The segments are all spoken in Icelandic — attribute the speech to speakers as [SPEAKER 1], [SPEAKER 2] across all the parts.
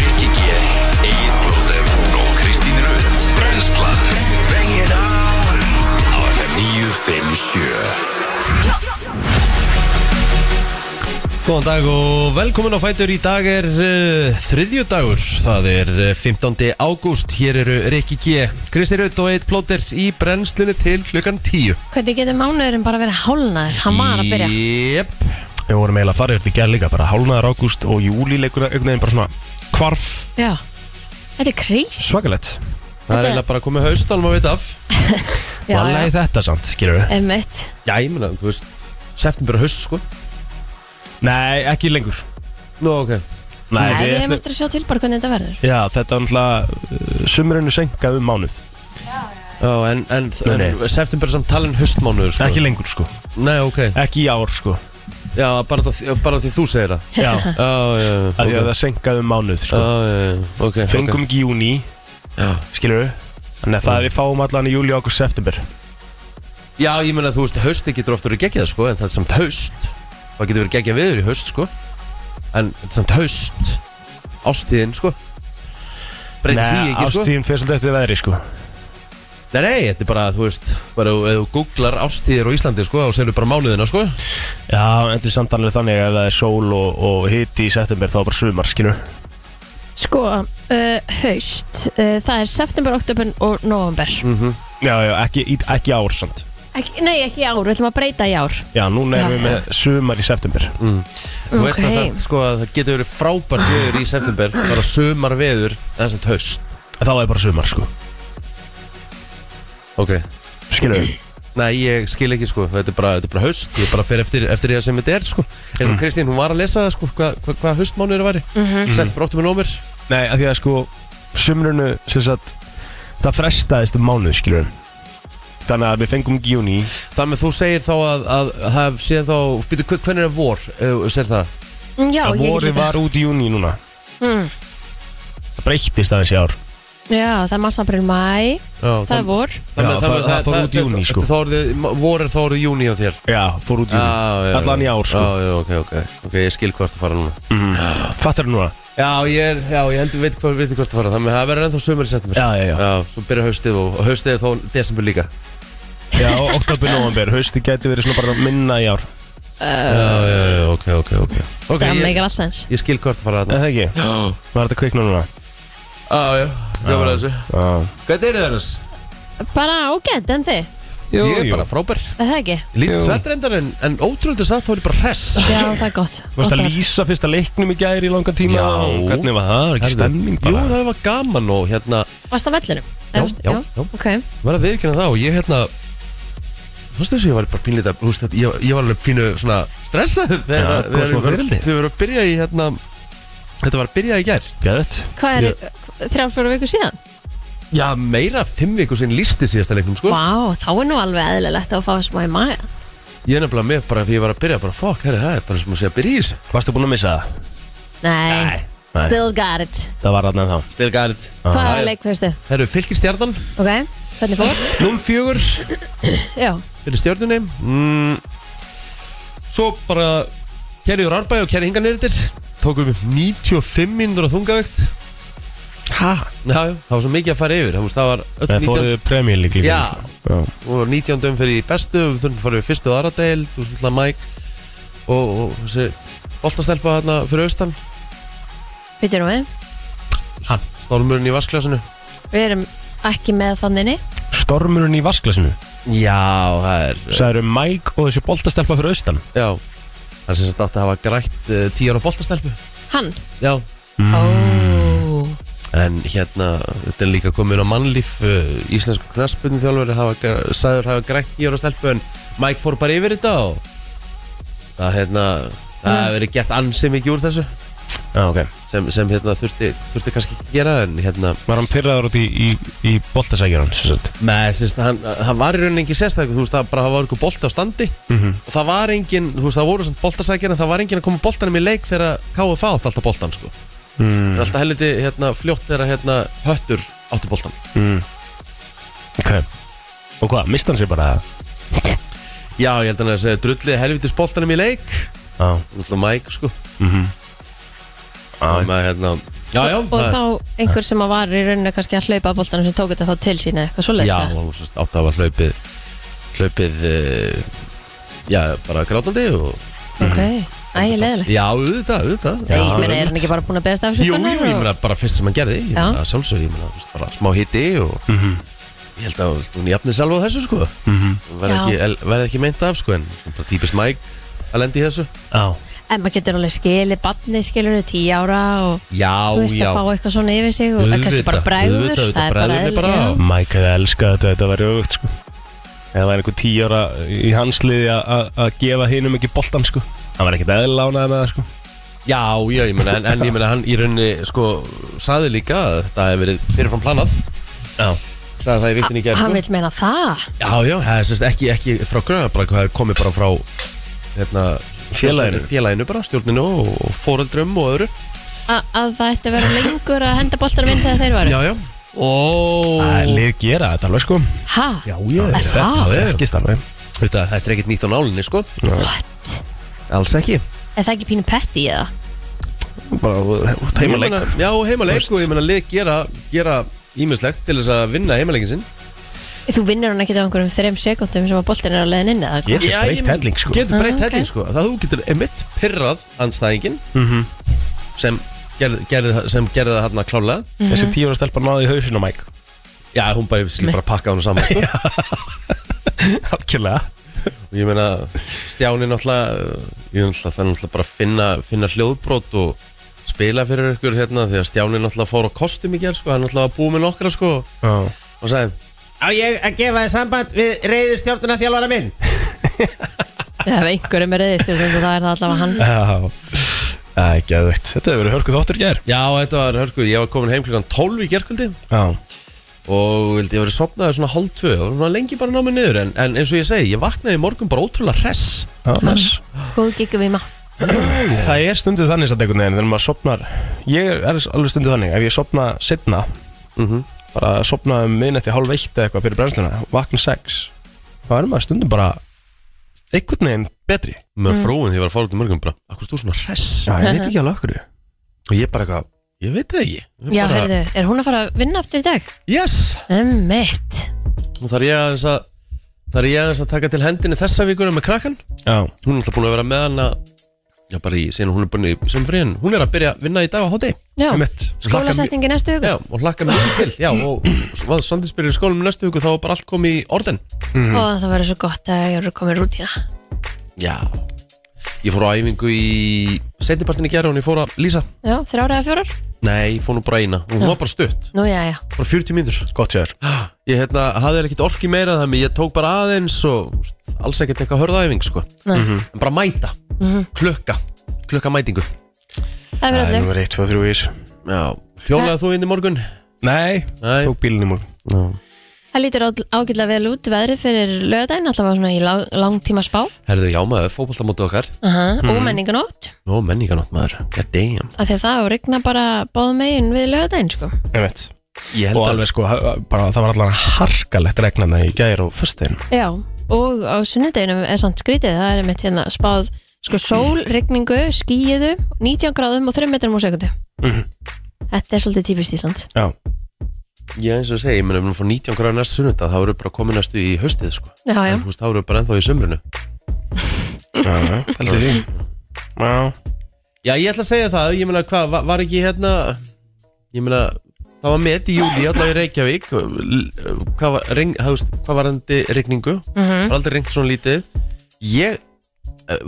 [SPEAKER 1] Rikki G, Egil Blóter og Kristín Rund Brenslan Bring it on Á FM 957
[SPEAKER 2] Góðan dag og velkomin á Fætur Í dag er uh, þriðju dagur Það er uh, 15. ágúst Hér eru Rikki G, Kristi Rutt og Eitt Plóter í brennslunni til klukkan 10
[SPEAKER 3] Hvernig getur mánuðurinn bara verið hálnaður? Hann var að byrja
[SPEAKER 2] Jep,
[SPEAKER 4] Við vorum eiginlega að fara yfir þetta í gerð líka bara hálnaðar ágúst og júli leikur einhvern veginn bara svona hvarf
[SPEAKER 3] Já Þetta er crazy
[SPEAKER 4] svakalett
[SPEAKER 2] það er
[SPEAKER 3] Þetta-
[SPEAKER 2] eiginlega bara komið haust Alveg veit af
[SPEAKER 3] Já, Eh.
[SPEAKER 4] Valega
[SPEAKER 3] já,
[SPEAKER 4] þetta samt, skilur við
[SPEAKER 3] emmitt
[SPEAKER 2] Já, ég meina, þú veist September er haust, sko
[SPEAKER 4] Nei, ekki lengur
[SPEAKER 2] Nú, ok
[SPEAKER 3] Nei, við hefum
[SPEAKER 4] ætlum-
[SPEAKER 3] eftir að sjá til bara hvernig þetta verður
[SPEAKER 4] Já, þetta var náttúrulega sumurinu senkað um mánuð
[SPEAKER 2] Já, en, en,
[SPEAKER 4] Nei,
[SPEAKER 2] en september er samt talin haustmánuður, sko
[SPEAKER 4] Ekki lengur sko,
[SPEAKER 2] Nei, ok
[SPEAKER 4] ekki í ár sko
[SPEAKER 2] Já, bara, það- bara því þú segir það
[SPEAKER 4] Já, af
[SPEAKER 2] Já, já, já,
[SPEAKER 4] því að
[SPEAKER 2] ok
[SPEAKER 4] það senkað um mánuð
[SPEAKER 2] Já,
[SPEAKER 4] sko
[SPEAKER 2] já, já, ok ok.
[SPEAKER 4] Fengum ekki í júni,
[SPEAKER 2] Já.
[SPEAKER 4] skilur við Þannig að það er við fáum allan í júli, ágúst, september
[SPEAKER 2] Já, ég meina, þú veist, hausti getur ofta verið geggjað, sko, en það er samt haust. Það getur verið geggjað viður í haust, sko. En þetta er samt haust, ástíðin, sko. Breytir því
[SPEAKER 4] Nei,
[SPEAKER 2] ekki, sko.
[SPEAKER 4] ástíðin fyrir svolítið eftir veðri sko
[SPEAKER 2] Nei, nei, þetta er bara, þú veist, bara ef þú googlar ástíðir á Íslandi, sko, og selur bara mánuðina, sko.
[SPEAKER 4] Já, en þetta er samt alveg þannig að ef það er sól og, og hiti í september þá er bara sumar, skilur við
[SPEAKER 3] Sko, uh, haust uh, Það er september, oktober og november
[SPEAKER 4] Já, já, ekki, í- ekki í ár samt
[SPEAKER 3] ekki, Nei, ekki í ár, við ætlum að breyta í ár
[SPEAKER 4] Já, núna erum
[SPEAKER 3] Já,
[SPEAKER 4] við með sumar í september
[SPEAKER 2] Þú veist það
[SPEAKER 3] Ok.
[SPEAKER 2] samt, sko, að það getur verið frábært viður í september, bara sömar viður, það er samt haust.
[SPEAKER 4] Þá er bara sumar, sko
[SPEAKER 2] Ok.
[SPEAKER 4] Skilur við
[SPEAKER 2] Nei, ég skil ekki, sko, þetta er bara, þetta er bara haust, ég bara fer eftir, eftir því að sem þetta er, sko. Eins og Kristín, hún var að lesa, það, sko, hvað hva, hva haustmánuður væri. Sett bara 8 með nómur.
[SPEAKER 4] Nei, af því að sko sumrunu, sem sagt það frestaðist um mánuð, skilur við Þannig að við fengum ekki í júni
[SPEAKER 2] Þar með þú segir þá að, að haf séð þá, býtu, hve- hvernig er vor, eh, segir það?
[SPEAKER 3] Mm, Já, ég
[SPEAKER 4] að
[SPEAKER 3] get
[SPEAKER 4] vorið
[SPEAKER 3] líka
[SPEAKER 4] var út í júni núna
[SPEAKER 3] mm.
[SPEAKER 4] Það breyttist aðeins í ár
[SPEAKER 3] Já, það er massa april, mæ
[SPEAKER 2] Já,
[SPEAKER 3] Það er vor
[SPEAKER 4] Já, það- það fór út í júní, sko.
[SPEAKER 2] Þá orðið, vor er þá orðið júni á þér.
[SPEAKER 4] Já, fór út í júni Allan í ár, sko.
[SPEAKER 2] Já, já, ok, ok, ok, ég skil hvort að fara núna.
[SPEAKER 4] Fattar núna?
[SPEAKER 2] Já, ég er, já, ég heldur, veit hvað, veit hvort að fara, þannig að það verður ennþá sömur í september.
[SPEAKER 4] Já, já, já
[SPEAKER 2] Já, svo byrja haustið og, og haustið er þá desember líka.
[SPEAKER 4] Já, oktober, november, hausti gæti verið svona bara minna í ár
[SPEAKER 2] Já, já, já, ok, ok, ok. Ok,
[SPEAKER 3] Það
[SPEAKER 2] ég,
[SPEAKER 3] meikar allt sens
[SPEAKER 2] ég skil hvort að fara
[SPEAKER 4] Er
[SPEAKER 2] þarna.
[SPEAKER 4] það ekki?
[SPEAKER 2] Já,
[SPEAKER 4] Var þetta kvikna núna?
[SPEAKER 2] já, já, gaman að þessu.
[SPEAKER 4] Já
[SPEAKER 2] Hvernig er það annars?
[SPEAKER 3] Bara ágætt, en þið,
[SPEAKER 4] Jú,
[SPEAKER 2] Ég er
[SPEAKER 4] jú.
[SPEAKER 2] bara frábær.
[SPEAKER 3] er það ekki?
[SPEAKER 2] Lítið
[SPEAKER 4] Jú.
[SPEAKER 2] svettur endar en, en ótrúlega satt þá er ég bara hress.
[SPEAKER 3] Já, það er gott
[SPEAKER 4] Varst
[SPEAKER 3] Gott
[SPEAKER 4] að
[SPEAKER 3] ár.
[SPEAKER 4] lýsa fyrsta leiknum í gæri í langan tíma
[SPEAKER 2] Já.
[SPEAKER 4] og Hvernig var það? Var ekki stemning
[SPEAKER 2] Jú,
[SPEAKER 4] bara?
[SPEAKER 2] það var gaman og hérna
[SPEAKER 3] Varst að vellinum?
[SPEAKER 2] Já,
[SPEAKER 3] Efst-
[SPEAKER 2] já, já.
[SPEAKER 3] Ok,
[SPEAKER 2] var að viðkynna það og ég hérna Þú veist þess að ég var bara pínleita Þú veist þetta, ég, ég var alveg pínu svona stressaður þegar
[SPEAKER 4] Já,
[SPEAKER 2] að-
[SPEAKER 4] hvað
[SPEAKER 2] þegar
[SPEAKER 4] smá
[SPEAKER 2] við vorum-
[SPEAKER 4] fyrirldi.
[SPEAKER 2] þegar við vorum að byrja í hérna Þetta var að byrja í gær
[SPEAKER 4] Gæðið
[SPEAKER 3] hvað er þrjár, fjóra viku síðan?
[SPEAKER 2] Já, meira fimm viku sinn lísti síðasta leiknum sko
[SPEAKER 3] Vá, þá er nú alveg eðlilegt að fá smá í maga
[SPEAKER 2] Ég er nefnilega með bara því ég var að byrja bara Fuck, herri, það er bara sem að segja að byrja í þessu
[SPEAKER 4] Varstu búin að missa það?
[SPEAKER 3] Nei,
[SPEAKER 4] nei.
[SPEAKER 3] still got it
[SPEAKER 4] Það var hann en þá
[SPEAKER 2] Stil gærit
[SPEAKER 3] Hvað er leik, veistu?
[SPEAKER 2] Herru, fylgir stjarnan
[SPEAKER 3] Ok, hvernig fór?
[SPEAKER 2] 0-4
[SPEAKER 3] Já,
[SPEAKER 2] fyrir stjörnunni mm, Svo bara Kerri úr Árbæ og kerri hinga neyrir Tókum við 95 mínútur á þungavægt
[SPEAKER 4] Hæ?
[SPEAKER 2] Já, já, það var svo mikið að fara yfir Það, veist, það var öll
[SPEAKER 4] Það
[SPEAKER 2] 19
[SPEAKER 4] fóruðu premjör líka
[SPEAKER 2] Já.
[SPEAKER 4] Já
[SPEAKER 2] Við vorum 19 dögum fyrir í bestu Við þurfum að fara yfir fyrstu og aðra deild Og svona Mike Og, og þessi boltastelpa hérna fyrir austan
[SPEAKER 3] býtum við
[SPEAKER 2] Stálmurinn í vasklásinu
[SPEAKER 3] Við erum ekki með þanninni
[SPEAKER 4] Stormurinn í vasklasinu
[SPEAKER 2] Já, það er
[SPEAKER 4] Sæður Mike og þessi boltastelpa fyrir austan
[SPEAKER 2] Já Það er sem sagt átti að hafa grætt uh, 10 ára boltastelpu
[SPEAKER 3] Hann
[SPEAKER 2] Já Mm.
[SPEAKER 3] Ó,
[SPEAKER 2] En hérna, þetta er líka komin á mannlíf uh, Íslensku knaspunni þjálfur hafa, gr- sagður hafa grætt í ára stelpu en Mike fór bara yfir þetta og það hérna það hefur verið gert ansi mikið úr þessu
[SPEAKER 4] Já, ok
[SPEAKER 2] sem, sem hérna þurfti, þurfti kannski ekki gera en hérna
[SPEAKER 4] Var hann pyrraður út í, í, í boltasækjur hann, sem sagt
[SPEAKER 2] með, sérst, hann, hann var í rauninni engin sérstakur þú veist það bara það var einhver bolti á standi
[SPEAKER 4] Mhm.
[SPEAKER 2] og það var engin, þú veist það voru svona boltasækjar en það var engin að koma boltanum í leik þegar KFA átti alltaf boltan sko mm.
[SPEAKER 4] mm,
[SPEAKER 2] alltaf helviti hérna fljótt þegar hérna höttur átti boltan
[SPEAKER 4] mm. Ok Og hvað, mista hann sér bara það?
[SPEAKER 2] Já, ég held hann að segja drullið helviti spoltanum í leik
[SPEAKER 4] Já
[SPEAKER 2] Náttúrulega Mike, sko
[SPEAKER 4] Mhm.
[SPEAKER 2] Og maður, hérna Já, já
[SPEAKER 3] og þá einhver sem að var í rauninu kannski að hlaupa að boltanum sem tók þetta þá til sína eitthvað svo
[SPEAKER 2] Já, og sérst átt að hafa hlaupið Hlaupið eh, Já, bara grátandi og
[SPEAKER 3] ok, ægilegilegt
[SPEAKER 2] Mm. Já, auðvitað, auðvitað
[SPEAKER 3] Nei, ég meina, er hann ekki bara búin að beðast
[SPEAKER 2] Jú,
[SPEAKER 3] afsökunar?
[SPEAKER 2] jú, ég meina bara fyrst sem hann gerði Ég
[SPEAKER 3] Já.
[SPEAKER 2] meina sjálfsög, ég meina þú veist, bara smá hitti og ég held að hún jafnir salvo á þessu sko
[SPEAKER 4] Mhm.
[SPEAKER 2] verði
[SPEAKER 3] Já.
[SPEAKER 2] ekki, el- verði ekki meint af sko en bara típist Mike að lendi í þessu
[SPEAKER 4] Já
[SPEAKER 3] En maður getur alveg skilið barnið, skilur þau tíu ára og
[SPEAKER 2] Já,
[SPEAKER 3] þú veist
[SPEAKER 2] já
[SPEAKER 3] að fá eitthvað svona yfir sig og
[SPEAKER 2] Auðvitað,
[SPEAKER 3] kannski bara bregður,
[SPEAKER 2] auðvitað,
[SPEAKER 3] það er
[SPEAKER 2] auðvitað,
[SPEAKER 3] bara
[SPEAKER 2] bregður
[SPEAKER 3] eðli,
[SPEAKER 2] bara
[SPEAKER 3] já.
[SPEAKER 2] á.
[SPEAKER 4] Mike hefði elskað þetta, þetta væri auðvitað sko Eða væri einhver tíu ára í hansliði að gefa hinum ekki boltan sko Hann var ekkert eðla ánæði með það sko
[SPEAKER 2] Já, já, ég meina en, en ég meina hann í rauninni sko saði líka að þetta hefði verið fyrirfram planað
[SPEAKER 4] Já
[SPEAKER 2] sagði það í vittin í gerð
[SPEAKER 3] Hann
[SPEAKER 2] sko.
[SPEAKER 3] vil meina það
[SPEAKER 2] Já, já, það er sérst ekki, ekki frá gröðabrak það komið bara frá hérna,
[SPEAKER 4] Félaginu.
[SPEAKER 2] félaginu bara, stjórninu og, og foreldrum og öðru
[SPEAKER 3] A- að það ætti að vera lengur að henda boltanum inn þegar þeir
[SPEAKER 2] Já,
[SPEAKER 3] varu
[SPEAKER 2] já Ó,
[SPEAKER 4] Það er lið gera þetta alveg sko
[SPEAKER 3] Ha?
[SPEAKER 2] Já, já,
[SPEAKER 3] Er það?
[SPEAKER 2] já, já.
[SPEAKER 4] Ekki starfið
[SPEAKER 2] Þetta, þetta er ekkert nýtt á nálinni, sko
[SPEAKER 3] What?
[SPEAKER 2] Alls ekki
[SPEAKER 3] Er það ekki pínu petti eða?
[SPEAKER 4] Bara út heimaleik
[SPEAKER 2] Ég meina- Já, heimaleik og ég meina lið gera, gera ímislegt til þess að vinna heimaleikin sinn
[SPEAKER 3] Þú vinnur hann ekki á einhverjum þreim sekundum sem að boltin er á leiðin inn eða hvað?
[SPEAKER 4] Getur
[SPEAKER 2] Já, ég-
[SPEAKER 4] breytt helling sko
[SPEAKER 2] Getur breytt
[SPEAKER 3] Ah, ok.
[SPEAKER 2] helling, sko Það þú getur emitt pyrrað andstæðingin
[SPEAKER 4] Mhm.
[SPEAKER 2] sem, ger, gerði, það- sem gerði það hann að klálega
[SPEAKER 4] Þessi tíu ára stelpa náði í hausinu Mike
[SPEAKER 2] Já, hún bara, skil bara pakka hún saman, sko
[SPEAKER 4] Algjörlega
[SPEAKER 2] Og Ég meina, Stjáni náttúrulega uh, Ég náttúrulega, það er náttúrulega bara að finna, finna hljóðbrót og spila fyrir ykkur hérna því að Stjáni náttúrulega fór á kostum í gerð sko, hann náttúrulega var búið með nokkra sko
[SPEAKER 4] Já
[SPEAKER 2] og sagði,
[SPEAKER 5] Á ég að gefa þið samband við reyður stjórnuna þjálfara minn?
[SPEAKER 3] Ef einhverjum er reyðist og það er það allavega hann
[SPEAKER 4] Já, það er geðveikt Þetta hefur verið hörkuð þáttur í gær
[SPEAKER 2] já þetta var hörku ég var komin heim klukkan 12 í gerkvöldi
[SPEAKER 4] Já, og
[SPEAKER 2] og vildi ég verið sopnaði svona hálf tvö og svona lengi bara námið niður en, en eins og ég segi, ég vaknaði í morgun bara ótrúlega hress
[SPEAKER 4] annars
[SPEAKER 3] Góð gigum í maður
[SPEAKER 4] Það er stundu þannig satt einhvern veginn þegar maður sopnar Ég er alveg stundu þannig, ef ég sopna setna
[SPEAKER 2] Mhm.
[SPEAKER 4] bara sopna um miðnætti hálf eitt eða eitthvað fyrir brennsluna, vakna sex þá er maður stundum bara einhvern veginn betri
[SPEAKER 2] með
[SPEAKER 3] Mm.
[SPEAKER 2] fróin því ég var að fara út í morgun bara, akkur þú svona hress
[SPEAKER 4] Já, ég veit ekki alveg okkur
[SPEAKER 2] og ég bara eitthvað, ég veit það ekki Ég
[SPEAKER 3] Já,
[SPEAKER 2] bara,
[SPEAKER 3] heyrðu, er hún að fara að vinna aftur í dag?
[SPEAKER 2] yes,
[SPEAKER 3] Emmitt
[SPEAKER 2] Nú þarf ég aðeins að þarf ég aðeins að taka til hendinni þessa vikuna með krakkan
[SPEAKER 4] Já,
[SPEAKER 2] hún er alltaf búin að vera með hana já bara í, síðan hún er búin í sömfríðin hún er að byrja að vinna í dag á hátti
[SPEAKER 3] Já,
[SPEAKER 4] mitt
[SPEAKER 3] skólasetningi næstu
[SPEAKER 2] já
[SPEAKER 3] hugur
[SPEAKER 2] og hlakka mér til já og hvað Sandis byrjar í skólanum næstu viku þá er bara allt komið í orðin Mhm.
[SPEAKER 3] Og það verður svo gott að ég eru komin rútína
[SPEAKER 2] já ég fór á æfingu í setnipartin í gera og ég fór að lýsa
[SPEAKER 3] Já, þrjára eða fjórar?
[SPEAKER 2] nei ég fór nú bara eina hún var bara stutt
[SPEAKER 3] Nú, já, já
[SPEAKER 2] bara 40 mínútur
[SPEAKER 4] Gott sér
[SPEAKER 2] ég hérna hafði ekkert orki meira þannig ég tók bara aðeins og þú veist, alls ekkert eitthvað hörðaæfing sko
[SPEAKER 3] Nei. Mhm.
[SPEAKER 2] en bara mæta klukka klukka mætingu
[SPEAKER 3] Það er
[SPEAKER 4] Það er
[SPEAKER 3] verður
[SPEAKER 4] nummer 1, 2, 3 ís
[SPEAKER 2] já hjólaði þú inn í morgun
[SPEAKER 4] Nei,
[SPEAKER 2] Nei.
[SPEAKER 4] tók bílinn í morgun
[SPEAKER 3] Það lítur á- ágætlega vel út veðri fyrir lögadaginn, allavega svona í lang, langtíma spá
[SPEAKER 2] Herðu, já maður, fótbolta móti okkar
[SPEAKER 3] Aha, og menninganótt
[SPEAKER 2] Nó, menninganótt maður, god damn
[SPEAKER 3] af því að það á rigna bara báð megin við lögadaginn sko.
[SPEAKER 4] Ég veit
[SPEAKER 2] Ég held
[SPEAKER 4] Og
[SPEAKER 2] að,
[SPEAKER 4] alveg sko, ha- bara, það var allan harkalegt regnana í gæri og föstuðin
[SPEAKER 3] Já, og á sunnudeginum er samt skrítið, það er mitt hérna spáð sko sól, rigningu, skíiðu 19 gráðum og 3 metrum á sekundu Þetta er svolítið típist Ísland
[SPEAKER 4] Já,
[SPEAKER 2] ég eins og segi, ég menn að fá 19 gráður næst sunnudag þá eru bara komin næstu í haustið sko
[SPEAKER 3] Já, já,
[SPEAKER 2] En þú veist, þá eru bara ennþá í sömrunu
[SPEAKER 4] já, já, heldur því Já,
[SPEAKER 2] Já, ég ætla að segja það, ég menna hvað, var, var ekki hérna Ég menna, það var met í júli allavega í Reykjavík L- Hvað var, reng, þú veist, hvað var endi regningu
[SPEAKER 3] Mhm.
[SPEAKER 2] Var aldrei rengt svona lítið Ég, eh,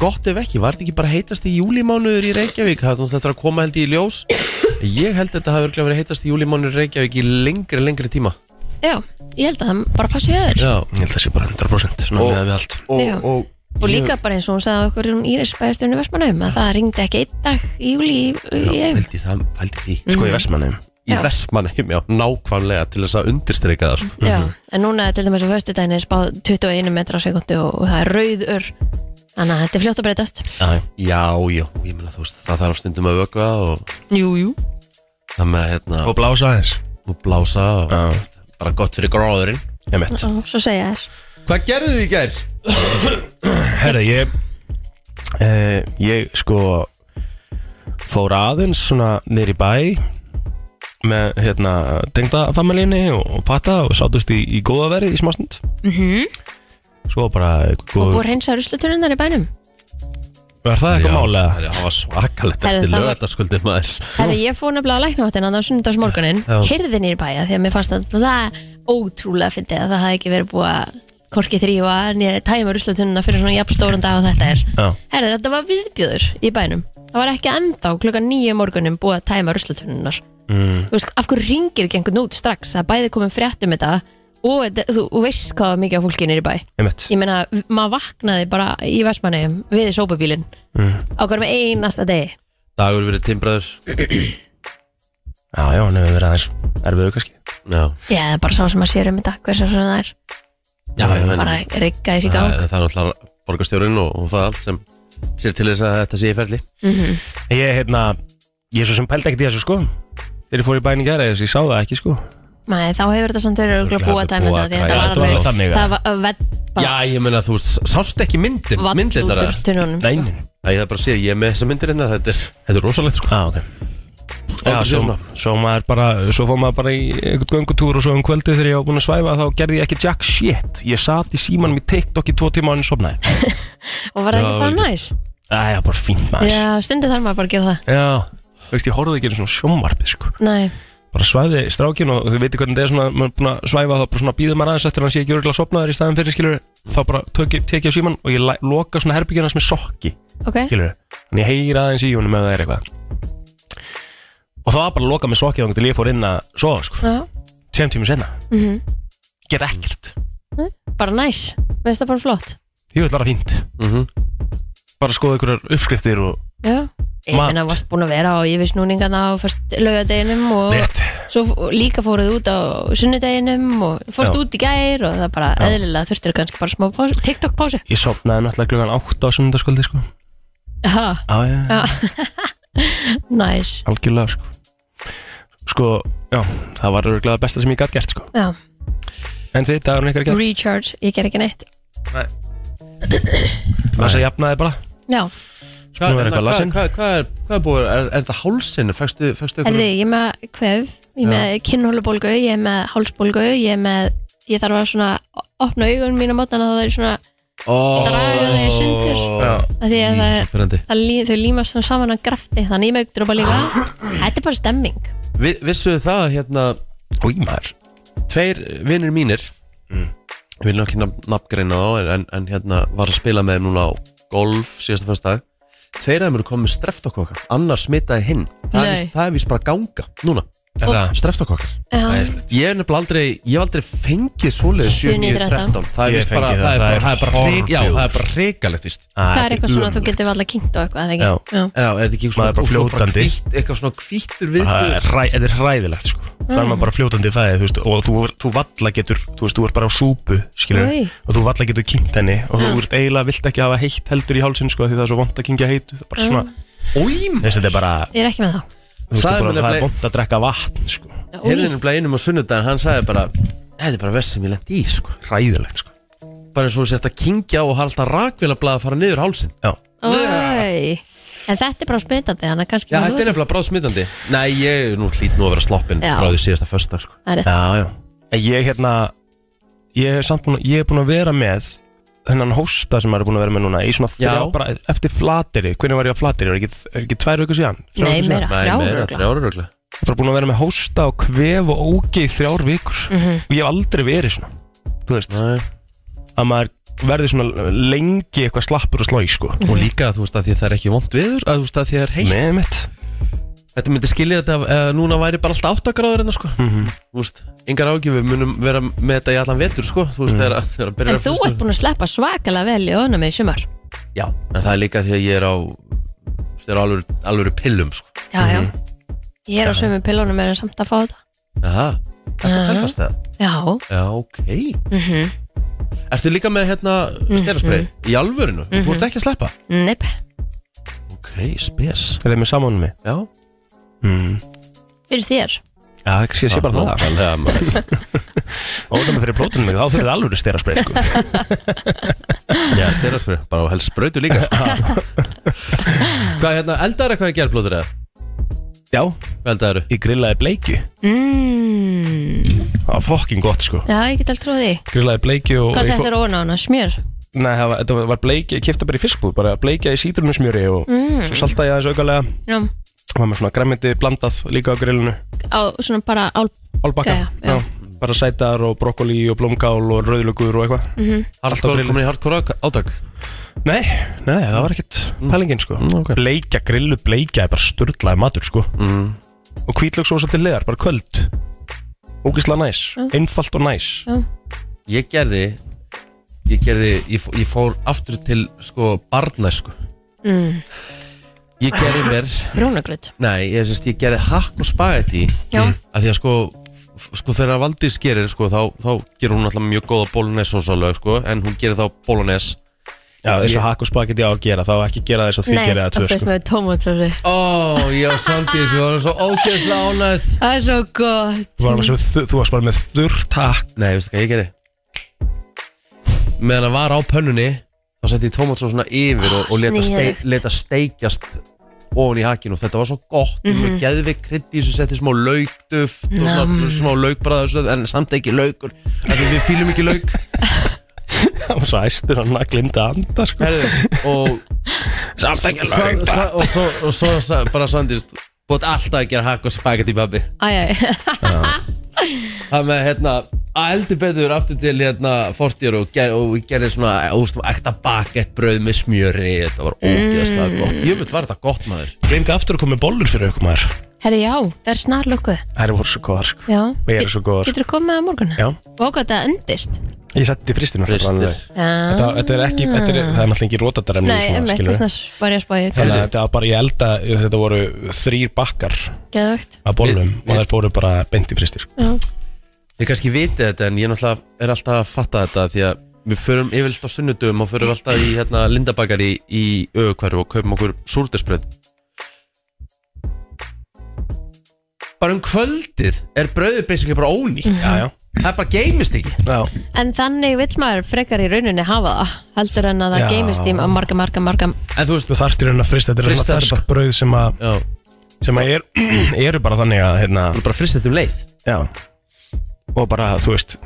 [SPEAKER 2] gott ef ekki, var þetta ekki bara heitast í júlimánuður í Reykjavík Það þetta er að koma held ég í ljós Ég held að þetta hafi örglega verið heitast í júlimánuður í Reykjavík í lengri, lengri tíma
[SPEAKER 3] já, ég held að það bara passi öður
[SPEAKER 2] Já,
[SPEAKER 4] ég held að það sé bara 100% svona
[SPEAKER 2] Og-
[SPEAKER 4] meðan við allt
[SPEAKER 2] og,
[SPEAKER 3] Já.
[SPEAKER 2] og,
[SPEAKER 3] og líka bara eins og hún sagði okkur um Íris bæðastjónu Vestmannaum að það ringdi ekki einn dag í júli í, í,
[SPEAKER 2] ég,
[SPEAKER 3] í,
[SPEAKER 2] held í það, held í því
[SPEAKER 4] Sko í Vestmannum
[SPEAKER 2] í
[SPEAKER 3] Já.
[SPEAKER 2] Vestmannheim, já, nákvæmlega til þess að undirstreika það sko.
[SPEAKER 3] Já, en núna til dæmis á föstudaginn er spáð 21 metra á sekundu og, og það er rauður þannig að þetta er fljótt að breytast
[SPEAKER 4] Já,
[SPEAKER 2] já, já, ég meina þú veist það þarf stundum að vökva og
[SPEAKER 3] Jú, jú
[SPEAKER 2] það með hérna,
[SPEAKER 4] og blása aðeins
[SPEAKER 2] og blása og bara gott fyrir gróðurinn
[SPEAKER 4] Ég mitt
[SPEAKER 3] Svo segja þér
[SPEAKER 2] hvað gerðu þið í gær?
[SPEAKER 4] Herra, ég eh, Ég sko Fór aðeins svona niður í bæ Með hérna Tengdafamilinni og, og pata Og sátust í, í góða verið í smástund
[SPEAKER 3] Mhm.
[SPEAKER 4] Svo bara
[SPEAKER 3] Og búið
[SPEAKER 4] góð,
[SPEAKER 3] að reynsa ruslatunundan í bænum
[SPEAKER 4] Er það eitthvað málega?
[SPEAKER 2] Það var svakalegt
[SPEAKER 3] Herri,
[SPEAKER 2] eftir
[SPEAKER 3] það var-
[SPEAKER 2] lögataskvöldið maður
[SPEAKER 3] Þegar ég fór nefnilega að læknaváttina þannig á sunnudagsmorgunin
[SPEAKER 2] Já.
[SPEAKER 3] Kerði nýr bæja því að mér fannst að það ótrúlega fyndið að það hafði ekki verið búið að Korki þrýfa en ég tæma ruslatununa fyrir svona jafnstóran dag og þetta er
[SPEAKER 4] Já,
[SPEAKER 3] Herri, þetta var viðbjöður í bænum Það var ekki ennþá klukkan nýju morgunin búið að tæma ruslatununar
[SPEAKER 4] mm,
[SPEAKER 3] Þú veist, af hverju ringir ekki einhvern út strax að bæði komum frétt um þetta og þetta- þú þú veist hvað mikið af fólki er í bæ
[SPEAKER 4] einmitt
[SPEAKER 3] Ég meina, maður vaknaði bara í Vestmanneum við sópubílinn
[SPEAKER 4] mm.
[SPEAKER 3] á hverjum einasta degi
[SPEAKER 2] Dagur verið timbraður
[SPEAKER 4] Já, já, hann hefur verið aðeins erfiður kannski
[SPEAKER 2] Já,
[SPEAKER 3] Já, það er bara sá sem að sér um þetta, hversu svona það er
[SPEAKER 2] já, já en-
[SPEAKER 3] bara riggaði sér
[SPEAKER 2] það,
[SPEAKER 3] gang
[SPEAKER 2] það er alltaf borgarstjórinn og, og það allt sem sér til þess að þetta sé í ferli
[SPEAKER 4] Ég, hérna, ég er svo sem pældi ekkert í þessu sko Þegar ég fór í bæn í gæra Ég sá það ekki sko
[SPEAKER 3] Nei, þá hefur þetta samt verið örugglega búið að tæma
[SPEAKER 2] Búið
[SPEAKER 3] þetta
[SPEAKER 2] að
[SPEAKER 3] því að
[SPEAKER 2] græja.
[SPEAKER 3] þetta var
[SPEAKER 4] Þetta var alveg
[SPEAKER 3] alveg
[SPEAKER 4] þannig,
[SPEAKER 3] það var vett
[SPEAKER 2] Já, ég meina þú veist, sást ekki myndin
[SPEAKER 3] vall
[SPEAKER 2] myndin
[SPEAKER 3] út
[SPEAKER 2] þar
[SPEAKER 3] úr tunnunum
[SPEAKER 4] Nei,
[SPEAKER 3] sko.
[SPEAKER 4] nei, nei.
[SPEAKER 2] Æ, það er bara að sé, ég er með þessa myndir hérna þetta er, þetta er rosalegt sko
[SPEAKER 4] ah, ok Já,
[SPEAKER 2] Aldrei séð
[SPEAKER 4] svo,
[SPEAKER 2] svona.
[SPEAKER 4] svo, maður bara, svo fór maður bara í einhvern göngutúr og svo um kvöldið þegar ég var búin að svæfa þá gerði ég ekki jack shit Ég sat í símanum í TikTok í tvo tíma án sopnaði
[SPEAKER 3] og var það
[SPEAKER 2] Já,
[SPEAKER 3] ekki bara
[SPEAKER 2] vel
[SPEAKER 3] næs
[SPEAKER 4] Æja, bara fínt maður
[SPEAKER 3] Já, stundu þarf maður bara að gera það
[SPEAKER 4] Já, þú veist, ég horfði ekki einu svona sjónvarpi sko.
[SPEAKER 3] Nei,
[SPEAKER 4] Bara svæði strákin og þau veitir hvernig það er svona maður er búin að svæfa þá bara svona býðum maður aðeins eftir að hann sé ekki örgulega sopnaður í staðin fyrir skilur þá bara tök, tek ég á síman og ég læ- loka svona herbyggjana sem er sokki
[SPEAKER 3] ok
[SPEAKER 4] skilur en ég heyri aðeins í honum ef það er eitthvað og það var bara að loka með sokkið þannig til ég fór inn að sofa sko
[SPEAKER 3] Já,
[SPEAKER 4] sem tímur senna
[SPEAKER 3] mhm.
[SPEAKER 4] get ekkert
[SPEAKER 3] Bara næs, veist það bara flott
[SPEAKER 4] ég vil vera fínt
[SPEAKER 2] mm
[SPEAKER 3] Mhm.
[SPEAKER 4] bara skoða ykkurar uppskriftir og
[SPEAKER 3] Já Ég
[SPEAKER 4] Mat.
[SPEAKER 3] meina, varst búin að vera á yfirsnúningana á fyrst laugadeginum og
[SPEAKER 4] rétt
[SPEAKER 3] svo f- líka fóruð út á sunnudeginum og fórst
[SPEAKER 4] Já.
[SPEAKER 3] út í gær og það bara
[SPEAKER 4] Já.
[SPEAKER 3] eðlilega þurftir kannski bara smá pásu, TikTok pásu
[SPEAKER 4] ég sopnaði náttúrulega klukkan 8 á sunnundaskvöldi sko
[SPEAKER 3] Ha,
[SPEAKER 4] á ég
[SPEAKER 3] Já. næs
[SPEAKER 4] algjörlega sko sko já það var örgulega besta sem ég gætt gert sko
[SPEAKER 3] Já,
[SPEAKER 4] en þið dagurinn ykkar gert
[SPEAKER 3] recharge, ég ger ekki neitt
[SPEAKER 4] þess að jafnaði bara
[SPEAKER 3] Já,
[SPEAKER 4] Nú er eitthvað lasin.
[SPEAKER 2] hvað, hvað, er, hvað er búið, er, er þetta hálsinn, fækstu, fækstu ykkur
[SPEAKER 3] herði, ég er með kvef ég er með kinnhólubólgu, ég er með hálsbólgu ég er með, ég þarf að svona opna augun mín á mótana þá það er svona
[SPEAKER 2] oh,
[SPEAKER 3] draga þau í sundur.
[SPEAKER 2] Já,
[SPEAKER 3] að því að það,
[SPEAKER 2] það
[SPEAKER 3] það lí, þau límast svona saman á grafti, þannig ég mögdur bara líka Þetta er bara stemming
[SPEAKER 2] Vi, Vissuðu það hérna,
[SPEAKER 4] og í maður Mm.
[SPEAKER 2] tveir vinnir mínir Ég vil nú ekki nafn- nafngreina þá en, en, en hérna var að spila með þeim núna á golf síðasta fyrstdag Tveir af þeim eru komið með streftakokka Annar smitaði hinn Það er
[SPEAKER 3] Nei.
[SPEAKER 2] víst- það er vist bara að ganga núna
[SPEAKER 4] Er það?
[SPEAKER 2] Streftakokkar
[SPEAKER 3] Já,
[SPEAKER 2] Ég hef nefnilega aldrei, ég hef aldrei fengið svoleiðið 7-9-13 Það er
[SPEAKER 4] Ég
[SPEAKER 2] vist
[SPEAKER 4] hef
[SPEAKER 2] bara,
[SPEAKER 4] fengið
[SPEAKER 2] það er
[SPEAKER 4] það,
[SPEAKER 2] bara,
[SPEAKER 4] það
[SPEAKER 2] það
[SPEAKER 4] er
[SPEAKER 2] er bara, hrik- já,
[SPEAKER 4] horribjús.
[SPEAKER 2] það er bara hrikalegt víst
[SPEAKER 3] það er eitthvað svona, þú getur alltaf kynnt og eitthvað, eða ekki Já.
[SPEAKER 2] Já, er þetta ekki svona,
[SPEAKER 4] Maður er bara
[SPEAKER 2] og svo
[SPEAKER 4] fljótandi.
[SPEAKER 2] hvítt- eitthvað svona hvíttur
[SPEAKER 4] Það
[SPEAKER 2] viðbjör
[SPEAKER 4] er hræ- Þetta er hræðilegt sko
[SPEAKER 3] Mm.
[SPEAKER 4] Það er maður bara fljótandi í fæði þú veist, Og þú, þú valla getur Þú veist, þú ert bara á súpu skilur,
[SPEAKER 3] Oj.
[SPEAKER 4] Og þú valla getur kynnt henni Og þú ert eiginlega vilt ekki hafa heitt heldur í hálsinn sko, af Því það er svo vont að kynkja heitu Það er bara
[SPEAKER 3] Mm.
[SPEAKER 4] svona
[SPEAKER 2] Ím,
[SPEAKER 4] Þessi þetta er bara
[SPEAKER 3] Ég er ekki með þá
[SPEAKER 4] þú veist,
[SPEAKER 2] Sagði
[SPEAKER 4] bara,
[SPEAKER 2] mér
[SPEAKER 4] Það er
[SPEAKER 2] nefnilega-
[SPEAKER 4] vont að drekka vatn sko.
[SPEAKER 2] heyrði nefnilega einum á sunnudaginn Hann sagði bara, þetta er bara verð sem ég lendi í sko.
[SPEAKER 4] Hræðilegt sko.
[SPEAKER 2] Bara eins og þú sért að kingja og halda rakvélablað að fara niður hálsin
[SPEAKER 4] Já
[SPEAKER 3] Ói. En þetta er bara smitandi, þannig að kannski
[SPEAKER 2] Já,
[SPEAKER 3] maður-
[SPEAKER 2] þetta er nefnilega bráð smitandi Nei, ég nú hlýt nú að vera sloppin
[SPEAKER 3] Já.
[SPEAKER 2] frá því síðasta föstudag sko.
[SPEAKER 3] Það er rétt.
[SPEAKER 4] Já, já En ég hérna Ég hef samt búin, ég hef búin að vera með Þennan hósta sem maður er búin að vera með núna Í svona þrjá
[SPEAKER 2] Já.
[SPEAKER 4] bara Eftir flateri Hvernig var ég á flateri? Er ekki, er ekki tvær vikur síðan? Þrjár
[SPEAKER 3] Nei,
[SPEAKER 4] vikur síðan?
[SPEAKER 3] meira,
[SPEAKER 2] Nei, meira,
[SPEAKER 3] þrjárugla
[SPEAKER 2] þrjárugla
[SPEAKER 4] bara búin að vera með hósta og kvef og ógeð í þrjár vikur
[SPEAKER 3] Mhm.
[SPEAKER 4] og ég hef aldrei verið svona þú veist,
[SPEAKER 2] Nei.
[SPEAKER 4] að maður verði svona lengi eitthvað slappur og slói sko
[SPEAKER 2] Og líka, þú veist, að því að það er ekki vond viður að Þú veist, að því að það er heitt
[SPEAKER 4] með mitt
[SPEAKER 2] Þetta myndi skilja þetta ef- ef núna væri bara alltaf 8 gráður hérna sko Þú veist, yngar ágjöf við munum vera með þetta í allan vetur sko Þú veist, þegar, þegar að byrja
[SPEAKER 3] Mm. En þú ert búin að sleppa svakalega vel í önum í sumar
[SPEAKER 2] Já, en það er líka því að ég er á Þegar alveg, alveg pillum sko
[SPEAKER 3] Já, já
[SPEAKER 4] Mhm.
[SPEAKER 3] Ég er á sömu pillunum er samt að fá þetta
[SPEAKER 2] Aha, ertu að
[SPEAKER 3] Já.
[SPEAKER 2] telfast það?
[SPEAKER 3] Já,
[SPEAKER 2] Já, ok Ertu líka með hérna steraspray í alvörinu? Þú ert ekki að sleppa?
[SPEAKER 3] nepp
[SPEAKER 2] Ok, spes
[SPEAKER 4] er það með samanum mig
[SPEAKER 2] Já,
[SPEAKER 4] mm.
[SPEAKER 3] Fyrir þér
[SPEAKER 4] Já, það kannski sé bara það
[SPEAKER 2] Nákvæmlega, maður.
[SPEAKER 4] Ónæmi fyrir plótunum mig, þá þurfið alveg stera spreið sko.
[SPEAKER 2] Já, styrjarspröð, bara helst sprautu líka sko. Hvað hérna, eldar eitthvað að gera blóður eða?
[SPEAKER 4] Já,
[SPEAKER 2] Hvað eldar eru?
[SPEAKER 4] ég grillaði bleiki
[SPEAKER 3] mm,
[SPEAKER 4] Það var fokking gott sko
[SPEAKER 3] Já, ég get alltaf trúið því
[SPEAKER 4] Grillaði bleiki og
[SPEAKER 3] Hvað
[SPEAKER 4] ég
[SPEAKER 3] settur ofan á hana? Smjör?
[SPEAKER 4] fó- Nei, það var, þetta var bleiki, ég kefti bara í fiskbúð Bara bleikja í sítrunusmjöri og
[SPEAKER 3] Mm.
[SPEAKER 4] svo saltaði ég aðeins aukalega
[SPEAKER 3] Já,
[SPEAKER 4] Var með svona græmiti blandað líka á grillinu
[SPEAKER 3] á svona bara ál
[SPEAKER 4] Álbakka,
[SPEAKER 3] Gæja, já.
[SPEAKER 4] Bara sætar og brokkoli og blómkál og rauðlugur og eitthvað
[SPEAKER 3] Mhm.
[SPEAKER 2] Hardcore,
[SPEAKER 4] grillið.
[SPEAKER 2] komin í hardcore ák- átak
[SPEAKER 4] Nei, nei, það var ekkert pælingin sko
[SPEAKER 2] Mm, ok.
[SPEAKER 4] Bleikja, grillu, bleikja er bara sturdlaði matur sko Og hvítlöksósa til leðar, bara köld Ógislega næs,
[SPEAKER 3] Mm.
[SPEAKER 4] einfalt og næs
[SPEAKER 2] Ég gerði Ég gerði, ég, fó- ég fór aftur til sko barna sko
[SPEAKER 3] mm,
[SPEAKER 2] Ég gerði mér,
[SPEAKER 3] Brúnagröð
[SPEAKER 2] nei, ég, sest, ég gerði hakk og spagetti
[SPEAKER 3] Já,
[SPEAKER 2] að Því að sko, f- sko þegar Valdís gerir sko þá, þá gerir hún alltaf mjög góða bolognese sósalög sko En hún gerir þá bolognese
[SPEAKER 4] Já, þessu hakk og spagetti á að gera, þá ekki gera þessu að þið
[SPEAKER 3] nei, það
[SPEAKER 4] gera það tvö
[SPEAKER 3] fyrst
[SPEAKER 4] sko
[SPEAKER 3] með tómatsósi
[SPEAKER 2] Ó, ég og Sandís, við varum svo ógeðslega ánægð
[SPEAKER 3] Það er svo gott
[SPEAKER 4] Þú, varum, þú, þú varst bara með þurrt hakk
[SPEAKER 2] Nei, veistu hvað ég gerði Meðan það var á pönnunni Þá setti ég tómat svona yfir Og, og leta,
[SPEAKER 3] sniðugt.
[SPEAKER 2] steik, leta steikjast ofan í hakkinu og Þetta var svo gott mm -hmm. Geðvik krytti sem setti smá laukduft Og svona, smá laukbræða og svo, En samt ekki laukur af því Við fýlum ekki lauk
[SPEAKER 4] Það var svo æstur hann að glimta að anda sko
[SPEAKER 2] herðu, Og
[SPEAKER 4] Samt ekki
[SPEAKER 2] Sa-
[SPEAKER 4] lög
[SPEAKER 2] sa- og svo, og svo sa- bara Sandís Búið alltaf að gera hakk og spagetti pabbi
[SPEAKER 3] Æjæ,
[SPEAKER 2] Það með hérna að eldur betur aftur til hérna fortjör og, ger, og við gerðum svona eh, úst, ekta bakett brauð með smjöri þetta var ógeðslega gott ég veit var þetta gott maður
[SPEAKER 4] Glimti aftur að koma með bollur fyrir okkur maður
[SPEAKER 3] herri já, það er snar lukkuð
[SPEAKER 4] Það eru voru svo góðar sko
[SPEAKER 3] Já,
[SPEAKER 4] Ég er svo góðar sko
[SPEAKER 3] getur þú komið að morgun?
[SPEAKER 4] Já,
[SPEAKER 3] Váka þetta endist
[SPEAKER 4] ég setti fristin
[SPEAKER 2] Frystir.
[SPEAKER 4] Þetta, þetta er ekki, þetta er, það er náttúrulega ekki rótadaremni
[SPEAKER 3] Ah. Nei, emmitt, þess vegna var ég að spá ég
[SPEAKER 4] Þannig að þetta var bara, ég elda, þetta voru þrýr bakkar
[SPEAKER 3] Geðvögt
[SPEAKER 4] af bollum
[SPEAKER 2] Við-
[SPEAKER 4] og þær fóru bara beint í fristir sko.
[SPEAKER 2] þið kannski vitið þetta en ég náttúrulega er alltaf að fatta þetta því að við förum yfirlt á sunnudum og förum alltaf í hérna lindabakari í auðkvarju og kaupum okkur súrdesbröð bara um kvöldið er brauðið basically bara ónýtt
[SPEAKER 4] Já, já,
[SPEAKER 2] það bara geymist ekki
[SPEAKER 4] já,
[SPEAKER 3] En þannig vill maður frekar í rauninni hafa það heldur en að það
[SPEAKER 4] Já.
[SPEAKER 3] geymist í marga, marga, marga
[SPEAKER 2] en þú veist
[SPEAKER 4] þú þarft í raun að frista Þetta er
[SPEAKER 2] Frysta
[SPEAKER 4] svona
[SPEAKER 2] þetta
[SPEAKER 4] fersk brauð sem að
[SPEAKER 2] já,
[SPEAKER 4] sem að er, eru bara þannig að hérna,
[SPEAKER 2] bara frist þetta um leið
[SPEAKER 4] já og bara, þú veist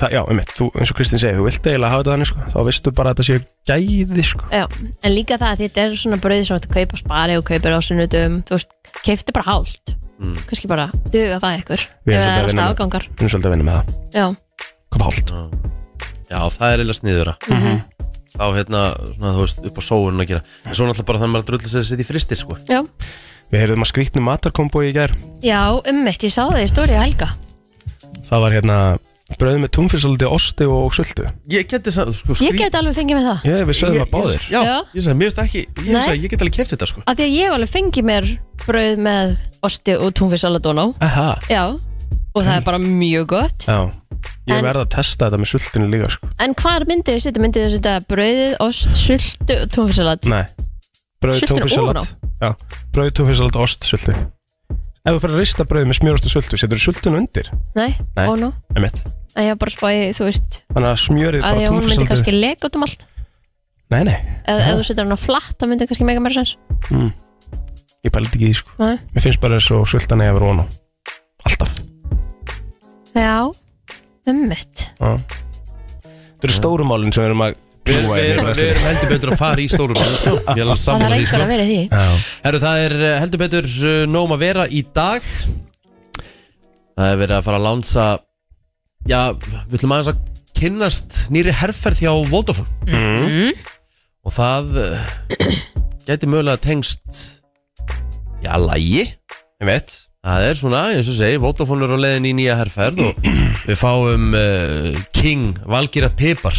[SPEAKER 4] það, já, um eitt, þú, eins og Kristinn segir, þú vilt eiginlega hafa þetta þannig sko, þá veistu bara að þetta séu gæði sko.
[SPEAKER 3] Já, en líka það að þetta er svona brauði sem þú ert að kaupa á spari og kaupir á sunnudum þú veist, keifti bara hálft mm. kannski bara duga það ykkur ef
[SPEAKER 4] Við erum
[SPEAKER 3] það er
[SPEAKER 4] svolítið að
[SPEAKER 3] alltaf
[SPEAKER 4] vinna með-
[SPEAKER 3] afgangar
[SPEAKER 4] við erum svolítið að vinna með það,
[SPEAKER 3] Já,
[SPEAKER 4] kom hálft
[SPEAKER 2] Já, það er eiginlega sniðura
[SPEAKER 3] Mhm.
[SPEAKER 2] Þá hérna, svona, þú veist, upp á sóun að gera En svo náttúrulega bara þannig að maður drullu sér að setja í fristir sko.
[SPEAKER 3] já,
[SPEAKER 4] Við heyrðum að skrýtnu matarkombói í gær
[SPEAKER 3] já ummitt, ég sá það í stóri helga
[SPEAKER 4] það var hérna, brauð með túnfyrsaldi, osti og sultu
[SPEAKER 2] Ég geti sann, sko,
[SPEAKER 3] Ég get alveg fengið með það
[SPEAKER 4] Já, við sögðum
[SPEAKER 2] Ég-
[SPEAKER 4] að báðir
[SPEAKER 2] ég- Já,
[SPEAKER 3] Já.
[SPEAKER 2] ég sagði, mér veist ekki Ég
[SPEAKER 3] Nei.
[SPEAKER 2] sagði, ég get alveg keft þetta sko
[SPEAKER 3] Af því að ég hef alveg fengið mér brauð með osti og túnfisaladón á
[SPEAKER 4] Aha.
[SPEAKER 3] Já, og það er bara mjög gott
[SPEAKER 4] Já, ég
[SPEAKER 3] En-
[SPEAKER 4] verð að testa þetta með sultinu líka sko.
[SPEAKER 3] En hvar myndið þið setja? Myndið þið setja brauðið, ost, sultu og túnfisalad?
[SPEAKER 4] Nei Brauð,
[SPEAKER 3] Sultu
[SPEAKER 4] tófið,
[SPEAKER 3] ofan á?
[SPEAKER 4] salat Já, brauð, tófið, salat, ost, sultu Ef þú fyrir að rista brauð með smjörost og sultu Setur þú sultinu undir
[SPEAKER 3] Nei,
[SPEAKER 4] Nei.
[SPEAKER 3] ó nú
[SPEAKER 4] Emitt.
[SPEAKER 3] En ég var bara að spá í, þú veist,
[SPEAKER 4] Þannig að smjörið
[SPEAKER 3] að því
[SPEAKER 4] bara
[SPEAKER 3] að hún myndi
[SPEAKER 4] tófið,
[SPEAKER 3] kannski leka út um allt
[SPEAKER 4] Nei, nei,
[SPEAKER 3] ef,
[SPEAKER 4] Eh.
[SPEAKER 3] ef þú setur hann á flatt það myndi kannski mega meira sens
[SPEAKER 4] ég pælit ekki í því, sko
[SPEAKER 3] Nei.
[SPEAKER 4] Mér finnst bara eins og sultan eða verið á Alltaf
[SPEAKER 3] já, ummitt
[SPEAKER 4] Þetta eru stóru málin sem við erum að
[SPEAKER 2] Við
[SPEAKER 4] kljúa í
[SPEAKER 2] við erum,
[SPEAKER 4] hérna,
[SPEAKER 2] við erum heldur betur að fara í stórum málum, sko. Ég er alveg
[SPEAKER 3] það
[SPEAKER 2] sammála
[SPEAKER 3] þarf
[SPEAKER 2] því
[SPEAKER 3] einhver
[SPEAKER 2] sko.
[SPEAKER 3] að vera í því
[SPEAKER 4] Já.
[SPEAKER 2] Herru, það er uh, heldur betur uh, nóg um að vera í dag Það er verið að fara að lánsa Já, við ætlum aðeins að kynnast nýri herrferð hjá Vodafone
[SPEAKER 4] Mhm.
[SPEAKER 2] og það uh, gæti mögulega tengst já, lægi
[SPEAKER 4] Ég veit
[SPEAKER 2] það er svona, eins og segi, Vodafone er á leiðin í nýja herrferð og við fáum uh, King, Valgirat Pipar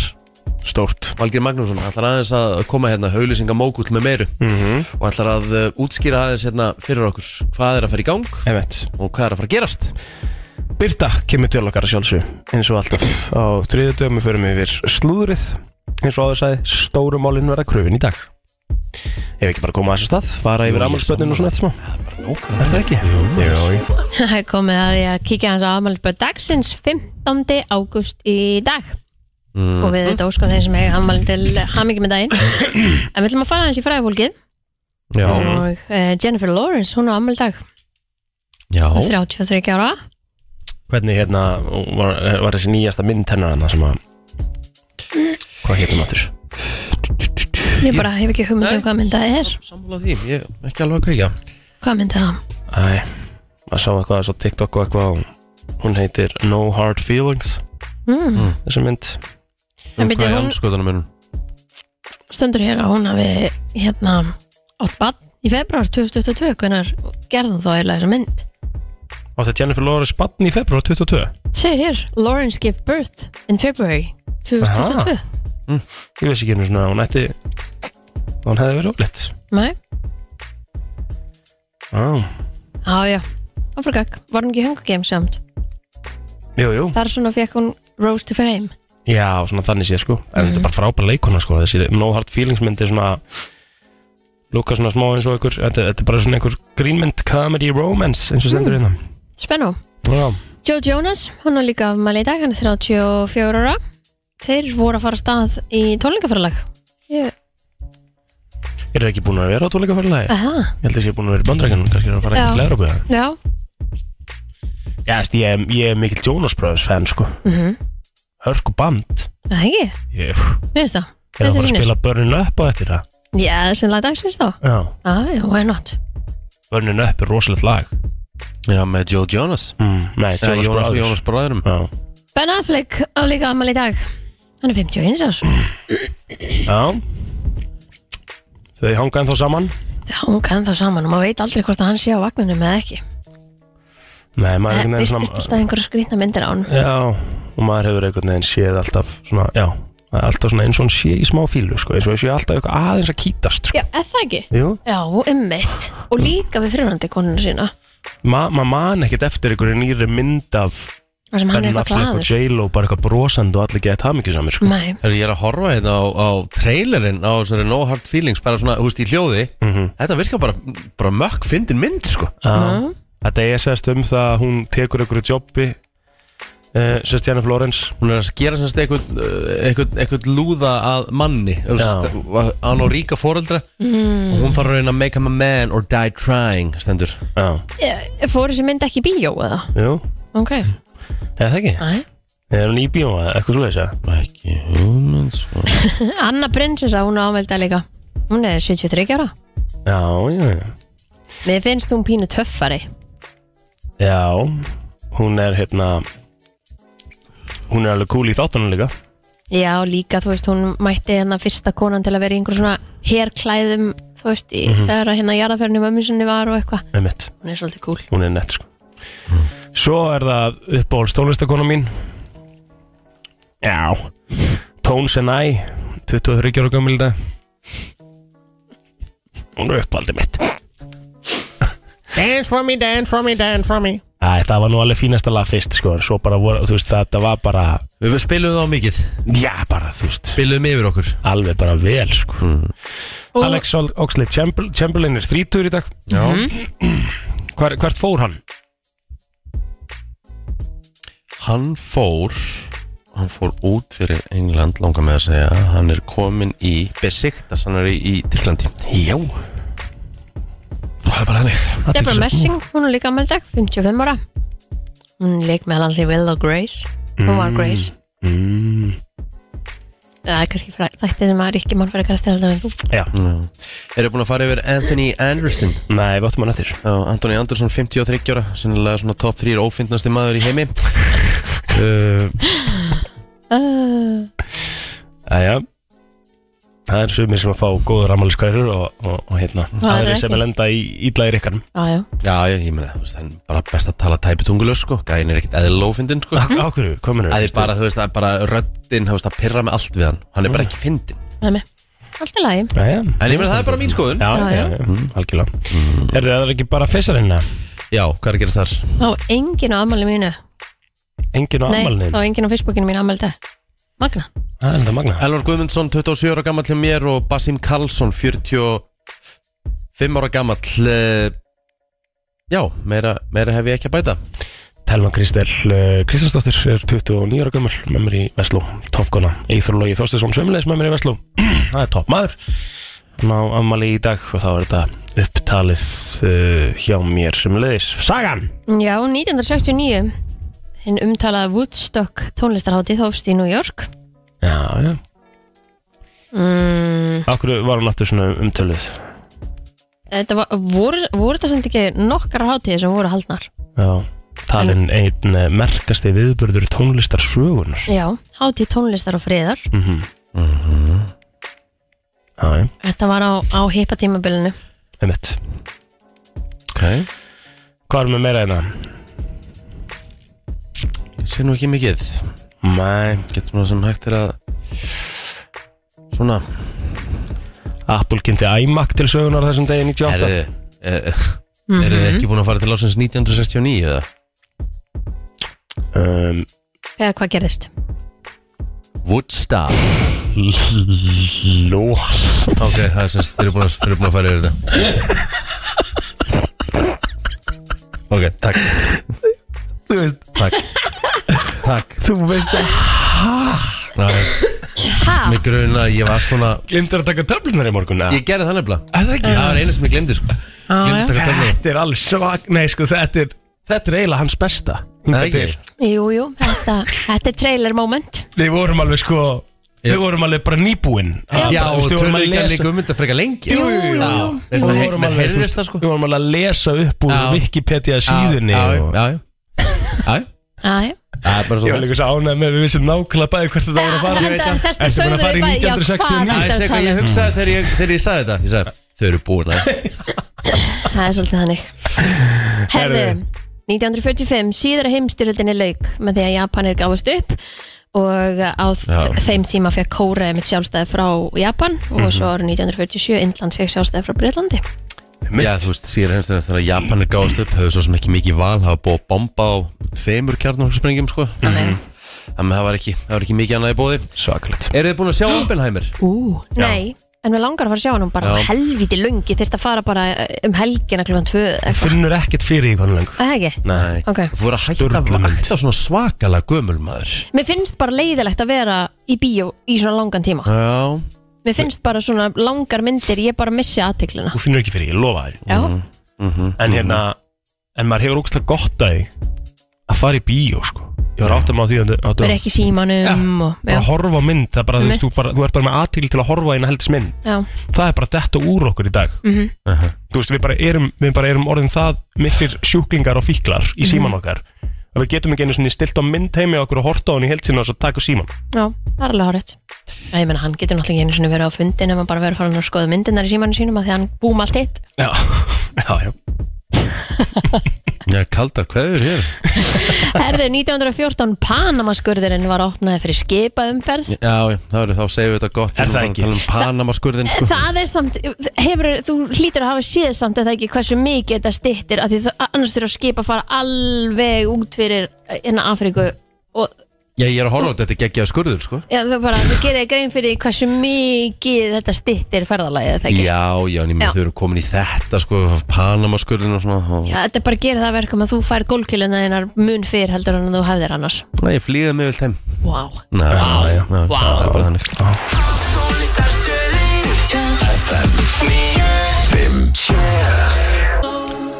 [SPEAKER 4] Stórt
[SPEAKER 2] Valgir Magnússon, hann ætlar aðeins að koma hérna haulisinga mókull með meiru
[SPEAKER 4] Mhm.
[SPEAKER 2] og ætlar að uh, útskýra aðeins hérna fyrir okkur hvað er að fara í gang
[SPEAKER 4] Ég veit
[SPEAKER 2] og hvað er að fara að gerast
[SPEAKER 4] Birta kemur til okkar að sjálfsög eins og alltaf á þriðu dögum við förum yfir slúðrið eins og áður sagði stóru málin verða kröfin í dag Ef ekki bara koma að þessu stað, fara yfir ammálspötnin og svona eftir smá Það er bara nókvæm Það er ekki Jú, jú.
[SPEAKER 3] Það er komið að ég að kíkja hans á afmælisböð dagsins 15. ágúst í dag og við þetta óskum þeir sem hefur afmælin til hamingi með daginn en við ætlum að fara hans í fræðafólkið
[SPEAKER 2] Já,
[SPEAKER 3] og uh, Jennifer Lawrence, hún á afmæli í dag
[SPEAKER 2] já
[SPEAKER 3] 33 ára
[SPEAKER 4] Hvernig hérna var, var þessi nýjasta mynd hennar hann sem að Hvað hérna náttúr?
[SPEAKER 3] ég bara hef ekki hugmynd um hvað mynda það er
[SPEAKER 2] Sammála því, ég er ekki alveg að kveika
[SPEAKER 3] hvað mynda það?
[SPEAKER 4] Æ, maður sá eitthvað svo TikTok og eitthvað og Hún heitir No Hard Feelings
[SPEAKER 3] Mm.
[SPEAKER 4] Þessi mynd
[SPEAKER 3] En
[SPEAKER 2] Hvað
[SPEAKER 3] byrju,
[SPEAKER 2] er
[SPEAKER 3] hún
[SPEAKER 2] anskotanum minnum?
[SPEAKER 3] stendur hér að hún hafi hérna átt bann í februar 2022 hvernig gerðan þá eiginlega þessa mynd
[SPEAKER 4] Og þetta er Jennifer Lawrence Bann í februar 22
[SPEAKER 3] segir hér, Lawrence gave birth in February 2022
[SPEAKER 4] Ég veist ekki einu svona, hún ætti Hún hefði verið ólitt
[SPEAKER 3] Nei,
[SPEAKER 4] ah.
[SPEAKER 3] á já áfram gag, var hún ekki í Hunger Games samt
[SPEAKER 4] Jú, jú
[SPEAKER 3] þar svona fekk hún Rose to Fame
[SPEAKER 4] Já, svona þannig sé sko En þetta er bara frábæra leikona sko Þessi no hard feelings mynd er svona Lúka svona smá eins og einhver Þetta, þetta er bara svona einhver grínmynd comedy romance eins og
[SPEAKER 3] Mm.
[SPEAKER 4] stendur hérna
[SPEAKER 3] Spennu,
[SPEAKER 4] Já,
[SPEAKER 3] Joe Jonas hann er líka afmæli í dag, hann er 34 ára þeir voru að fara af stað í tónleikaferðalag ég,
[SPEAKER 4] eru þið ekki búin að vera á tónleikaferðalagi?
[SPEAKER 3] aha,
[SPEAKER 4] Ég held að ég sé búin að vera í bandrækjanum Kannski er að fara
[SPEAKER 3] Já.
[SPEAKER 4] ekki til Európa
[SPEAKER 3] já
[SPEAKER 4] Já, veist, ég, er- ég er mikill Jonas Brothers fan sko
[SPEAKER 3] Mhm.
[SPEAKER 4] Hörku band
[SPEAKER 3] það er ekki,
[SPEAKER 4] Ég er að
[SPEAKER 3] mér finnst það Mér
[SPEAKER 4] fara að
[SPEAKER 3] finnst það
[SPEAKER 4] spila Burnin Up á eftir það
[SPEAKER 3] fínir. já, sem lag dagsins þá
[SPEAKER 4] Já,
[SPEAKER 3] ah, já, why not
[SPEAKER 4] Burnin Up er rosalegt lag
[SPEAKER 2] Já, með Joe Jonas
[SPEAKER 4] mm. Nei,
[SPEAKER 2] Jonas,
[SPEAKER 4] Jonas
[SPEAKER 2] Jonas,
[SPEAKER 4] Brothers
[SPEAKER 2] Jonas bræðurum
[SPEAKER 4] Já.
[SPEAKER 3] Ben Affleck á líka afmæli í dag hann er 51 árs
[SPEAKER 4] Já Þau hanga ennþá saman
[SPEAKER 3] já, hún kann þá saman og maður veit aldrei hvort að hann sé á vagninu með ekki
[SPEAKER 4] Nei,
[SPEAKER 3] það
[SPEAKER 4] maður einhvern veginn
[SPEAKER 3] virtist alltaf einhverja skrýtna myndir á hann
[SPEAKER 4] Já, og maður hefur einhvern veginn séð alltaf svona, já, það er alltaf svona eins og hún sé í smá fílu, sko, eins og þessu alltaf eitthvað aðeins að kýtast, sko.
[SPEAKER 3] já, er það ekki?
[SPEAKER 4] Jú,
[SPEAKER 3] já, ummitt og líka við fyrirhandi konuna sína
[SPEAKER 4] Ma- maður man ekkert eftir einhverju nýri mynd af
[SPEAKER 3] þar sem hann er
[SPEAKER 4] Ben
[SPEAKER 3] eitthvað
[SPEAKER 4] Affleck og
[SPEAKER 3] glaður
[SPEAKER 4] J-Lo bara eitthvað brosandi og allir gett hamingisamir, sko.
[SPEAKER 3] Nei,
[SPEAKER 2] Þegar ég er að horfa hérna á, á trailerinn á þessari No Hard Feelings bara svona, hú veist, í hljóði Þetta virkar bara, bara mökk fyndin mynd, sko
[SPEAKER 4] Já. Þetta er sérst um það að hún tekur einhverju jobbi, uh, sérst Jennifer Lawrence,
[SPEAKER 2] Hún er að gera semst einhvern, uh, einhvern, einhvern lúða að manni Þú veist, að- Hann og ríka foreldra Og hún þarf að reyna að make him a man or die trying Stendur
[SPEAKER 4] já,
[SPEAKER 3] Ég- Eh, fór þessi mynd ekki í bíó eða?
[SPEAKER 4] jú,
[SPEAKER 3] Ok,
[SPEAKER 4] eða það ekki,
[SPEAKER 3] næ
[SPEAKER 4] er hún í bíó, eða eitthvað svo leiðis,
[SPEAKER 2] Ekki hugmynd, sko
[SPEAKER 3] Anna Prinsessa, hún á afmæli í dag líka hún er 73 ára
[SPEAKER 4] já, já, já.
[SPEAKER 3] mér finnst hún pínu töffari
[SPEAKER 4] Já, hún er hérna Hún er alveg cool í þáttunum líka
[SPEAKER 3] já, líka, þú veist, hún mætti hérna fyrsta konan til að vera í einhver svona herklæðum, þú veist, í, þegar að hérna jarðaferðinu mömmu sinni var og eitthvað
[SPEAKER 4] Með mitt,
[SPEAKER 3] hún er svolítið cool
[SPEAKER 4] hún er nett sko Svo er það uppáhalds tónlistakona mín Já Tones and I 23 ára gömul í dag Hún er uppáhaldið mitt
[SPEAKER 5] Dance for me, dance for me, dance for me
[SPEAKER 4] Æ, það var nú alveg fínasta lag fyrst sko en Svo bara voru, þú veist, þetta var bara
[SPEAKER 2] Við spilum það á mikið
[SPEAKER 4] Já, bara, þú veist
[SPEAKER 2] Spilum yfir okkur
[SPEAKER 4] Alveg bara vel sko
[SPEAKER 3] og
[SPEAKER 4] Alex Oxley Chamberlain er 30 í dag
[SPEAKER 2] Já
[SPEAKER 4] Hvar, Hvert fór hann?
[SPEAKER 2] Hann fór Hann fór út fyrir England Langa með að segja Hann er komin í Besiktas Hann er í, í Tyrklandi
[SPEAKER 4] Já
[SPEAKER 2] Það er bara hannig
[SPEAKER 3] Deborah Messing, hún er líka afmæli í dag 55 ára hún leik meðal hans í Will og Grace hún var Grace
[SPEAKER 4] mm.
[SPEAKER 3] það er kannski fræ- þætti sem að Rikki mann fyrir kannast heldur en þú
[SPEAKER 4] Já,
[SPEAKER 2] Eru búin að fara yfir Anthony Anderson
[SPEAKER 4] nei, við áttum hann eftir
[SPEAKER 2] Já, Anthony Anderson, 53 ára Sennilega svona top 3 ófindnasti maður í heimi uh,
[SPEAKER 4] Æja Það er sumir sem að fá góður ammæliskærur og, og, og hérna
[SPEAKER 3] er
[SPEAKER 4] aðrir
[SPEAKER 3] ekki.
[SPEAKER 4] sem að lenda í ítlaði rikkanum
[SPEAKER 3] aðjá,
[SPEAKER 2] Já, ég, ég meina, þú veist, hann er bara best að tala tæpitungulega, sko Gæin er ekkert eðlilega ófindin, sko
[SPEAKER 3] Mm.
[SPEAKER 4] Á á hverju, hvað mennur?
[SPEAKER 2] Það er bara, þú veist, það er bara röddin, þú veist, að pirra með allt við hann Hann er bara ekki fyndin
[SPEAKER 3] það er með allt í lagi
[SPEAKER 4] Æja
[SPEAKER 2] En ég meina, það er bara mín skoðun
[SPEAKER 4] Já,
[SPEAKER 3] Já,
[SPEAKER 4] já, já, algjörlega mm. Er það ekki bara fessarinn eða?
[SPEAKER 2] Já, hvað er að gerast þar?
[SPEAKER 3] þá engin á afmæli mínu
[SPEAKER 4] Engin á
[SPEAKER 3] nei,
[SPEAKER 4] ammælinin
[SPEAKER 3] þá engin á Facebookinu mín afmæli í dag Magna,
[SPEAKER 4] Það er þetta magna
[SPEAKER 2] Elvar Guðmundsson, 27 ára gammal hjá mér og Basim Karlsson, 40, og- Fimm ára gamall uh, Já, meira, meira hef ég ekki að bæta
[SPEAKER 4] Telma Kristel uh, Kristjánsdóttir er 29 ára gömul með mér í Vestló, toppkona Íþur Lógi Þorstinsson sömulegis með mér í Vestló það er topp maður hann á ammali í dag og þá er þetta upptalið uh, hjá mér sömulegis Sagan
[SPEAKER 3] Já, 1969 hinn umtalaða Woodstock tónlistarháttið hófst í New York
[SPEAKER 4] já, já.
[SPEAKER 3] mm,
[SPEAKER 4] Akkur var hann aftur svona umtalið
[SPEAKER 3] Þetta var, voru, voru það samt ekki nokkara hátíðir sem voru haldnar
[SPEAKER 4] já, talin einn eh, merkasti viðbörður tónlistar sögunar
[SPEAKER 3] Já, hátíð tónlistar og friðar
[SPEAKER 4] mm -hmm. já, já,
[SPEAKER 3] Þetta var á, á hippa tímabilinu
[SPEAKER 4] einmitt
[SPEAKER 2] okay.
[SPEAKER 4] hvað er með meira hérna? einna?
[SPEAKER 2] Ég sé nú ekki mikið
[SPEAKER 4] Nei,
[SPEAKER 2] Getur nú sem hægt er að Svona
[SPEAKER 4] Apple kynnti iMac til sögunar þessum degi 98
[SPEAKER 2] Erðu uh, Eru þið ekki búin að fara til ásins 1969 eða?
[SPEAKER 4] um,
[SPEAKER 3] Eða hvað gerðist?
[SPEAKER 2] Woodstock
[SPEAKER 4] Lós
[SPEAKER 2] Ok, það er semst, þeir eru búin að, þeir eru búin að fara yfir þetta Ok, takk
[SPEAKER 4] Þú veist,
[SPEAKER 2] Takk Takk
[SPEAKER 4] þú veist að
[SPEAKER 2] Ná,
[SPEAKER 3] Ha?
[SPEAKER 2] Mig gruna, ég var svona
[SPEAKER 4] Glimtur að taka töflunar í morgun eða?
[SPEAKER 2] Ég gerði það nefnilega
[SPEAKER 4] Er það ekki?
[SPEAKER 2] Það var einu sem ég glemdi sko Glemdi
[SPEAKER 3] já.
[SPEAKER 2] að taka töfluna
[SPEAKER 4] Þetta er alveg svag Nei, sko, þetta er Þetta er eiginlega hans besta hingað
[SPEAKER 2] Það ekki?
[SPEAKER 4] til.
[SPEAKER 3] Jú, jú, þetta, þetta er trailer moment
[SPEAKER 4] Við vorum alveg sko Við vorum alveg bara nýbúinn Að
[SPEAKER 2] Já, og
[SPEAKER 4] bara, þú veist, við vorum
[SPEAKER 2] töluðu
[SPEAKER 4] að
[SPEAKER 2] ekki að
[SPEAKER 4] lesa-
[SPEAKER 2] líka um þetta frekar lengi
[SPEAKER 3] Jú, jú, jú.
[SPEAKER 2] Já,
[SPEAKER 4] Og
[SPEAKER 2] Við
[SPEAKER 4] Við
[SPEAKER 2] vorum
[SPEAKER 4] vorum
[SPEAKER 2] alveg
[SPEAKER 4] alveg, þú
[SPEAKER 2] heyrðist
[SPEAKER 4] veist,
[SPEAKER 2] það sko
[SPEAKER 4] við vorum alveg að lesa upp úr
[SPEAKER 2] Já.
[SPEAKER 4] Wikipedia síðunni
[SPEAKER 2] Já, já,
[SPEAKER 4] og-
[SPEAKER 2] já já. Já, já.
[SPEAKER 3] Æ,
[SPEAKER 2] Það er bara
[SPEAKER 4] Ég var
[SPEAKER 2] svona
[SPEAKER 4] líka svo ánægð með að við vissum nákvæmlega bæði hvert þetta voru að fara
[SPEAKER 3] Þetta- þess vegna
[SPEAKER 4] Ertu búin
[SPEAKER 3] sögðu
[SPEAKER 4] að fara í
[SPEAKER 3] við bæði, já, hvað
[SPEAKER 4] 1969?
[SPEAKER 3] er-
[SPEAKER 2] Það er hvað ég hugsaði þegar ég, þegar ég sagði þetta Ég sagði, þau eru búin að
[SPEAKER 3] það er svolítið þannig Herðu,
[SPEAKER 4] Herðu.
[SPEAKER 3] 1945 síðara heimstyrjöldinni lauk með því að Japanir gáðust upp og á
[SPEAKER 2] Já.
[SPEAKER 3] þeim tíma fekk Kóra mitt sjálfstæði frá Japan og svo árið 1947 Indland fekk sjálfstæði frá Breitlandi
[SPEAKER 2] Já, þú veist, síðan heimstæðan þegar Japanir gáðast upp höfðu svo sem ekki mikið val, hafa búið að bomba á tveimur kjarnorksprengjum, sko
[SPEAKER 3] Þannig-
[SPEAKER 2] Þannig að það var ekki, það var ekki mikið annað í bóði
[SPEAKER 4] Svakalegt
[SPEAKER 2] Eru þið búin að sjá Oppenheimer?
[SPEAKER 3] Ú, nei En við langar að fara að sjá hann bara
[SPEAKER 2] Já.
[SPEAKER 3] helviti lungi þurft að fara bara um helgina klukkan tvö eða eitthvað.
[SPEAKER 4] Finnur ekkert fyrir í hvernig
[SPEAKER 3] Er Það ekki?
[SPEAKER 2] Nei
[SPEAKER 3] Ok.
[SPEAKER 2] Þú voru að hætta
[SPEAKER 4] Sturlu
[SPEAKER 2] að
[SPEAKER 4] mynd.
[SPEAKER 2] vakta svona svakalega gömul maður
[SPEAKER 3] Mér finnst bara leiðilegt að vera í bíó í svona langan tíma
[SPEAKER 2] Já
[SPEAKER 3] Mér finnst bara svona langar myndir ég bara missi aðtikluna
[SPEAKER 4] Þú finnur ekki fyrir, ég lofa þér
[SPEAKER 3] Já,
[SPEAKER 4] En hérna, en maður hefur ógustlega gott að því Að fara í bíó, sko Ég var átt að maður því að þetta
[SPEAKER 3] verið ekki í símanum og,
[SPEAKER 4] Bara
[SPEAKER 3] já,
[SPEAKER 4] að horfa á mynd, það er bara, þú veist,
[SPEAKER 3] Einmitt.
[SPEAKER 4] þú, bara, þú er bara með aðtíl til að horfa eina heldis mynd
[SPEAKER 3] já,
[SPEAKER 4] Það er bara detta úr okkur í dag
[SPEAKER 3] Mhm.
[SPEAKER 2] Aha.
[SPEAKER 4] Þú veist, við bara erum, við bara erum orðin það miklir sjúklingar og fíklar
[SPEAKER 3] Mhm.
[SPEAKER 4] í síman okkar að við getum ekki einu sinni stilt á mynd heimi okkur og horta á hann í heldsinna og svo taka síman
[SPEAKER 3] já, það er alveg hárætt Já, ég meina, hann getur náttúrulega ekki einu sinni verið á fundin ef hann bara verið farin að skoða myndirnar í símanum sínum að því að hann búum allt hitt
[SPEAKER 4] Já, já, já
[SPEAKER 2] Já, kaldar kveður hér
[SPEAKER 3] Herði, 1914 Panamaskurðurinn var opnaði fyrir skipaumferð
[SPEAKER 2] Já, já, það verður þá segjum við þetta gott
[SPEAKER 4] Er
[SPEAKER 2] Við
[SPEAKER 4] það
[SPEAKER 2] erum
[SPEAKER 4] ekki?
[SPEAKER 2] bara að Tala um Panamaskurðin, sko
[SPEAKER 3] Það er samt, hefur, þú hlýtur að hafa séð samt að það ekki hversu mikið þetta styttir af því það, annars þurfa að skipa að fara alveg út fyrir hérna Afríku og
[SPEAKER 2] Já, ég er að horfa á þetta, þetta er geggjaða skurður, sko
[SPEAKER 3] já, þú bara, þú gerir þér grein fyrir því hversu mikið þetta styttir ferðalagið það ekki?
[SPEAKER 2] Já, já, en ég
[SPEAKER 3] Já.
[SPEAKER 2] með þau eru komin í þetta, sko Panamaskurðin og svona og...
[SPEAKER 3] Já, þetta bara gerir það að verkum að þú fær gólkiluna þeinar mun fyrr heldur en þú hefðir annars.
[SPEAKER 2] Nei, ég flýði mig vel heim
[SPEAKER 3] Vá. Wow.
[SPEAKER 2] Nei, já, já, það er bara þannig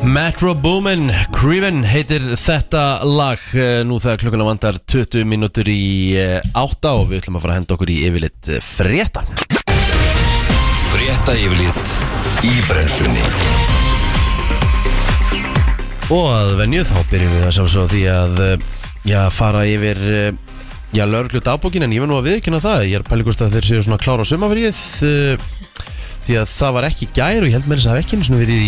[SPEAKER 2] Metro Boomin, Creven heitir þetta lag eh, nú þegar klukkuna vandar 20 mínútur í eh, átta og við ætlum að fara að henda okkur í yfirleitt eh, frétta
[SPEAKER 1] Frétta yfirlit í brennslunni
[SPEAKER 2] og að venju þá byrjum við að sjálfsögðu á því að eh, já, fara yfir eh, já, lögreglu dagbókin en ég var nú að viðkynna það ég er pælíkust að þeir séu svona klára á sumafríð því að það var ekki í gær og ég held með þess að það hafi ekki einu sinni verið,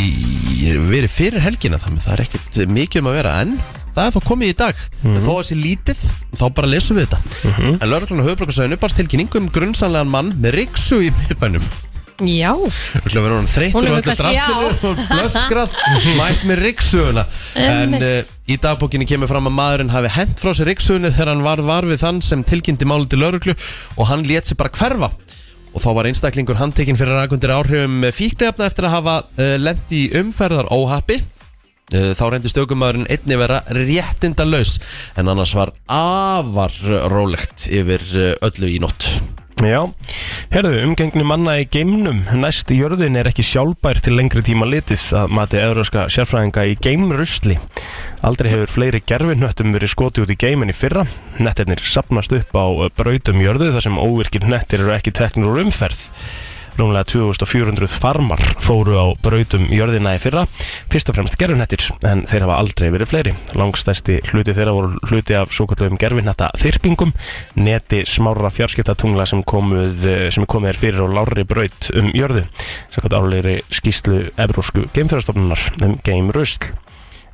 [SPEAKER 2] í, verið fyrir helgina þannig að það er ekkert mikið um að vera en það er þá komið í dag en þó að sé lítið þá bara lesum við þetta en lögreglun og höfubrukarsæðinu barst tilkynningu um grunnsanlegan mann með riksu í miðbænum
[SPEAKER 3] Já.
[SPEAKER 2] Þú ætlum að vera hann þreyttur
[SPEAKER 3] Hún
[SPEAKER 2] og öllu
[SPEAKER 3] hefur kannski-
[SPEAKER 2] drastinu og blöskrað mætt með ryggsuguna en uh, í dagbókinni kemur fram að maðurinn hafi hent frá sér ryggsugunu þegar hann var var við þann sem tilkynnti máli til lauruglu og hann lét sér bara hverfa og þá var einstaklingur handtekinn fyrir rakundir áhrifum fíknefna eftir að hafa uh, lendi umferðar óhappi Eh, Þá reyndist aukumæðurinn einni vera réttindalaus en annars var afar rólegt yfir eh, öllu í nótt.
[SPEAKER 4] Já, herðu, umgengni manna í geimnum næst í jörðin er ekki sjálfbær til lengri tíma litið að mati euróska sérfræðinga í geimrusli Aldrei hefur fleiri gerfinöttum verið skotið út í geimin í fyrra Nettirnir sapnast upp á eh, brautum jörðu þar sem óvirkir nettir eru ekki teknir úr umferð Rúmlega 2400 farmar fóru á brautum jörðina í fyrra Fyrst og fremst gerfinettir, en þeir hafa aldrei verið fleiri Langstæsti hluti þeirra voru hluti af svo kallum gerfinetta þyrpingum neti smára fjarskiptatungla sem komuð sem komið er fyrir á lári braut um jörðu samkvæmt álegri skýslu Evrósku geimfjörastofnunar um Eh, geimrösl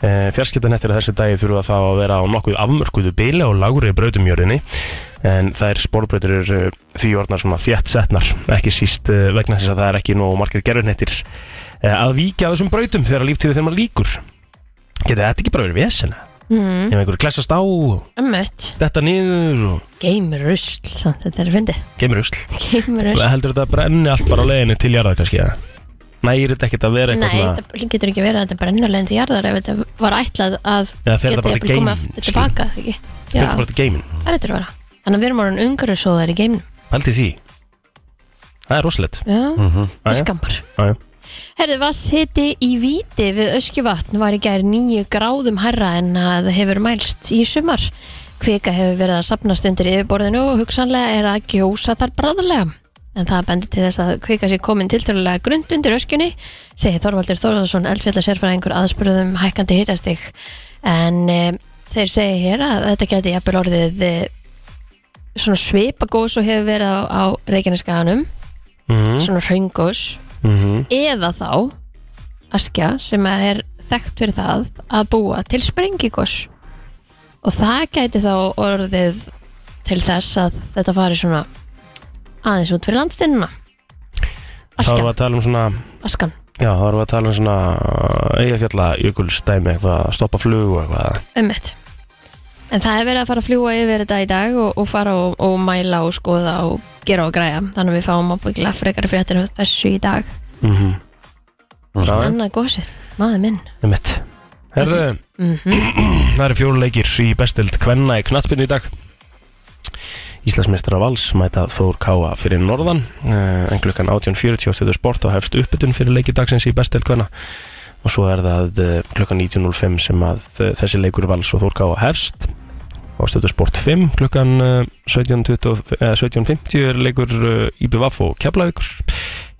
[SPEAKER 4] Fjarskiptanettir þessi dagi þurfa þá að vera á nokkuð afmörkuðu bíli á lágri braut um jörðinni en þær sporbreytur eru eh, því orðnar svona þjætt setnar ekki síst eh, vegna þess að það er ekki nóg margir gerfinettir að víkja af þessum brautum þegar líftíðu þegar maður líkur Getið þetta ekki bara verið vesena
[SPEAKER 3] mm,
[SPEAKER 4] ef einhverju klessast á og
[SPEAKER 3] Ömmut,
[SPEAKER 4] detta niður og
[SPEAKER 3] geimurusl samt, Þetta er fyndi
[SPEAKER 4] kemur usl
[SPEAKER 3] Geimurusl
[SPEAKER 4] Heldur þetta að brenni allt bara á leiðinni til jarðar kannski? eða? Nægir þetta ekkert að vera
[SPEAKER 3] Nei,
[SPEAKER 4] eitthvað svona
[SPEAKER 3] þetta getur ekki verið að þetta brennulegn til jarðar ef þetta var ætlað að
[SPEAKER 4] Eða fer þetta
[SPEAKER 3] geta
[SPEAKER 4] bara til
[SPEAKER 3] jafnvel komið
[SPEAKER 4] geimin?
[SPEAKER 3] aftur
[SPEAKER 4] skilur?
[SPEAKER 3] tilbaka eða ekki?
[SPEAKER 4] Fer
[SPEAKER 3] Já,
[SPEAKER 4] þetta bara til geimin?
[SPEAKER 3] það er þetta að vera Þannig að við erum orðin ungarusóðar í geimin
[SPEAKER 4] Pælti því Það er rosalegt
[SPEAKER 3] Já, þetta
[SPEAKER 4] Mhm. Jæja.
[SPEAKER 3] er skampar
[SPEAKER 4] Jæja.
[SPEAKER 3] Herðu, vatnshiti í Víti við Öskjuvatn var í gær 9 gráðum herra en að hefur mælst í sumar. Kvika hefur verið að sapnast undir yfirborðinu og hugsanlega er að gjósa þar bræðarlega. En það bendir til þess að kvika sé komin tiltölulega grund undir öskjunni, segi Þorvaldur Þorvaldsson, eldfjallasérfæðingur aðspurðum hækkandi hitastig. En e, þeir segi hér að þetta geti jafnvel orðið e, svona svipagós og hefur verið á, á Reykjaneskaganum,
[SPEAKER 4] Mhm,
[SPEAKER 3] svona hraungós
[SPEAKER 4] mhm.
[SPEAKER 3] eða þá askja sem að er þekkt fyrir það að búa til sprengigos og það gæti þá orðið til þess að þetta fari svona aðeins út fyrir landstinnina
[SPEAKER 4] Þá erum við
[SPEAKER 3] Askjan,
[SPEAKER 4] að tala um svona
[SPEAKER 3] askan
[SPEAKER 4] Já, þá erum við að tala um svona Eyjafjalla jökulstæmi eitthvað að stoppa flug og eitthvað
[SPEAKER 3] ummitt um en það er verið að fara að fljúa yfir þetta í dag og, og fara og, og mæla og skoða og gera og græja þannig að við fáum að byggla frekar fréttir af þessu í dag
[SPEAKER 4] mm -hmm. Já, já.
[SPEAKER 3] annað gósið, maður minn Mhm.
[SPEAKER 4] Einmitt. Herðu, það eru fjóru leikir í bestild kvenna í knattbyrnu í dag Íslandsmeistra Vals mæta Þór Káa fyrir norðan eh, en klukkan 18.40 á stöðu sport og hefst uppbytun fyrir leiki dagsins í bestild kvenna og svo er það eh, klukkan 19.05 sem að eh, þessi leikur Vals og Þór Káa hefst á stöðu sport 5 klukkan eh, 17.20 eh, 17.50 er leikur IBVF og Keflavíkur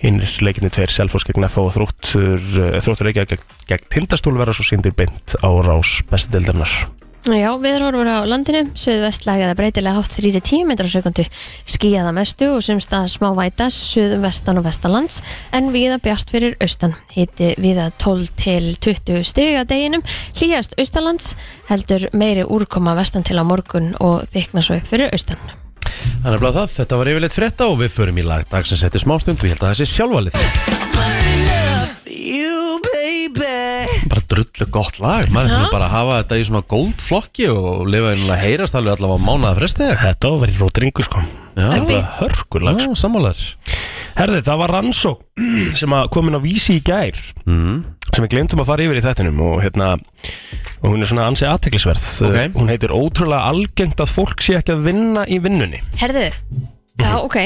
[SPEAKER 4] hinnir leikinni tveir Selfoss gegn FH og þróttur, eh, þróttur Reykjavík gegn- gegn tindastól vera svo síndir beint á rás bestu deildarnar.
[SPEAKER 3] Já, viðrhorfur á landinu, suðvestlæg eða breytilega hátt 3-10 metrar á sekundu, skíða mestu og sem stað smá væta suðvestan og vestalands en viða bjart fyrir austan. Hiti viða 12 til 20 stig að deginum, hlýjast austalands, heldur meiri úrkoma vestan til á morgun og þykna svo upp fyrir austan.
[SPEAKER 2] Þannig að blá það, þetta var yfirleitt frétta og við förum í lag dagsins eftir smástund og ég held að það sé sjálfvalið. Bara drullu gott lag, maður ætlum bara að hafa þetta í svona gold flokki og lifa einhvern að heyrast alveg allavega á mánaða frestið.
[SPEAKER 4] Þetta var verið rótringu sko.
[SPEAKER 2] Já,
[SPEAKER 3] Upbeat.
[SPEAKER 4] Hörgulag sko.
[SPEAKER 2] já sammálar.
[SPEAKER 4] Herði, það var rannsó sem að komin á vísi í gær
[SPEAKER 2] Mm.
[SPEAKER 4] sem við glemdum að fara yfir í þettinum og hérna og hún er svona ansi aðteklisverð.
[SPEAKER 2] Ok.
[SPEAKER 4] Hún heitir ótrúlega algengt að fólk sé ekki að vinna í vinnunni.
[SPEAKER 3] Herðu,
[SPEAKER 4] Mhm.
[SPEAKER 3] já, ok,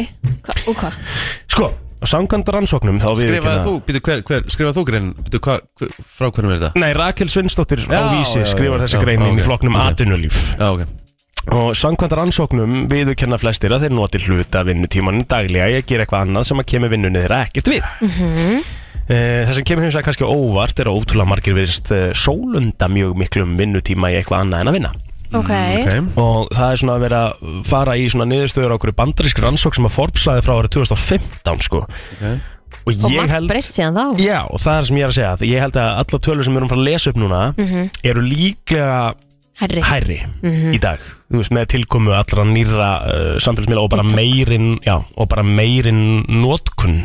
[SPEAKER 3] Hva, og hvað?
[SPEAKER 4] Sko, á samkvæmt rannsóknum þá við
[SPEAKER 2] Skrifaði þú, býtu hver, hver, skrifaði þú grein, býtu hvað, hver- frá hvernig er þetta?
[SPEAKER 4] Nei, Rakel Svinsdóttir á
[SPEAKER 2] Já,
[SPEAKER 4] vísi
[SPEAKER 2] já, já,
[SPEAKER 4] skrifar
[SPEAKER 2] já,
[SPEAKER 4] þessa
[SPEAKER 2] já,
[SPEAKER 4] grein inn í
[SPEAKER 2] ok,
[SPEAKER 4] flokknum
[SPEAKER 2] ok.
[SPEAKER 4] atvinnulíf.
[SPEAKER 2] Já, ok.
[SPEAKER 4] Og samkvæmt rannsóknum viðurkenna flestir að þeir noti hluta vinnutímanin daglega í að gera eitthvað annað sem að kemur vinnunni þeirra ekkert við. Mm Það sem kemur hins vegar kannski á óvart er að ótrúlega margir virðist eh, sólunda mjög miklum vinnutíma í eitthvað annað en að vinna.
[SPEAKER 3] Ok,
[SPEAKER 2] okay.
[SPEAKER 4] Og það er svona að vera að fara í svona niðurstöður á okkur bandarísk rannsók sem að Forbes laði frá árið 2015 sko.
[SPEAKER 2] ok.
[SPEAKER 4] Og
[SPEAKER 3] og
[SPEAKER 4] ég
[SPEAKER 3] margt
[SPEAKER 4] held...
[SPEAKER 3] breyst síðan þá.
[SPEAKER 4] Já, og það er sem ég er að segja. Ég held að alla tölur sem við erum að fara að lesa upp núna eru líklega
[SPEAKER 3] Herri,
[SPEAKER 4] hærri í dag þú veist, með tilkomu allra nýra uh, samfélagsmiðla og bara meirinn já, og bara meirinn notkun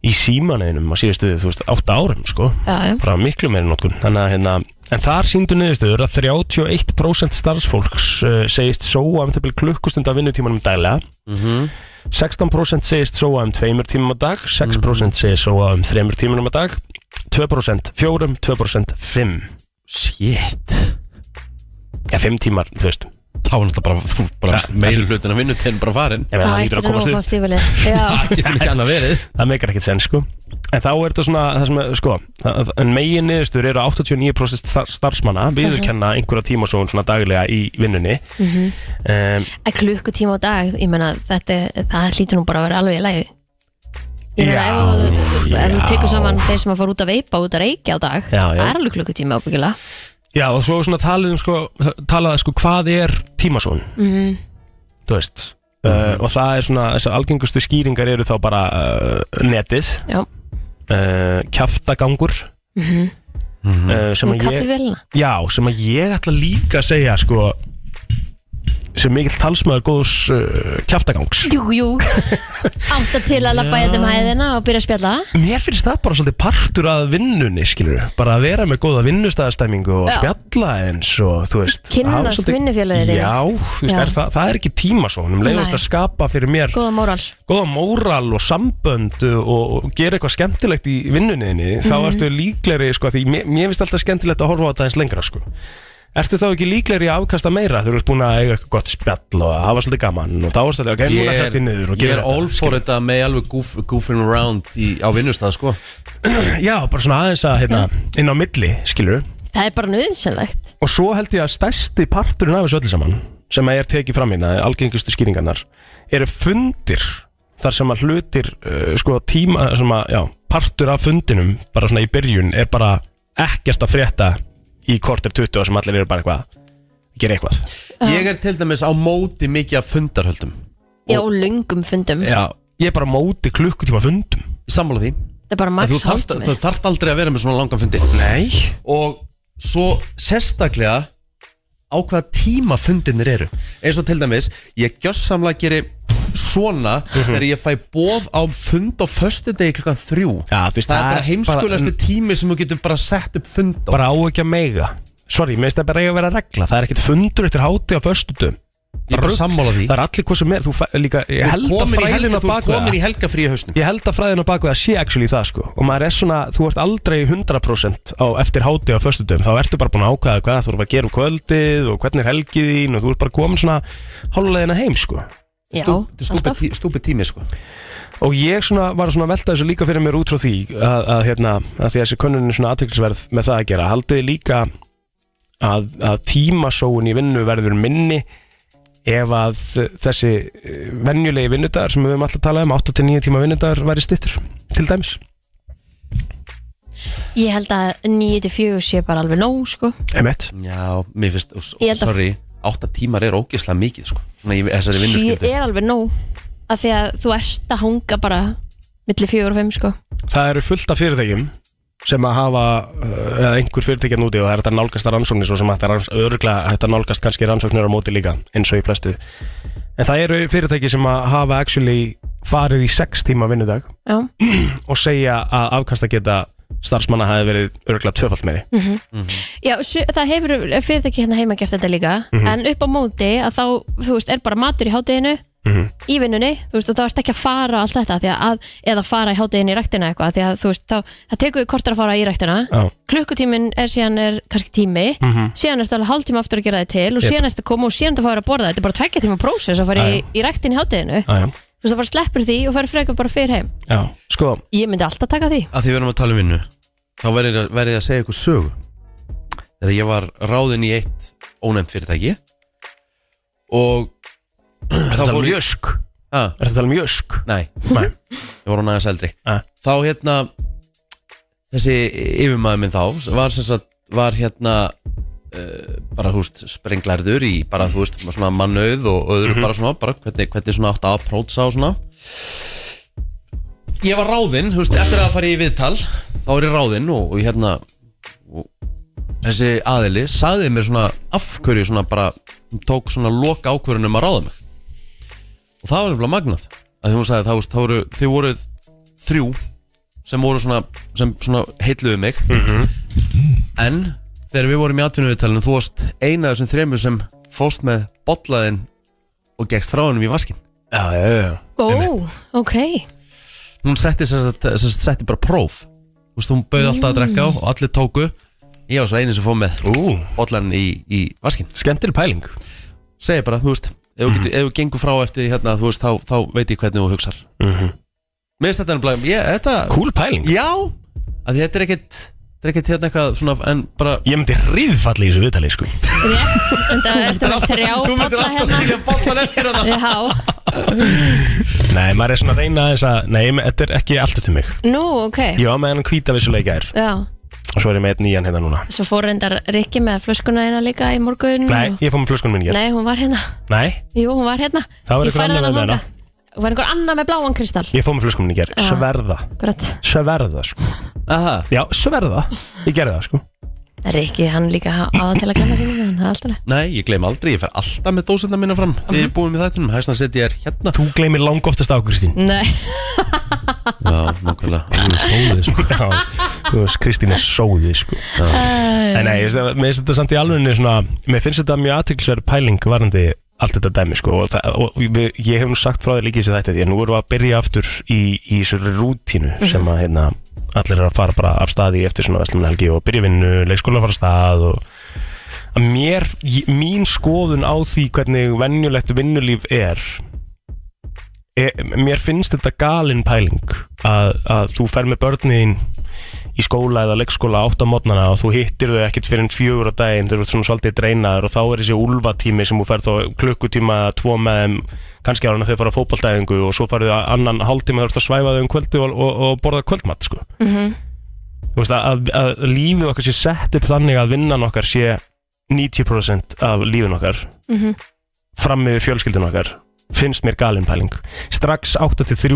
[SPEAKER 4] í símaneðinum á síðustu þú veist, átta árum sko
[SPEAKER 3] já, já,
[SPEAKER 4] bara miklu meirinn notkun þannig að hérna En þar síndu niðurstöður að eh, 31% starfsfólks uh, segist sóa um til klukkustundu af vinnutímanum daglega 16% segist sóa um tveimur tímum á dag 6% segist sóa um þreimur tímum á dag 2% fjórum, 2% fimm
[SPEAKER 2] Shit
[SPEAKER 4] Já, fimm tímar, þú veist
[SPEAKER 2] Þá er náttúrulega bara, þú- bara meiri hlutin að vinnutin bara farin
[SPEAKER 4] Ég
[SPEAKER 3] Það
[SPEAKER 4] meina, það
[SPEAKER 3] ættir
[SPEAKER 4] lítur að
[SPEAKER 3] að
[SPEAKER 4] komast upp
[SPEAKER 3] komast yfirlið Já,
[SPEAKER 2] Það getur ekki annað verið
[SPEAKER 4] Það meikar ekkert senn, sko En þá er þetta svona, það sem, er, sko það- það- En megin niðurstur eru að 89% star starfsmanna Viðurkenna einhverja tímasóun svona daglega í vinnunni um,
[SPEAKER 3] að klukkutíma á dag Ég meina, þetta, er- það hlýtur nú bara að vera alveg í lægi Ég meina,
[SPEAKER 4] Já,
[SPEAKER 3] ef, þú- ef þú
[SPEAKER 4] já.
[SPEAKER 3] tekur saman þeir sem að fara út að veipa og út að reykja á dag
[SPEAKER 4] Já, já.
[SPEAKER 3] Það er alveg klukkutíma ábyggilega
[SPEAKER 4] Já, og svo svona talið um, sko Talaði, sko, hvað er tímasóun Þú veist Uh, og það er svona, þessar algengustu skýringar eru þá bara uh, netið
[SPEAKER 3] Já,
[SPEAKER 4] uh, kjaftagangur uh, sem
[SPEAKER 3] með hérna.
[SPEAKER 4] að ég
[SPEAKER 3] kaffivelina
[SPEAKER 4] Já, sem að ég ætla líka að segja sko sem mikill talsmaður góðs uh, kjaftagangs
[SPEAKER 3] Jú, jú Átta til að lappa hérna um hæðina og byrja að spjalla
[SPEAKER 4] Mér finnst það bara svolítið partur að vinnunni skilur, bara að vera með góða vinnustæðastæmingu og
[SPEAKER 3] Já.
[SPEAKER 4] spjalla eins og þú veist
[SPEAKER 3] Kynnast
[SPEAKER 4] hafa svolítið-
[SPEAKER 3] vinnufélagið þínu.
[SPEAKER 4] Já, þú veist,
[SPEAKER 3] Já.
[SPEAKER 4] Er, það, það er ekki tíma svo, um
[SPEAKER 3] Nei.
[SPEAKER 4] leiðast að skapa fyrir mér
[SPEAKER 3] Góða móral
[SPEAKER 4] góða móral og sambönd og, og gera eitthvað skemmtilegt í vinnuninni þá ertu líkleri sko, því mér, mér finnst alltaf skemmtilegt að horfa á þetta eins lengra sko. ertu þá ekki líkleri að afkasta meira þú ert búin að eiga eitthvað gott spjall og hafa svolítið gaman og þá ertu alltaf ok,
[SPEAKER 2] Ég
[SPEAKER 4] núna þess
[SPEAKER 2] er,
[SPEAKER 4] ég niður og
[SPEAKER 2] ég
[SPEAKER 4] gera
[SPEAKER 2] er all for þetta með alveg goof, goofing around í, á vinnustæð sko
[SPEAKER 4] skilur. já, bara svona aðeins að hérna, inn á milli, skilur
[SPEAKER 3] Það er bara nöðsynlegt
[SPEAKER 4] og svo held ég að stærsti parturinn af þessu öllu saman sem að ég er tekið fram hérna, algengustu skýringarnar eru fundir þar sem að hlutir uh, sko tíma, sem að, já, partur af fundinum bara svona í byrjun er bara ekkert að frétta í korter 20 sem allir eru bara eitthvað að gera eitthvað
[SPEAKER 2] Ég er til dæmis á móti mikið af fundarhöldum
[SPEAKER 3] Já, og löngum fundum
[SPEAKER 2] Já,
[SPEAKER 4] ég er bara á móti klukkutíma fundum
[SPEAKER 2] sammála því
[SPEAKER 3] Það er bara
[SPEAKER 2] Að
[SPEAKER 3] max
[SPEAKER 2] Þú þarft,
[SPEAKER 3] hálftími.
[SPEAKER 2] þú þarft aldrei að vera með svona langan fundi
[SPEAKER 4] nei
[SPEAKER 2] og svo sérstaklega á hvaða tíma fundinir eru eins og til dæmis, ég gjössamlega geri svona þegar ég fæ bóð á fund á föstudegi klukkan þrjú
[SPEAKER 4] Já, þú veist,
[SPEAKER 2] það er
[SPEAKER 4] það
[SPEAKER 2] bara
[SPEAKER 4] er
[SPEAKER 2] heimskulegasti tími sem þú getur bara sett upp fund á
[SPEAKER 4] bara á ekki að meiga sorry, mér finnst það bara eiga að vera regla það er ekkert fundur eftir háti á föstutum
[SPEAKER 2] ég er bara sammála því
[SPEAKER 4] það er allir hvað sem er þú fæ, líka, ég held að
[SPEAKER 2] komin í
[SPEAKER 4] fræðin
[SPEAKER 2] helga,
[SPEAKER 4] að
[SPEAKER 2] þú ert
[SPEAKER 4] baka
[SPEAKER 2] komin í helga frí í hausnum
[SPEAKER 4] Ég held að fræðin á baku það sé actually það sko Og maður er svona, þú ert aldrei 100% á, Eftir háti á föstudum Þá ertu bara búin að ákvaða hvað þú eru að gera um kvöldið Og hvernig er helgið þín Og þú ert bara komin svona hálfleðina heim sko
[SPEAKER 3] Já,
[SPEAKER 2] Stú- stúpid
[SPEAKER 3] alltaf
[SPEAKER 2] tí- stúpid tími sko
[SPEAKER 4] Og ég svona var svona að velta þessu líka fyrir mér út frá því Að, að hérna, að því að þessi könnunin svona aðteklisverð Með það að gera, haldið þið líka að, að tímasóun í vinnu verður minni Ef að þessi eh, venjulegi vinnudagar Sem við höfum alltaf talað um 8-9 tíma vinnudagar væri stittur Til dæmis
[SPEAKER 3] Ég held að 9-4 sé bara alveg nóg sko.
[SPEAKER 4] Emmett
[SPEAKER 2] já, mér finnst, ús-
[SPEAKER 3] Ég held að-
[SPEAKER 2] sorry átta tímar er ógeðslega mikið sko Svona í þessari
[SPEAKER 3] Sjö
[SPEAKER 2] vinnuskyldu
[SPEAKER 3] er alveg nóg af því að þú ert að hanga bara milli 4 og 5 sko.
[SPEAKER 4] það eru fullt af fyrirtækjum sem að hafa uh, eða einhver fyrirtækjan úti og það er þetta nálgast að rannsóknir svo sem þetta er ranns- örugglega þetta nálgast kannski rannsóknir á móti líka eins og í flestu en það eru fyrirtæki sem að hafa actually farið í 6 tíma vinnudag
[SPEAKER 3] Já,
[SPEAKER 4] og segja að afkasta geta starfsmanna hafi verið örugglega tvöfalt meiri
[SPEAKER 3] Já sjö, það hefur fyrirtæki hérna heima gert þetta líka
[SPEAKER 4] Mhm.
[SPEAKER 3] en upp á móti að þá þú veist, er bara matur í hátteginu
[SPEAKER 4] Mhm.
[SPEAKER 3] í vinnunni, þú veist, og þá ert ekki að fara og allt þetta, af því að, eða fara í hátteginu í ræktina eitthvað, af því að þú veist, þá, það tekur við kortar að fara í ræktina
[SPEAKER 4] Já. Mhm.
[SPEAKER 3] klukkutíminn er síðan er kannski tími síðan ertu alveg hálftíma aftur að gera þið til og
[SPEAKER 4] Jep.
[SPEAKER 3] síðan ertu að koma og síðan ertu að fara að borða þetta er bara tvekja tíma prósess að fara í, í ræktin í hátteginu
[SPEAKER 4] ah, já.
[SPEAKER 3] þú veist það bara sleppur því og fara frekar bara fyrir heim
[SPEAKER 4] Já. sko,
[SPEAKER 3] ég myndi alltaf taka því
[SPEAKER 2] að því við erum að tala um vinnu þá verður ég að- verð ég að segja ykkur sögu þegar ég var ráðinn í eitt ónefnd fyrirtæki og
[SPEAKER 4] er
[SPEAKER 2] Þá
[SPEAKER 4] þetta
[SPEAKER 2] fór
[SPEAKER 4] um
[SPEAKER 2] ég-
[SPEAKER 4] jösk
[SPEAKER 2] að,
[SPEAKER 4] er þetta um jösk
[SPEAKER 2] nei,
[SPEAKER 4] Nei.
[SPEAKER 2] ég var hún aðeins eldri
[SPEAKER 4] Ah.
[SPEAKER 2] þá hérna þessi yfirmaður minn þá var sem sagt, var hérna uh, bara þú veist, sprenglærður í bara þú veist, svona mannauð og öðru bara svona, bara hvernig, hvernig svona átt að approacha og svona ég var ráðinn, þú veist, eftir að fara í viðtal þá er ég ráðinn og, og hérna og þessi aðili sagði mér svona af hverju svona bara hún tók svona loka ákvörun um að ráða mig og það var nefnilega magnað að því hún sagði, þá veist, þá voru, þið voruð þrjú sem voru svona, sem svona heitluðu mig en þegar við vorum í atvinnuviðtalinu þú varst eina af þessum þremur sem fóst með botlaðinn og gegst þráðunum í vaskin
[SPEAKER 4] Já, já, já
[SPEAKER 3] Ó, ok
[SPEAKER 2] hún setti, sem sagt, sem sagt, setti bara próf Þú veist, hún bauði alltaf að drekka á og allir tóku ég var svo einu sem fóð með
[SPEAKER 4] Ú,
[SPEAKER 2] bollan í, í vaskinn
[SPEAKER 4] skemmtileg pæling
[SPEAKER 2] segja bara, þú veist, ef þú getur- ef þú gengur frá eftir því hérna, þú veist, þá, þá veit ég hvernig þú hugsar
[SPEAKER 4] Mhm.
[SPEAKER 2] mér finnst þetta nefnilega, ég, þetta
[SPEAKER 4] Cool pæling
[SPEAKER 2] já, að því þetta er ekkit þetta er ekkit hérna eitthvað svona, en bara
[SPEAKER 4] Ég myndi ríðfalli í þessu viðtali, sko
[SPEAKER 3] En það er þetta þrjá
[SPEAKER 2] þú myndir
[SPEAKER 3] bolla
[SPEAKER 2] alltaf
[SPEAKER 3] hérna
[SPEAKER 2] skilja bollan eftir þetta
[SPEAKER 3] Já,
[SPEAKER 4] Nei, maður er svona að reyna þess að Nei, men- þetta er ekki alltaf til mig
[SPEAKER 3] nú, ok
[SPEAKER 4] Ég var með hennan hvíta vissuleika er
[SPEAKER 3] Já,
[SPEAKER 4] Og svo er ég með einn nýjan hérna núna
[SPEAKER 3] svo fór reyndar Rikki með flöskuna hérna líka í morgun
[SPEAKER 4] Nei,
[SPEAKER 3] og-
[SPEAKER 4] ég fór með flöskunum minn hér
[SPEAKER 3] Nei, hún var hérna
[SPEAKER 4] Nei,
[SPEAKER 3] Jú, hún var hérna
[SPEAKER 4] Það var
[SPEAKER 3] Ég
[SPEAKER 4] einhver
[SPEAKER 3] færði
[SPEAKER 4] annar
[SPEAKER 3] hana
[SPEAKER 4] með
[SPEAKER 3] þangað. Það var einhver annar með bláan kristall
[SPEAKER 4] ég fór með flöskunum minn hér
[SPEAKER 3] Já.
[SPEAKER 4] Sverða,
[SPEAKER 3] Grætt
[SPEAKER 4] sverða, sko
[SPEAKER 2] aha,
[SPEAKER 4] Já, sverða, ég gerði það, sko
[SPEAKER 3] Rikki, hann líka áða til að glemma hérna með hann Það er alltaf leið.
[SPEAKER 2] nei, ég gleym aldrei, ég fer alltaf með dósenda minna fram þegar ég er búin með þættinum, hægst að setja ég er hérna
[SPEAKER 4] Þú gleymir lang oftast á, Kristín
[SPEAKER 3] Nei,
[SPEAKER 2] já, nákvæmlega, alveg sóðið sko.
[SPEAKER 4] Já, þú veist, Kristín er sóði, sko En nei, ég veist, mér finnst þetta samt í alvegni svona Mér finnst þetta mjög aðtilsverð pæling varandi allt þetta dæmi, sko Og, það, og við, ég hef nú sagt frá þér líka í þessu þætti Því að nú erum við að byrja aftur í, í þessu rútínu Sem að, hérna, allir er að fara bara af staði eftir svona vestlumhelgi Og byrja vinnu, leikskóla að fara af stað og að Mér, ég- mín skoðun á því hvernig venjulegt vinnulíf er e, Mér finnst þetta galin pæling að, að þú fer með börnin í skóla eða leikskóla átt á mótnana og þú hittir þau ekkert fyrir en fjögur á daginn þau eru svona svolítið dreinaður og þá er þessi úlfatími sem þú fer þá klukkutíma eða tvo með þeim kannski ára en þau fara á fótballtæðingu og svo farið þau annan hálftíma þau að svæfa þau um kvöldu og, og, og borða kvöldmatt sko. -hmm. þú veist að, að, að lífið okkar sé sett upp þannig að vinnan okkar sé 90% af lífin okkar fram með fjölskyldun okkar finnst mér galin pæling strax 8-3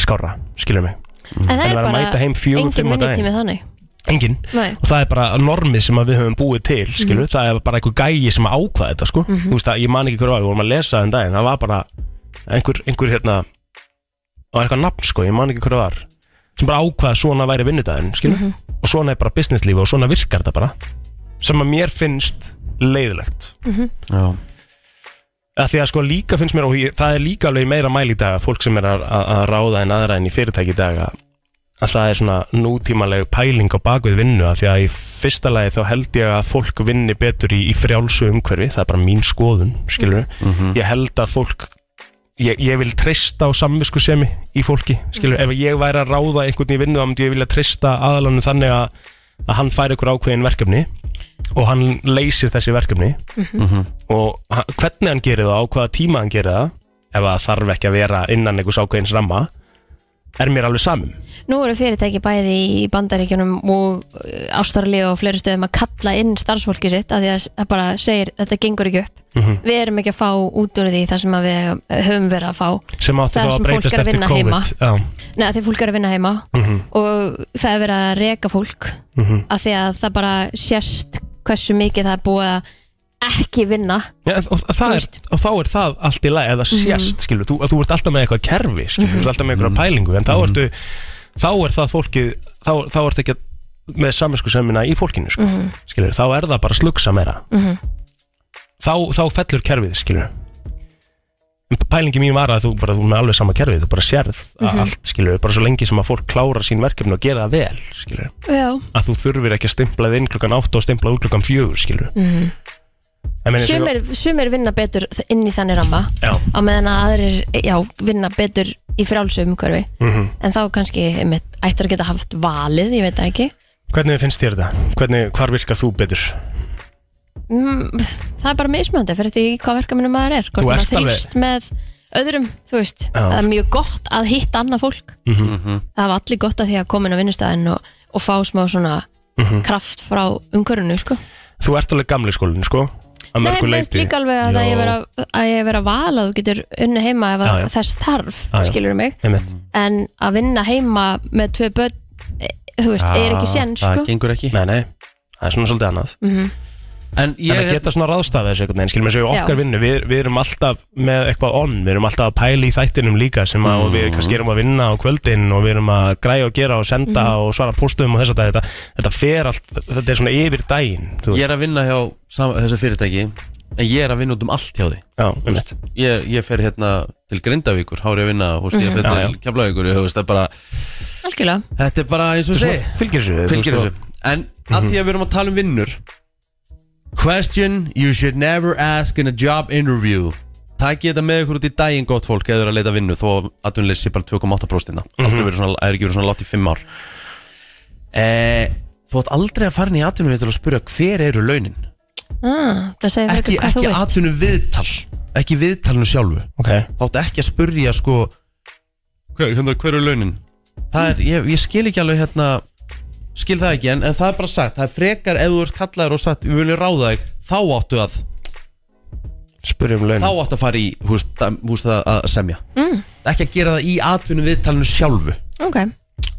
[SPEAKER 4] skára, skilur mig
[SPEAKER 3] en það
[SPEAKER 4] en
[SPEAKER 3] er
[SPEAKER 4] vera að mæta
[SPEAKER 3] bara
[SPEAKER 4] heim fjögur,
[SPEAKER 3] engin
[SPEAKER 4] fimm á daginn
[SPEAKER 3] vinnutími þannig
[SPEAKER 4] engin,
[SPEAKER 3] Nei,
[SPEAKER 4] og það er bara normið sem að við höfum búið til skilur, það er bara einhver gæi sem að ákvaða þetta sko, þú veist að ég man ekki hverju að við vorum að lesa en daginn, það var bara einhver, einhver hérna, það var eitthvað nafn sko, ég man ekki hverju var sem bara ákvaða svona væri vinnudaginn skilur, og svona er bara businesslífi og svona virkar þetta bara, sem að mér finnst leiðilegt,
[SPEAKER 2] já,
[SPEAKER 4] að því að sko líka finnst mér og ég, það er líka alveg í meira mæli í dag að fólk sem er að, að að ráða en aðra en í fyrirtæki í dag að, að það er svona nútímaleg pæling á bakvið vinnu að því að í fyrsta lagi þá held ég að fólk vinni betur í, í frjálsu umhverfi það er bara mín skoðun, skilur ég held að fólk ég, ég vil treysta á samviskusemi í fólki skilur, ef ég væri að ráða einhvern í vinnu þá myndi ég vilja treysta aðalanum þannig að, að hann fær ykkur ákveðin verkefni og hann leysir þessi verkefni og ha- hvernig hann gerir það og á hvaða tíma hann gerir það ef það þarf ekki að vera innan einhvers ákveðins ramma er mér alveg samum
[SPEAKER 3] nú eru fyrirtæki bæði í bandaríkjunum og ástarli og fleiri stöðum að kalla inn starfsfólki sitt af því að það bara segir þetta gengur ekki upp Við erum ekki að fá út úr því það sem að við höfum verið að fá
[SPEAKER 4] sem átti
[SPEAKER 3] Það
[SPEAKER 4] þá að
[SPEAKER 3] sem fólk er
[SPEAKER 4] breytast
[SPEAKER 3] að
[SPEAKER 4] eftir
[SPEAKER 3] vinna heima.
[SPEAKER 4] COVID Já,
[SPEAKER 3] Nei, af því að fólk er að vinna heima og það er verið að reka fólk af því að það bara sést hversu mikið það er búið að ekki vinna
[SPEAKER 4] Já, og, og, það er,
[SPEAKER 3] veist. Mhm.
[SPEAKER 4] og þá er það allt í lagi eða sérst, skilur, þú, þú ert alltaf með eitthvað kerfi skilur, þú ert alltaf með eitthvað pælingu en þá, ertu, þá er það fólkið þá, þá ert ekki að- með saminsku semina í fólkinu, sko,
[SPEAKER 3] Mhm.
[SPEAKER 4] skilur, þá er það bara slugsa meira þá, þá fellur kerfið, skilur En pælingi mín var að þú bara, þú er með alveg sama kerfið, þú bara sérð mm
[SPEAKER 3] Mhm.
[SPEAKER 4] allt, skilur, bara svo lengi sem að fólk klára sín verkefni og gera það vel, skilur
[SPEAKER 3] Já,
[SPEAKER 4] að þú þurfir ekki að stimpla þið inn klukkan 8 og stimpla út klukkan 4, skilur mm.
[SPEAKER 3] Mhm. sumir, sumir vinna betur inn í þannig ramma
[SPEAKER 4] Já,
[SPEAKER 3] á meðan að aðrir, já, vinna betur í frjálsu umhverfi
[SPEAKER 4] Mhm.
[SPEAKER 3] en þá kannski, einmitt, ættur að geta haft valið, ég veit það ekki
[SPEAKER 4] Hvernig finnst þér þetta? Hvernig, hvar virkar þú betur?
[SPEAKER 3] mm, það er bara mismöndi fyrir því hvað verkamunum maður er hvort
[SPEAKER 4] Þú
[SPEAKER 3] maður
[SPEAKER 4] ert alveg-
[SPEAKER 3] þrýfst með öðrum þú veist,
[SPEAKER 4] Já. Mhm.
[SPEAKER 3] það er mjög gott að hitta annað fólk það var allir gott að því að koma inn á vinnustæðin og, og fá smá svona
[SPEAKER 4] Mhm.
[SPEAKER 3] kraft frá umhverfinu sko.
[SPEAKER 4] Þú ert alveg gamli skólinn, sko? Að
[SPEAKER 3] Nei,
[SPEAKER 4] mörgu
[SPEAKER 3] mér finnst
[SPEAKER 4] leyti.
[SPEAKER 3] líka alveg að,
[SPEAKER 4] Já.
[SPEAKER 3] að ég vera að ég vera val að þú getur unni heima ef að
[SPEAKER 4] Já, já.
[SPEAKER 3] þess þarf,
[SPEAKER 4] Já, já.
[SPEAKER 3] skilur mig
[SPEAKER 4] Einmitt.
[SPEAKER 3] en að vinna heima með tvö börn e, þú veist, er ekki sén
[SPEAKER 2] það
[SPEAKER 3] sko.
[SPEAKER 2] gengur ekki
[SPEAKER 4] Nei, nei, það er svona svolítið annað
[SPEAKER 3] Mhm.
[SPEAKER 2] en
[SPEAKER 4] En að
[SPEAKER 2] ég,
[SPEAKER 4] geta svona ráðstafið þessu einhvern veginn Skilum við segja okkar vinnu, við, við erum alltaf með eitthvað onn Við erum alltaf að pæla í þættinum líka sem að, og við
[SPEAKER 2] Mhm.
[SPEAKER 4] kannski erum að vinna á kvöldin og við erum að græja og gera og senda
[SPEAKER 3] Mhm.
[SPEAKER 4] og svara póstum og þess að þetta, þetta fer allt, þetta er svona yfir daginn þú veist.
[SPEAKER 2] ég er að vinna hjá sam, þessu fyrirtæki en ég er að vinna út um allt hjá því
[SPEAKER 4] Já, umst
[SPEAKER 2] ég, ég fer hérna til Grindavíkur hári að vinna, húst, ég fer
[SPEAKER 4] Mhm. Já,
[SPEAKER 2] til Keflavíkur ég, húst, það er bara,
[SPEAKER 3] algjörlega
[SPEAKER 2] þetta er bara eins og segi
[SPEAKER 4] Fylgir þessu þú
[SPEAKER 2] fylgir
[SPEAKER 4] veist,
[SPEAKER 2] þessu En að því að við erum að tala um vinnur Question you should never ask in a job interview Takk þetta með ykkur út í daginn gott fólk eða þú eru að leita vinnu þó að atvinnulegis sé bara 2,8% mm -hmm. Aldrei verið svona, er ekki verið svona látt í 5 ár eh, Þú átt aldrei að fara inn í atvinnulegi til að spyrja hver eru launin
[SPEAKER 3] ah, Það segir
[SPEAKER 2] Ekki,
[SPEAKER 3] mörgum hvað þú
[SPEAKER 2] ekki
[SPEAKER 3] veist
[SPEAKER 2] atvinnuviðtal Ekki viðtalinu sjálfu
[SPEAKER 4] Ok
[SPEAKER 2] Þú átt ekki að spyrja sko Hver, hérna, hver er launin? Það er, ég, ég skil ekki alveg hérna Skil það ekki, en, en það er bara sagt Það er frekar ef þú ert kallaður og sagt Við viljum ráða þig, þá áttu að
[SPEAKER 4] Spurjum laun
[SPEAKER 2] Þá áttu að fara í, hú veist, það- þú veist það að semja mm. Ekki að gera það í atvinnum viðtalinu sjálfu
[SPEAKER 3] Ok,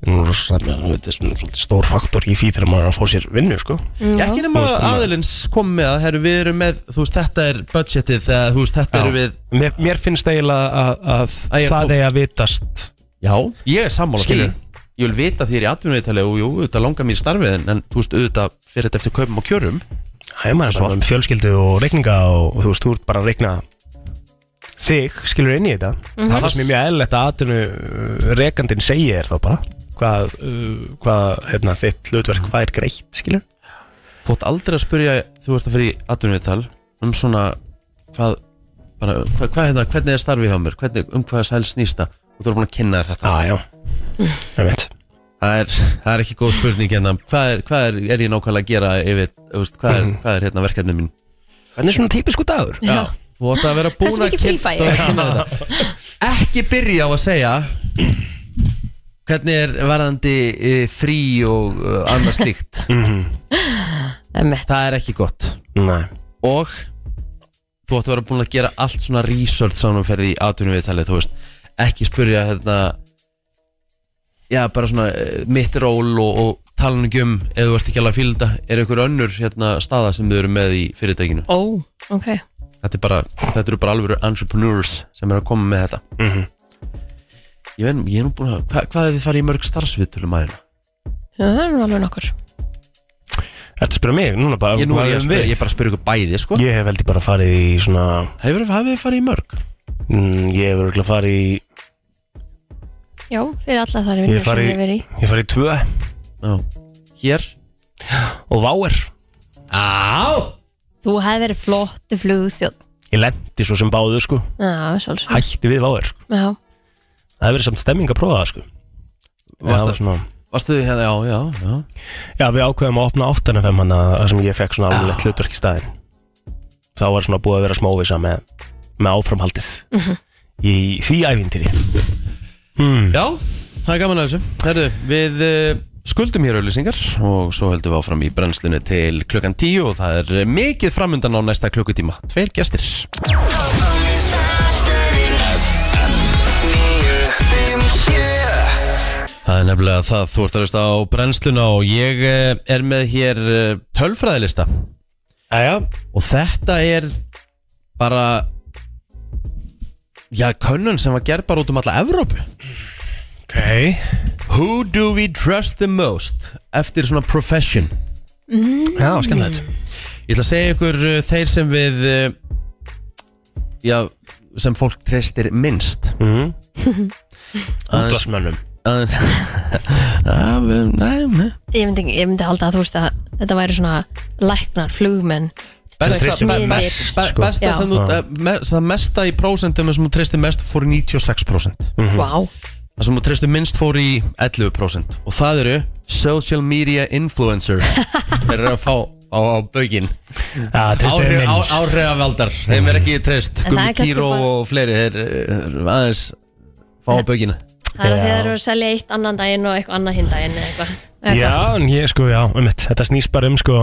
[SPEAKER 4] Nú er það þetta er svona svolítið stór faktor í því þegar maður er að fá sér vinnu, sko
[SPEAKER 2] Ekki nema
[SPEAKER 4] Þú veist, þannig að-
[SPEAKER 2] aðilins kom með að herru, Við erum með, þú veist, þetta er budgetið Þegar, þú veist, þetta eru við
[SPEAKER 4] Mér, mér finnst eiginlega að, að
[SPEAKER 2] Að ég-
[SPEAKER 4] það eigi að vitast
[SPEAKER 2] Já, ég er sammála því
[SPEAKER 4] Skilur.
[SPEAKER 2] Ég vil vita því er í atvinnumviðtali og jú, auðvitað langar mér í starfið en, en þú veist, auðvitað fyrir þetta eftir kaupum og kjörum
[SPEAKER 4] Það er maður svona um fjölskyldu og reikninga og, og þú veist, þú ert bara að reikna þig, skilur inn í þetta
[SPEAKER 3] Mhm.
[SPEAKER 4] Það er það sem er mjög eðlilegt að atinu uh, rekandin segi er þá bara hvað, uh, hvað hérna, þitt hlutverk, hvað er greitt, skilur
[SPEAKER 2] Þú ætti aldrei að spyrja þú ert að fyrir í atvinnuviðtal um svona hvað, bara, hvað, hvað hérna, hvernig er starfið hjá mér hvernig, um hvað sæl snýsta og þú er búin að kynna þér þetta
[SPEAKER 4] Já, já, ég veit
[SPEAKER 2] það, er, það er ekki góð spurning hérna hvað er, hvað er, er ég nákvæmlega að gera yfir, þú veist, hvað, er, hvað er hérna verkefnið mín
[SPEAKER 4] Hvernig er svona típisku dagur?
[SPEAKER 3] já,
[SPEAKER 2] Þú ætti að vera búin
[SPEAKER 3] Hversu
[SPEAKER 2] að
[SPEAKER 3] mikið
[SPEAKER 2] kyn-
[SPEAKER 3] frífæi?
[SPEAKER 2] þú átt að kynna þetta ekki byrja á að segja hvernig er varðandi e, frí og e, annað slíkt
[SPEAKER 3] emmitt
[SPEAKER 2] það er ekki gott
[SPEAKER 4] Nei,
[SPEAKER 2] og þú ætti að vera búin að gera allt svona research samanferði í atvinnum viðtalið, þú veist ekki spyrja hérna já, bara svona eh, mitt ról og, og talan ekki um, ef þú ert ekki alveg að fíla þetta, er einhver önnur hérna staða sem þau eru með í fyrirtækinu
[SPEAKER 3] Ó, ok
[SPEAKER 2] þetta, er bara, þetta eru bara alveg entrepreneurs sem eru að koma með þetta
[SPEAKER 4] Mhm.
[SPEAKER 2] ég veit, ég er nú búin að hva, hvað er þið farið í mörg starfsviðtölum hérna? aðeina?
[SPEAKER 3] Já, það er nú alveg nokkur
[SPEAKER 4] ertu að spyrja mig? Núna bara,
[SPEAKER 2] Ég, nú er ég, að
[SPEAKER 4] hvað um
[SPEAKER 2] spyrja,
[SPEAKER 4] við?
[SPEAKER 2] ég er bara að spyrja ykkur bæði, sko
[SPEAKER 4] Ég hef veldig bara farið í svona
[SPEAKER 2] hefur þið farið í mörg?
[SPEAKER 4] mm, Ég hef verið farið í
[SPEAKER 3] Já, fyrir alla þar
[SPEAKER 4] Ég
[SPEAKER 3] vinnur
[SPEAKER 4] hef
[SPEAKER 3] sem
[SPEAKER 4] farið
[SPEAKER 3] ég verið í
[SPEAKER 4] ég hef farið í tvö
[SPEAKER 2] Já. hér?
[SPEAKER 4] og váer
[SPEAKER 2] Á!
[SPEAKER 3] Þú hefði verið flottu flugþjóð
[SPEAKER 4] Ég lendi svo sem báðu, sko
[SPEAKER 3] Já, sjálfsög
[SPEAKER 4] Hætti við váer
[SPEAKER 3] Já,
[SPEAKER 4] Það hefur verið samt stemming að prófa það, sko
[SPEAKER 2] Varstu-
[SPEAKER 4] Já, svona-
[SPEAKER 2] Varstu þið hérna, já, já, já
[SPEAKER 4] Já, við ákveðum að opna 8.5 hann að sem ég fekk svona
[SPEAKER 2] Ah.
[SPEAKER 4] alveg hlutverk í staðinn. Þá var svona búið að vera smóvisa með, með áframhaldið í því ævintýri.
[SPEAKER 2] Já, það er gaman að þessu Herðu, við uh, skuldum hér auðlýsingar og svo heldum við áfram í brennslunni til klukkan 10 og það er eh, mikið framundan á næsta klukkutíma Tveir gestir Það er nefnilega það, þú ert að hlusta á brennsluna og ég eh, er með hér eh, tölfræðilista
[SPEAKER 4] Æja,
[SPEAKER 2] og þetta er bara já, könnun sem var gerð bara út um alla Evrópu
[SPEAKER 4] ok.
[SPEAKER 2] Who do we trust the most? Eftir svona profession
[SPEAKER 4] Já, skemmtilegt.
[SPEAKER 2] Ég ætla að segja ykkur uh, þeir sem við uh, Já, sem fólk treystir minnst
[SPEAKER 4] Mm.
[SPEAKER 2] Aðeins-
[SPEAKER 4] Útvarsmönnum.
[SPEAKER 2] aðeins- Já, við- Nei, nei
[SPEAKER 3] ég myndi, ég myndi halda að þú veist að þetta væri svona læknar, flugmenn
[SPEAKER 2] Besta,
[SPEAKER 4] treystir
[SPEAKER 2] be,
[SPEAKER 3] mér
[SPEAKER 2] best,
[SPEAKER 3] minnst,
[SPEAKER 2] be,
[SPEAKER 4] sko.
[SPEAKER 2] besta
[SPEAKER 3] Já.
[SPEAKER 2] sem þú, eh, me, sem mesta í prósentum sem þú treystir mest fór í 96%
[SPEAKER 3] Vá,
[SPEAKER 2] Það sem þú treystir minnst fór í 11% og það eru social media influencers þeir eru að fá á, á baukinn
[SPEAKER 4] Já, tristum við minns.
[SPEAKER 2] áhrifavaldar, þeim er ekki treyst
[SPEAKER 3] En það
[SPEAKER 2] Gummi
[SPEAKER 3] er kannski
[SPEAKER 2] Kíró
[SPEAKER 3] bara-
[SPEAKER 2] og fleiri þeir eh, aðeins fá á baukinn
[SPEAKER 3] það er að
[SPEAKER 4] Já.
[SPEAKER 3] þið eru að selja eitt annan daginn og eitthvað annað hinn daginn eða eitthvað Eða hvað?
[SPEAKER 4] Já, en ég sko, já, um mitt. Þetta snýst bara um sko,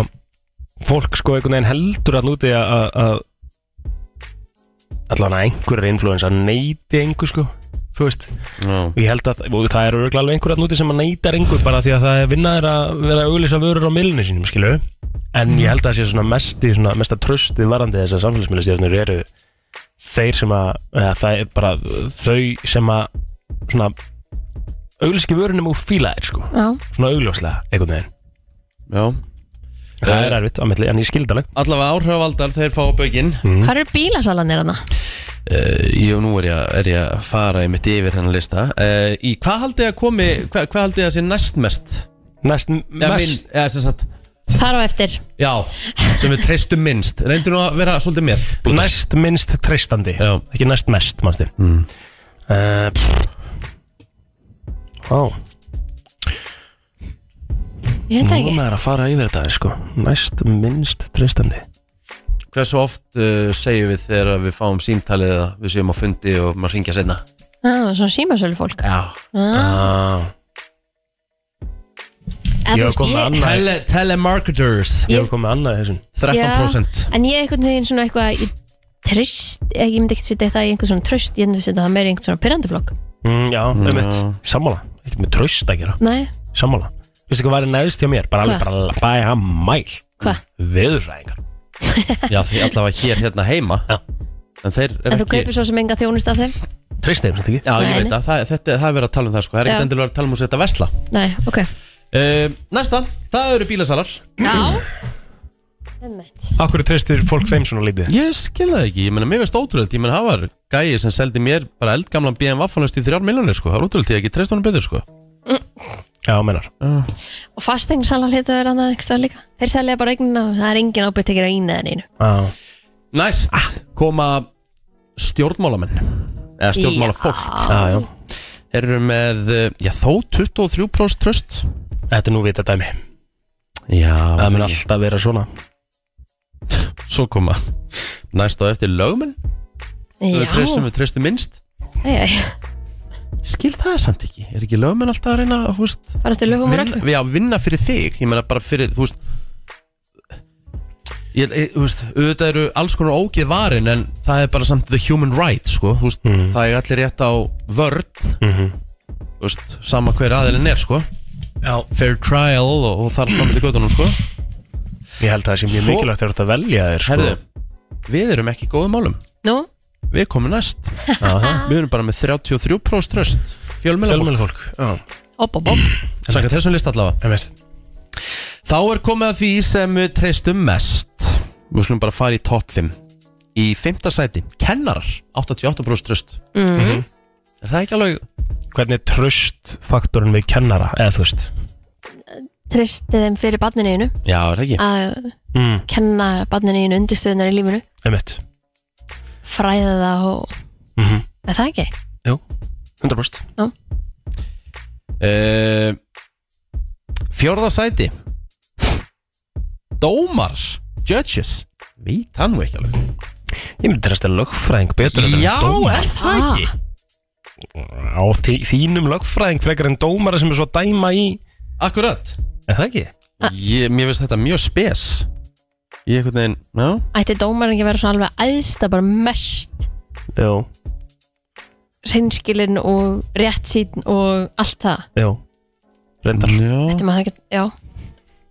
[SPEAKER 4] fólk sko einhvern veginn heldur allan úti að- að að- allan að einhverjar influensar neyti einhver sko, þú veist. og ég held að og það eru örugglega alveg einhver að núti sem að neytar einhver bara því að það er vinnaðir að vera að auglýsa vörur á miðlunni sínum, skilju en ég held að það sé svona mesti, svona mesta tröstið varandi þessar samfélagsmiðlastjörnur eru þeir sem að eða, það er bara þau sem að svona auglýski vörunum og fíla þeir, sko
[SPEAKER 3] Já,
[SPEAKER 4] svona augljóslega, einhvern veginn
[SPEAKER 2] Já
[SPEAKER 4] Það er erfitt á milli, en ég skildi alveg
[SPEAKER 2] Allavega áhrifavaldar þeir fá bögin
[SPEAKER 3] Hvað eru bílasalanir hana?
[SPEAKER 2] uh, Jú, nú er ég, að- er ég að fara einmitt yfir þennan lista uh, Í hvað haldið þið að komi, hva, hvað haldið þið að sé næst mest?
[SPEAKER 4] Næst
[SPEAKER 2] Eða
[SPEAKER 4] mest
[SPEAKER 2] minn- eða sem sagt,
[SPEAKER 3] Þar á eftir
[SPEAKER 2] já, sem við treystum minnst Reyndu nú að vera svolítið með Blóta.
[SPEAKER 4] Næst minnst treystandi
[SPEAKER 2] Já.
[SPEAKER 4] Ekki næst mest, mannstu mm. uh, Ó,
[SPEAKER 3] Ég veit það
[SPEAKER 4] nú
[SPEAKER 3] ekki
[SPEAKER 4] maður að fara yfir þetta sko. Næst minnst treystandi
[SPEAKER 2] Hversu oft uh, segjum við þegar við fáum símtalið eða við séum á fundi og maður ringja seinna
[SPEAKER 3] ah, Svona símasölu fólk
[SPEAKER 2] Já
[SPEAKER 4] Ég var komið annað
[SPEAKER 2] Tele Telemarketers
[SPEAKER 4] Ég var komið annað í þessum
[SPEAKER 2] 13%
[SPEAKER 3] En ég einhvern veginn svona eitthvað Ég trist, eh, ég ég myndi ekki setja það í einhvern svona tröst Ég myndi setja það meira í einhvern svona pyrrandaflokk
[SPEAKER 4] mm, Já, um eitt Sammála, ekkert með tröst að gera
[SPEAKER 3] Nei,
[SPEAKER 4] Sammála Veistu hvað væri neðst hjá mér? Bara alveg
[SPEAKER 3] Hvað?
[SPEAKER 4] bara bæja mæl
[SPEAKER 3] hvað?
[SPEAKER 4] Veðurfræðingar
[SPEAKER 2] Já, því allavega hér hérna heima
[SPEAKER 4] Já.
[SPEAKER 2] En þeir eru
[SPEAKER 3] En þú
[SPEAKER 2] ekki
[SPEAKER 3] kaupir svo sem enga þjónust af þeim?
[SPEAKER 4] Treystið, finnst ekki?
[SPEAKER 2] Já, ég
[SPEAKER 3] Nei,
[SPEAKER 2] veit
[SPEAKER 3] nei.
[SPEAKER 2] að það, þetta, það er verið að tala um það sko Það er
[SPEAKER 3] Já.
[SPEAKER 2] ekkert endilega verið að tala um að setja vesla
[SPEAKER 3] Nei, ok
[SPEAKER 2] uh, Næsta, það eru bílasalar
[SPEAKER 3] Já
[SPEAKER 4] Akkur treystir fólk þeim svona lítið?
[SPEAKER 2] Ég skil það ekki, ég meina mér veist ótrúlega Ég meina það var gæi sem seldi mér bara eldgamlan BM vaffanust í þrjár miljonir sko Það var ótrúlega því að ekki treyst honum betur sko
[SPEAKER 4] Já, mennar
[SPEAKER 3] Og fastegnsalar hlutu að vera annað einhvers staðar líka Þeir selja bara eignina og það er engin ábyrgt ekki á einu eða neinu
[SPEAKER 4] Já
[SPEAKER 2] Næst koma stjórnmálamenn Eða stjórnmálafólk
[SPEAKER 4] Já, já
[SPEAKER 2] Þeir eru með, eh, já þó 23% tröst
[SPEAKER 4] Þetta er nú vita dæmi
[SPEAKER 2] Já,
[SPEAKER 4] Það mun
[SPEAKER 2] ekki.
[SPEAKER 4] alltaf vera svona
[SPEAKER 2] svo koma næst á eftir lögmenn
[SPEAKER 3] Já,
[SPEAKER 2] við treystum, við treystum minnst
[SPEAKER 3] já, já
[SPEAKER 2] skil það samt ekki, er ekki lögmenn alltaf að reyna að húst,
[SPEAKER 3] Farastu lögum og
[SPEAKER 2] vinna,
[SPEAKER 3] reglum?
[SPEAKER 2] já, vinna fyrir þig ég meina bara fyrir, þú veist ég, ég, þú veist auðvitað eru alls konar ógeð varin en það er bara samt the human right sko, þú veist, það er allir rétt á vörn þú veist, sama hver aðilin er sko
[SPEAKER 4] Já
[SPEAKER 2] fair trial og, og þar fram til göttunum sko
[SPEAKER 4] Ég held að það sé mjög
[SPEAKER 2] Svo-
[SPEAKER 4] mikilvægt þegar þú ert að velja þér sko
[SPEAKER 2] herðu, við erum ekki í góðum málum
[SPEAKER 3] Nú,
[SPEAKER 2] við komum næst við erum bara með 33% tröst fjölmjöla
[SPEAKER 4] Fjölmjölu fólk Já
[SPEAKER 3] hopp, hopp, hopp
[SPEAKER 2] Sankt þessum list allavega
[SPEAKER 4] Ég veit
[SPEAKER 2] Þá er komið að því sem við treystum mest Við slum bara fara í topp 5 Í fimmta sæti Kennarar 88% tröst Er það ekki alveg
[SPEAKER 4] Hvernig er tröstfaktorinn við kennara Eða þú veist
[SPEAKER 3] Tristið þeim fyrir barninu einu
[SPEAKER 2] Já, er það
[SPEAKER 3] Ah.
[SPEAKER 2] ekki
[SPEAKER 3] Að
[SPEAKER 4] mm.
[SPEAKER 3] kenna barninu einu undirstöðunar í lífinu
[SPEAKER 4] Ég veit
[SPEAKER 3] Fræða það og
[SPEAKER 4] mm
[SPEAKER 2] Mhm.
[SPEAKER 4] -hmm.
[SPEAKER 3] Er það ekki?
[SPEAKER 4] Jú 100%
[SPEAKER 2] uh, Fjórða sæti Dómar Judges Vít hann nú ekki alveg
[SPEAKER 4] Ég myndi treysta lögfræðing betur heldur en
[SPEAKER 2] Já,
[SPEAKER 4] dómara.
[SPEAKER 2] er það ekki
[SPEAKER 4] Á þí- þínum lögfræðing frekar en dómara sem er svo að dæma í
[SPEAKER 2] Akkurat
[SPEAKER 4] Er það ekki?
[SPEAKER 2] ég, Mér finnst þetta mjög spes Ég einhvern veginn Já
[SPEAKER 3] Ætti dómarinn ekki að vera svona alveg æðsta bara mest
[SPEAKER 4] Jú
[SPEAKER 3] hreinskilinn og réttsýn og allt það
[SPEAKER 4] Jú Reyndar
[SPEAKER 2] Já
[SPEAKER 3] Þetta maður það ekki, já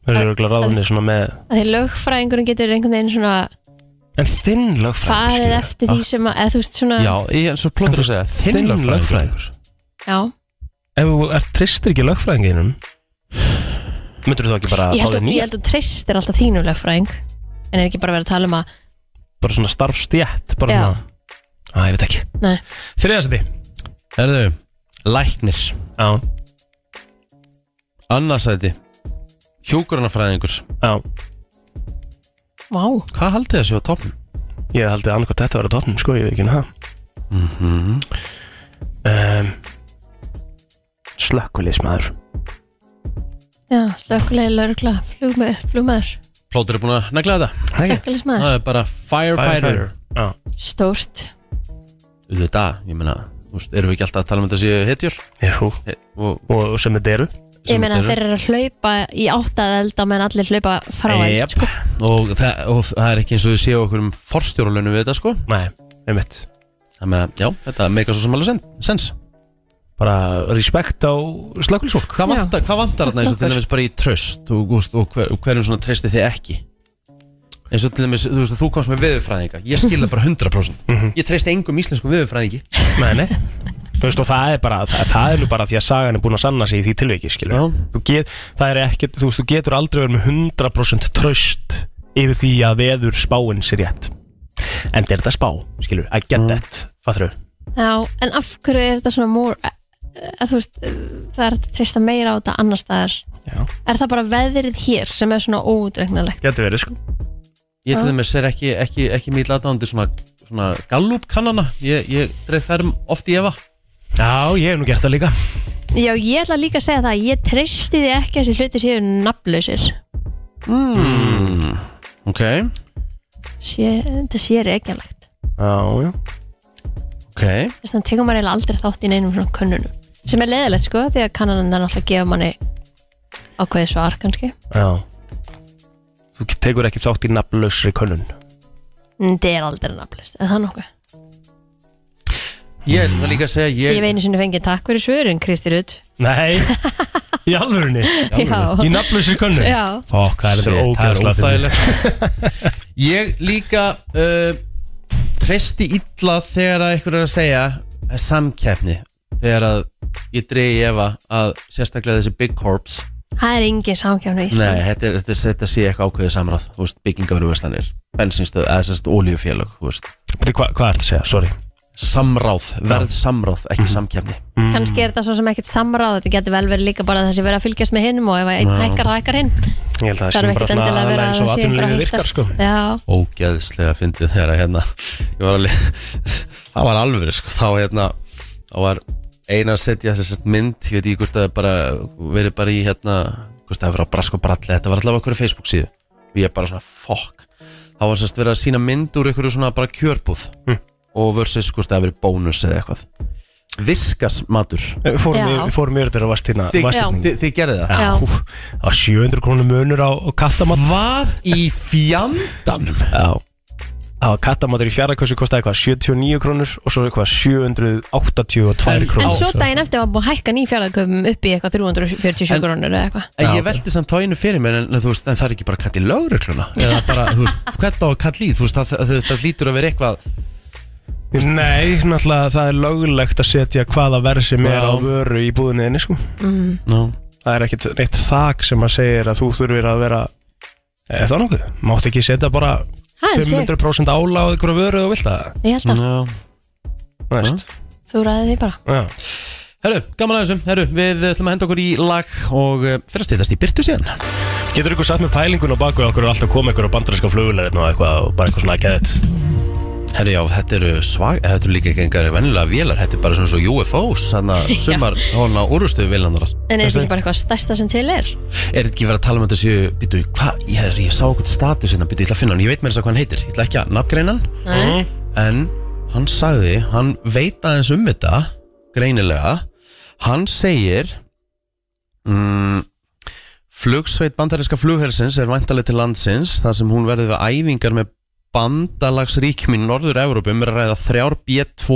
[SPEAKER 4] Það eru örugglega ráðunni svona með
[SPEAKER 3] að því lögfræðingurinn getur einhvern veginn svona
[SPEAKER 4] En þinn lögfræðing
[SPEAKER 3] farið eftir því sem að, eða þú veist svona
[SPEAKER 2] Ah. Já, ég er svo plóttur að segja Þinn lögfræðingur
[SPEAKER 3] já.
[SPEAKER 4] Ef þú ert tristir ekki lögfræðinginum Myndur þú þá ekki bara
[SPEAKER 3] ég
[SPEAKER 4] að
[SPEAKER 3] held
[SPEAKER 4] fá þér
[SPEAKER 3] að, ég
[SPEAKER 4] nýja
[SPEAKER 3] held að treyst er alltaf þínu lögfræðing en er ekki bara verið að tala um að
[SPEAKER 4] Bara svona starfstjætt Bara
[SPEAKER 3] Já.
[SPEAKER 4] svona Æ, ég veit ekki
[SPEAKER 3] Nei.
[SPEAKER 4] Þriðasæti
[SPEAKER 2] Erðu, læknir
[SPEAKER 4] Já,
[SPEAKER 2] Annarsæti Hjúkurunafræðingur
[SPEAKER 4] já
[SPEAKER 3] vá,
[SPEAKER 2] Hvað haldið þessi á toppum?
[SPEAKER 4] Ég haldi annað hvort þetta verið tóttum Sko, ég veit ekki það mm -hmm. um, Slökkulismæður
[SPEAKER 3] já, slökkulega lögla, flugmaður, flugmaður
[SPEAKER 2] Plótur er búin að negla þetta
[SPEAKER 3] slökkulismæður,
[SPEAKER 2] Það er bara firefighter
[SPEAKER 4] Já,
[SPEAKER 3] stórt
[SPEAKER 2] Þú veit það, ég meina Þú veist, erum við ekki alltaf að tala um þetta séu hetjur?
[SPEAKER 4] jú
[SPEAKER 2] He- Og
[SPEAKER 4] Og sem þetta eru
[SPEAKER 3] ég meina
[SPEAKER 2] þetta
[SPEAKER 3] þeir eru að hlaupa í áttað elda meðan allir hlaupa frá
[SPEAKER 2] Jep.
[SPEAKER 3] eld sko.
[SPEAKER 2] og, það, og það er ekki eins og við séu okkur um forstjóralunum við þetta sko
[SPEAKER 4] Nei, einmitt
[SPEAKER 2] Þannig að, já, þetta meika svo sem alveg sen- sens
[SPEAKER 4] Bara respekt á slökkulisfólk
[SPEAKER 2] Hvað
[SPEAKER 3] Já.
[SPEAKER 2] vantar, hvað vantar þarna eins og til dæmis bara í tröst og, og, og, hver, og hverjum svona treysti þið ekki eins og til dæmis, þú veist, þú komst með viðurfræðinga ég skil það bara 100% ég treysti engum íslenskum viðurfræðingi
[SPEAKER 4] Nei, nei Þú veist og það er bara, það, það er nú bara því að sagan er búin að sanna sig í því tilviki, skilur
[SPEAKER 2] Já.
[SPEAKER 4] Þú get, það er ekkert, þú veist, þú getur aldrei verið með 100% tröst yfir því að veður spáin sér rétt En þetta er þetta spá, skilur, I get that, fattur þau
[SPEAKER 3] Já, en af hverju er þetta svona more að, að þú veist, eh, það er hægt að treysta meira á þetta annars staðar
[SPEAKER 4] Já.
[SPEAKER 3] Er það bara veðrið hér sem er svona óutreiknalegt?
[SPEAKER 4] Getur verið, sko
[SPEAKER 2] Ég til dæmis er ekki, ekki, ekki mýl aðdándi svona, svona gallup kannana Ég, ég dreif þær oft í efa
[SPEAKER 4] Já, ég hef nú gert það líka
[SPEAKER 3] Já, ég ætla líka að segja það, ég treysti því ekki að þessi hluti séu nafnlausir
[SPEAKER 2] Ok,
[SPEAKER 3] sé, Þetta sé reikjanlegt
[SPEAKER 4] Já, já
[SPEAKER 2] ok
[SPEAKER 3] Þess vegna tekur maður eiginlega aldrei þátt í neinum svona könnunum sem er leiðilegt sko, því að kannan er náttúrulega að gefa manni ákveðið svar kannski
[SPEAKER 4] Já Þú tekur ekki þátt í nafnlausri könnun
[SPEAKER 3] en það er aldrei nafnlaust, er það nokkuð?
[SPEAKER 2] Ég ætla líka að segja
[SPEAKER 3] Ég veinu sinni fengið takk fyrir svörin, Kristi Rutt
[SPEAKER 4] Nei, í alvörunni
[SPEAKER 3] Já,
[SPEAKER 4] Í nafnlausri könnun
[SPEAKER 3] Já.
[SPEAKER 4] Fokk, það er þetta
[SPEAKER 2] Shit, það er
[SPEAKER 4] ógæðslega
[SPEAKER 2] óþægilegt Ég líka uh, treysti illa þegar að ykkur er að segja að samkeppni þegar að ég dreigi efa að sérstaklega þessi Big Corps
[SPEAKER 3] það er engin samkjánu í
[SPEAKER 2] Nei,
[SPEAKER 3] Íslandi
[SPEAKER 2] þetta, er, þetta, er, þetta sé eitthvað ákveðið samráð þú veist, byggingafyrirverslanir, bensinstöð eða sérst olíufélög þú veist.
[SPEAKER 4] Bíddu, Hva, hvað er þetta að segja, sorry
[SPEAKER 2] samráð, verð samráð, ekki samkeppni
[SPEAKER 3] kannski er þetta svo sem ekkert samráð þetta getur vel verið líka bara þessi verið að fylgjast með hinnum og ef einn hækkar, þá hækkar hinn
[SPEAKER 4] Ég held að
[SPEAKER 3] þarf ekkert endilega að vera að það sé einhver að
[SPEAKER 4] virkar
[SPEAKER 3] hittast
[SPEAKER 4] sko
[SPEAKER 3] já,
[SPEAKER 2] ógeðslega fyndið þegar að hérna ég var alveg það var alveg sko þá hérna þá var eina að setja þessast mynd ég veit ekki hvort að það bara verið bara í hérna hvort það var á brask og bralli þetta var allavega okkur Facebook síðu og ég bara svona fuck þá var sérst verið að sína mynd úr einhverju svona bara kjörbúð og versus hvort það hafi verið bónus eða eitthvað viskas matur
[SPEAKER 4] Við fórum,
[SPEAKER 3] Já.
[SPEAKER 4] í- við fórum yfir þetta og varst hérna
[SPEAKER 2] þið,
[SPEAKER 4] varst
[SPEAKER 3] Já.
[SPEAKER 4] hérna.
[SPEAKER 2] þið, þið gerði það
[SPEAKER 3] Já.
[SPEAKER 4] Já, hú, Það var 700 krónum munur á á kattamat
[SPEAKER 2] hvað í fjandanum
[SPEAKER 4] Já Það var kattamatur í fjárðakossu kostaði hvað 79 krónur og svo eitthvað 782
[SPEAKER 2] En-
[SPEAKER 4] krónur
[SPEAKER 3] en svo daginn eftir var búið að hækka nýfjaraðköpum upp í eitthvað 347
[SPEAKER 2] En-
[SPEAKER 3] krónur eða eitthvað
[SPEAKER 2] En ég veldi samt þá einu fyrir mér en, en, þú veist, en það er ekki bara að kalla í lögregluna eða bara, þú veist, hvernig á að kalla í þú veist, það, það, það lítur að vera eitthvað
[SPEAKER 4] Nei, náttúrulega það er löglegt að setja hvaða verð sem er
[SPEAKER 2] Já.
[SPEAKER 4] á vöru í búðinni sko.
[SPEAKER 2] no.
[SPEAKER 4] Það er ekkit neitt þak sem að segir að þú þurfir að vera eða það nokkuð, mátt ekki setja bara
[SPEAKER 3] Ha, held ég.
[SPEAKER 4] 500% ála á einhverju vöru og vilt það
[SPEAKER 3] ég held að
[SPEAKER 2] no.
[SPEAKER 4] Þú veist.
[SPEAKER 3] þú ræði því bara
[SPEAKER 4] Já.
[SPEAKER 2] Herru, gaman að þessum, herru, við ætlum að henda okkur í lag og uh, fyrir að stýðast í byrtu síðan
[SPEAKER 4] Getur ykkur satt með pælingun og bakveg okkur er alltaf komið ykkur á bandarinska flugulærið og eitthvað og bara eitthvað svona geðið
[SPEAKER 2] Herru, já, þetta eru svag, eh, þetta eru líka ekki engar vennilega vélar, þetta er bara svona svo UFOs þannig að sumar hóna úrústuðu vélandar
[SPEAKER 3] en er þetta ekki bara eitthvað stærsta sem til er
[SPEAKER 2] Er þetta ekki verið að tala um þetta séu, býtu, hvað, ég, er- ég sá okkur status hérna, býtu, ég ætla að finna hann, ég veit mér þess að hvað hann heitir, ég ætla ekki að nafngreina hann
[SPEAKER 3] Nei.
[SPEAKER 2] en hann sagði, hann veit aðeins um þetta greinilega hann segir mm, flugsveit bandaríska flughersins er væntaleg til landsins þar sem hún verði við æfingar með bandalagsríkjum í Norður-Európu um að ræða þrjár B2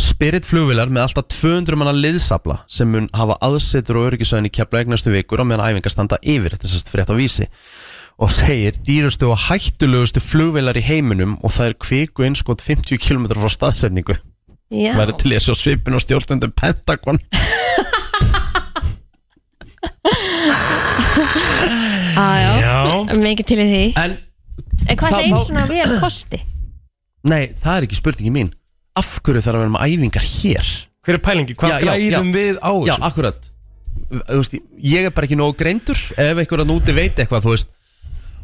[SPEAKER 2] Spirit flugvilar með alltaf 200 manna liðsabla sem mun hafa aðsetur og öryggisvæðin í kepla egnastu vikur á meðan æfingar standa yfir, þetta er sérst frétt á vísi og segir dýrustu og hættulegustu flugvilar í heiminum og það er kviku einskot 50 km frá staðsetningu
[SPEAKER 3] já,
[SPEAKER 2] væri til í að sjá svipin og stjórnendum Pentagon
[SPEAKER 3] Á, Ah, já.
[SPEAKER 4] Já,
[SPEAKER 3] mikið til í því
[SPEAKER 2] en
[SPEAKER 3] en hvað
[SPEAKER 2] Það-
[SPEAKER 3] er eins
[SPEAKER 2] þá-
[SPEAKER 3] svona vel kosti
[SPEAKER 2] nei, það er ekki spurningi mín af hverju þarf að vera með æfingar hér
[SPEAKER 4] hver er pælingi, hvað
[SPEAKER 2] Já, já,
[SPEAKER 4] græðum
[SPEAKER 2] já.
[SPEAKER 4] við á
[SPEAKER 2] já,
[SPEAKER 4] þessu?
[SPEAKER 2] akkurat Þú veist, ég er bara ekki nógu greindur ef einhver að núti veit eitthvað þú veist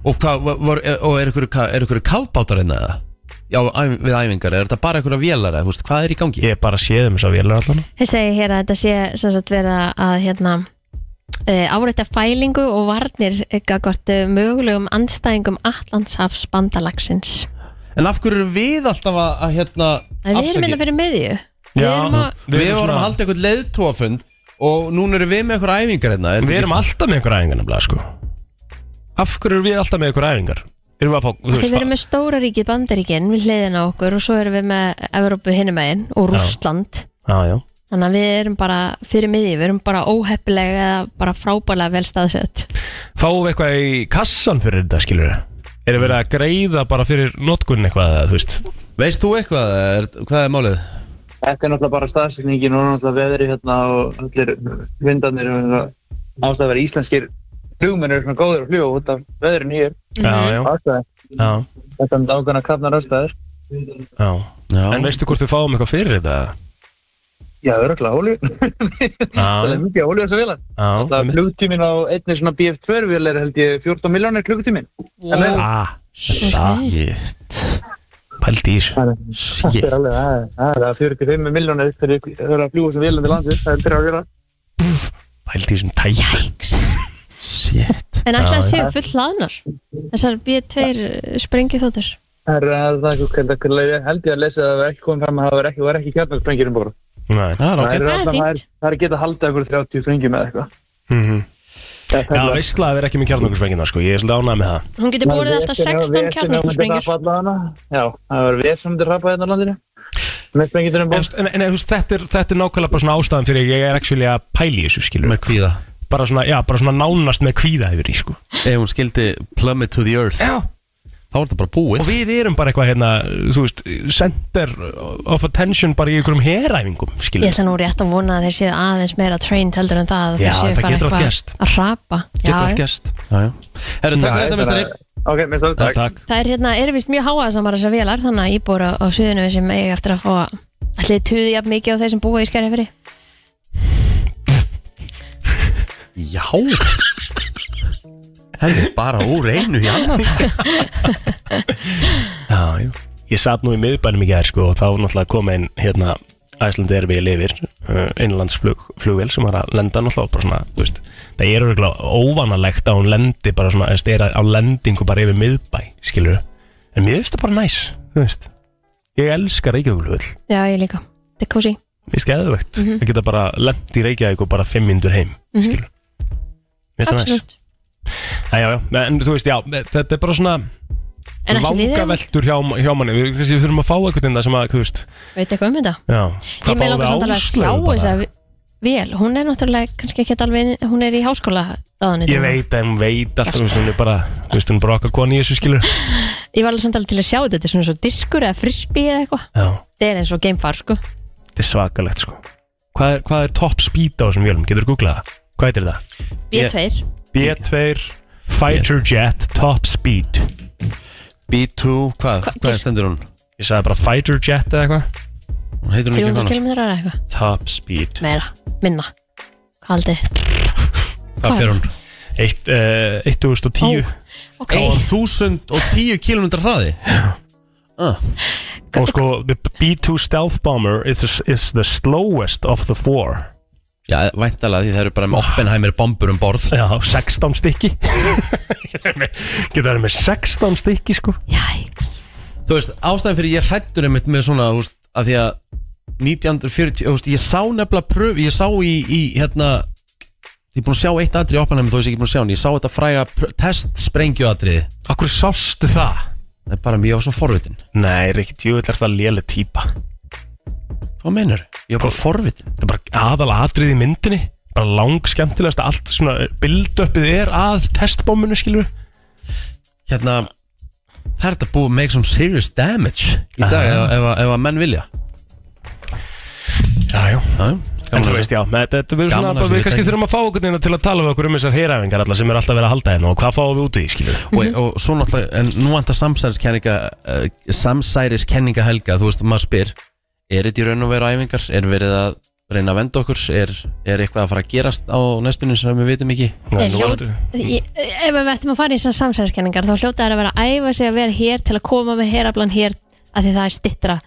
[SPEAKER 2] og, hvað, var, og er einhverju ka- er einhverju kafbátar hérna eða já, æf- við æfingar, er þetta bara einhverja vélar eða, þú veist, hvað er í gangi?
[SPEAKER 4] Ég er bara séðum þess að vélar allan
[SPEAKER 3] Þið segir hér að þetta sé sem sagt verið að hérna e, áreita fælingu og varnir gagvart mögulegum andstæðingum Allandshafs bandalagsins
[SPEAKER 2] en af hverju erum við alltaf að, að hérna,
[SPEAKER 3] En við erum
[SPEAKER 2] afsakið?
[SPEAKER 3] hérna fyrir miðju Við
[SPEAKER 4] Já.
[SPEAKER 3] erum að
[SPEAKER 2] Við,
[SPEAKER 4] erum
[SPEAKER 2] vorum
[SPEAKER 4] svona-
[SPEAKER 2] að halda eitthvað leiðtóafund og núna erum við með eitthvað æfingar hérna
[SPEAKER 4] Við erum alltaf með einhverja æfingar nefnilega sko Af hverju erum við alltaf með einhverja æfingar? Erum við að fá, þú
[SPEAKER 3] Þegar við erum með stóra ríkið bandaríkin við hliðin á okkur og svo erum við með Evrópu hinumegin og Rússland
[SPEAKER 4] Já, já
[SPEAKER 3] Þannig að við erum bara fyrir miðju Við erum bara óheppilega eða bara frábælega vel staðsett
[SPEAKER 4] Fáum við eitthvað í kassan fyrir þetta skilur við? Erum við
[SPEAKER 3] Mhm.
[SPEAKER 4] að greiða bara fyrir notkunn eitthvað, eða, þú veist
[SPEAKER 2] Veist þú eitthvað, er, hvað er málið?
[SPEAKER 6] þetta er náttúrulega bara staðsetningin og náttúrulega veðri hérna og allir vindarnir og ástæða að vera íslenskir flugmenn eru svona góðir að fljúa út af veðrin hér
[SPEAKER 4] Já, já,
[SPEAKER 6] ástæða,
[SPEAKER 4] já,
[SPEAKER 6] þetta er ákveðna krafnar ástæður
[SPEAKER 4] já.
[SPEAKER 2] Já.
[SPEAKER 4] En veistu hvort við fáum eitthvað fyrir þetta?
[SPEAKER 6] já, örgulega ólíu það
[SPEAKER 4] Já,
[SPEAKER 6] er mikið ólíu þessu vélan
[SPEAKER 4] já,
[SPEAKER 6] það flugtímin á einni svona BF2 vél er held ég 14 miljónir klukkutímin wow.
[SPEAKER 4] Ah, shit Pældi í þessu
[SPEAKER 6] það
[SPEAKER 4] Ah, Shit
[SPEAKER 6] er alveg, það er- það er 45 miljónir fyrir fyrir að fljúa sem vélan til landsins það er fyrir að gera
[SPEAKER 4] Pældi í þessum tækjum Shit
[SPEAKER 3] En
[SPEAKER 4] Já,
[SPEAKER 3] alltaf
[SPEAKER 4] já.
[SPEAKER 3] séu full hlaðnar Þessar B2 sprengið þóttur
[SPEAKER 6] Það er það er held að- held ég að lesa að það var ekki komið fram að það var ekki, var ekki kjarnarsprengjur um borð.
[SPEAKER 4] Nei
[SPEAKER 2] Það er
[SPEAKER 6] Það
[SPEAKER 2] ágætt
[SPEAKER 6] er
[SPEAKER 3] Það er
[SPEAKER 6] alltaf,
[SPEAKER 3] fínt.
[SPEAKER 6] það er, það er geta að halda ykkur 30 sprengjum eða eitthvað.
[SPEAKER 4] Mhm.
[SPEAKER 6] Þetta
[SPEAKER 4] Já,
[SPEAKER 6] er-
[SPEAKER 4] veistla að við erum ekki með kjarnokurspenginar sko Ég er svolítið ánægð með það
[SPEAKER 3] Hún getur borið
[SPEAKER 6] Maður
[SPEAKER 3] alltaf
[SPEAKER 6] vesen-
[SPEAKER 3] 16
[SPEAKER 6] vesen myndi
[SPEAKER 3] kjarnorkusprengjur
[SPEAKER 6] hrapa alla hana. Já, það var við sem myndi rapa hérna á landinu. Með sprengjur um
[SPEAKER 4] En,
[SPEAKER 6] borð.
[SPEAKER 4] en, en þú veist, þetta, er, þetta er nákvæmlega bara svona ástæðan fyrir að ég er actually að pæli þessu skilur
[SPEAKER 2] Með kvíða
[SPEAKER 4] bara, svona, já, bara svona nánast með kvíða yfir því sko
[SPEAKER 2] Ef hún skildi plummet to the earth
[SPEAKER 4] Já
[SPEAKER 2] Þá er þetta bara búið
[SPEAKER 4] Og við erum bara eitthvað hérna, þú veist, center of attention bara í einhverjum heræfingum,
[SPEAKER 3] Ég
[SPEAKER 4] skilur
[SPEAKER 3] ætla nú rétt að vona að þeir séu aðeins meira trained heldur en það að
[SPEAKER 4] Já,
[SPEAKER 3] þeir séu
[SPEAKER 4] þetta
[SPEAKER 3] fara
[SPEAKER 4] getur allt
[SPEAKER 3] eitthvað
[SPEAKER 4] gerst.
[SPEAKER 3] að rapa
[SPEAKER 4] Getur
[SPEAKER 3] Já,
[SPEAKER 4] allt gæst
[SPEAKER 2] Já, já. Herru, takk fyrir þetta, mistari
[SPEAKER 6] Ok, með stóð, takk.
[SPEAKER 4] Takk
[SPEAKER 3] Það er hérna, er vist mjög háaðsamar þessar vélar þannig að íbúar á, á suðinu sem eiga eftir að fá allir tuði jafn mikið á þeir sem búa í skæri fyrir
[SPEAKER 2] Já Herru, bara úr einu í annan
[SPEAKER 4] Já, já. Ég satt nú í miðbænum í gær sko og þá náttúrulega kom einn hérna Æslandi er við lifir einlandsflugvél eh, sem var að lenda náttúrulega bara svona, þú veist, það er örgulega óvanalegt að hún lendi bara svona, þú veist, er á lendingu bara yfir miðbæ, skilur en mér finnst það bara næs, þú veist ég elska Reykjavíkulhull,
[SPEAKER 3] Já, ég líka, þetta er kósi
[SPEAKER 4] ég skeðu veikt mm að geta bara lendi í Reykjavík og bara fimm mindur heim,
[SPEAKER 3] Mhm.
[SPEAKER 4] skilur mér finnst það næs,
[SPEAKER 3] Absolutt
[SPEAKER 4] Æ, já, já, en þú veist, já, þetta er bara svona
[SPEAKER 3] En ætli við erum-
[SPEAKER 4] vangaveltur hjá, hjá manni við, kannski við þurfum að fá eitthvað inn það sem að, þú veist
[SPEAKER 3] Veit eitthvað um þetta?
[SPEAKER 4] Já,
[SPEAKER 3] Ég með langar samt alveg að slá
[SPEAKER 4] Áslaugu
[SPEAKER 3] þess að vel Hún er náttúrulega kannski ekki alveg Hún er í háskóla ráðanir
[SPEAKER 4] Ég veit, en veit alltaf, þú veist, hún er bara, þú veist, hún er bara okkar koni í þessu skilur
[SPEAKER 3] Ég var alveg samt alveg til að sjá þetta Þetta er svona svo diskur eða frisbee eða eitthvað
[SPEAKER 4] Já,
[SPEAKER 3] Þetta er eins og gamefar sko
[SPEAKER 4] þetta er svakalegt, sko Hvað er, hvað er top speed á þessum vélum? Getur þú googlað það? Hvað heitir það?
[SPEAKER 2] Ég-
[SPEAKER 3] B2
[SPEAKER 4] B2 Fighter Jet Top Speed
[SPEAKER 2] B2, hvað,
[SPEAKER 3] Hva-
[SPEAKER 2] hvað stendur hún?
[SPEAKER 4] Ég sagði bara Fighter Jet eða eitthvað
[SPEAKER 2] Hún heitir hún ekki
[SPEAKER 3] 300
[SPEAKER 2] hana
[SPEAKER 3] km eða eitthvað
[SPEAKER 4] Top Speed
[SPEAKER 3] Meira, minna Hvað haldið? þið?
[SPEAKER 2] Hvað fer hún?
[SPEAKER 4] Eitt, uh, 1010
[SPEAKER 3] Ok,
[SPEAKER 2] 1010 km hraði ah,
[SPEAKER 4] Og sko, the B2 Stealth Bomber is the, is the slowest of the four
[SPEAKER 2] Já, væntalega því það eru bara með Oppenheimer bombur um borð
[SPEAKER 4] Já, 16 stykki Getur það með 16 stykki, sko
[SPEAKER 3] jæks
[SPEAKER 2] Þú veist, ástæðan fyrir ég hrættur einmitt með svona, þú veist, að því að 1940, þú veist, ég sá nefnilega pröf, ég sá í, í hérna ég er búin að sjá eitt atrið í Oppenheimer þó ég sé ekki búin að sjá hann, ég sá þetta fræga pr- testsprengju atrið,
[SPEAKER 4] Akkur sástu það?
[SPEAKER 2] það er bara mjög á svo forvitin
[SPEAKER 4] Nei, Rikki, djúvill er það léleg típa Það
[SPEAKER 2] Hvað meinar? Ég er bara forvitin
[SPEAKER 4] er bara aðal atrið í myndinni Bara lang skemmtilegast Allt svona eh, build-upið er að testbóminu, skilur
[SPEAKER 2] Hérna, það er þetta búið að make some serious damage í dag ef, ef, að- ef að menn vilja
[SPEAKER 4] Já, já
[SPEAKER 2] Já,
[SPEAKER 4] En þú veist, já, með- þetta verður svona
[SPEAKER 2] Gaman að
[SPEAKER 4] bara,
[SPEAKER 2] þessu
[SPEAKER 4] Við kannski
[SPEAKER 2] tæki.
[SPEAKER 4] þurfum að fá okkur neina til að tala við okkur um þessar heyræfingar Alla sem er alltaf verið að halda hérna Og hvað fáum við út í, skilur
[SPEAKER 2] og, og svo náttúrulega, en nú vantar samsæriskenninga uh, samsæriskenninga helga, þú veist, maður spyr er þetta í raun og veru æfingar, er verið að reyna að venda okkur, er, er eitthvað að fara að gerast á næstunni sem við vitum ekki
[SPEAKER 4] Nei,
[SPEAKER 3] Ég
[SPEAKER 4] nú
[SPEAKER 3] hljót-
[SPEAKER 4] ertu-
[SPEAKER 3] Ég- Ef við ættum að fara í þessar samsæðiskenningar þá hljóta þær að vera að æfa sig að vera hér til að koma með herablan hér að því það er stittra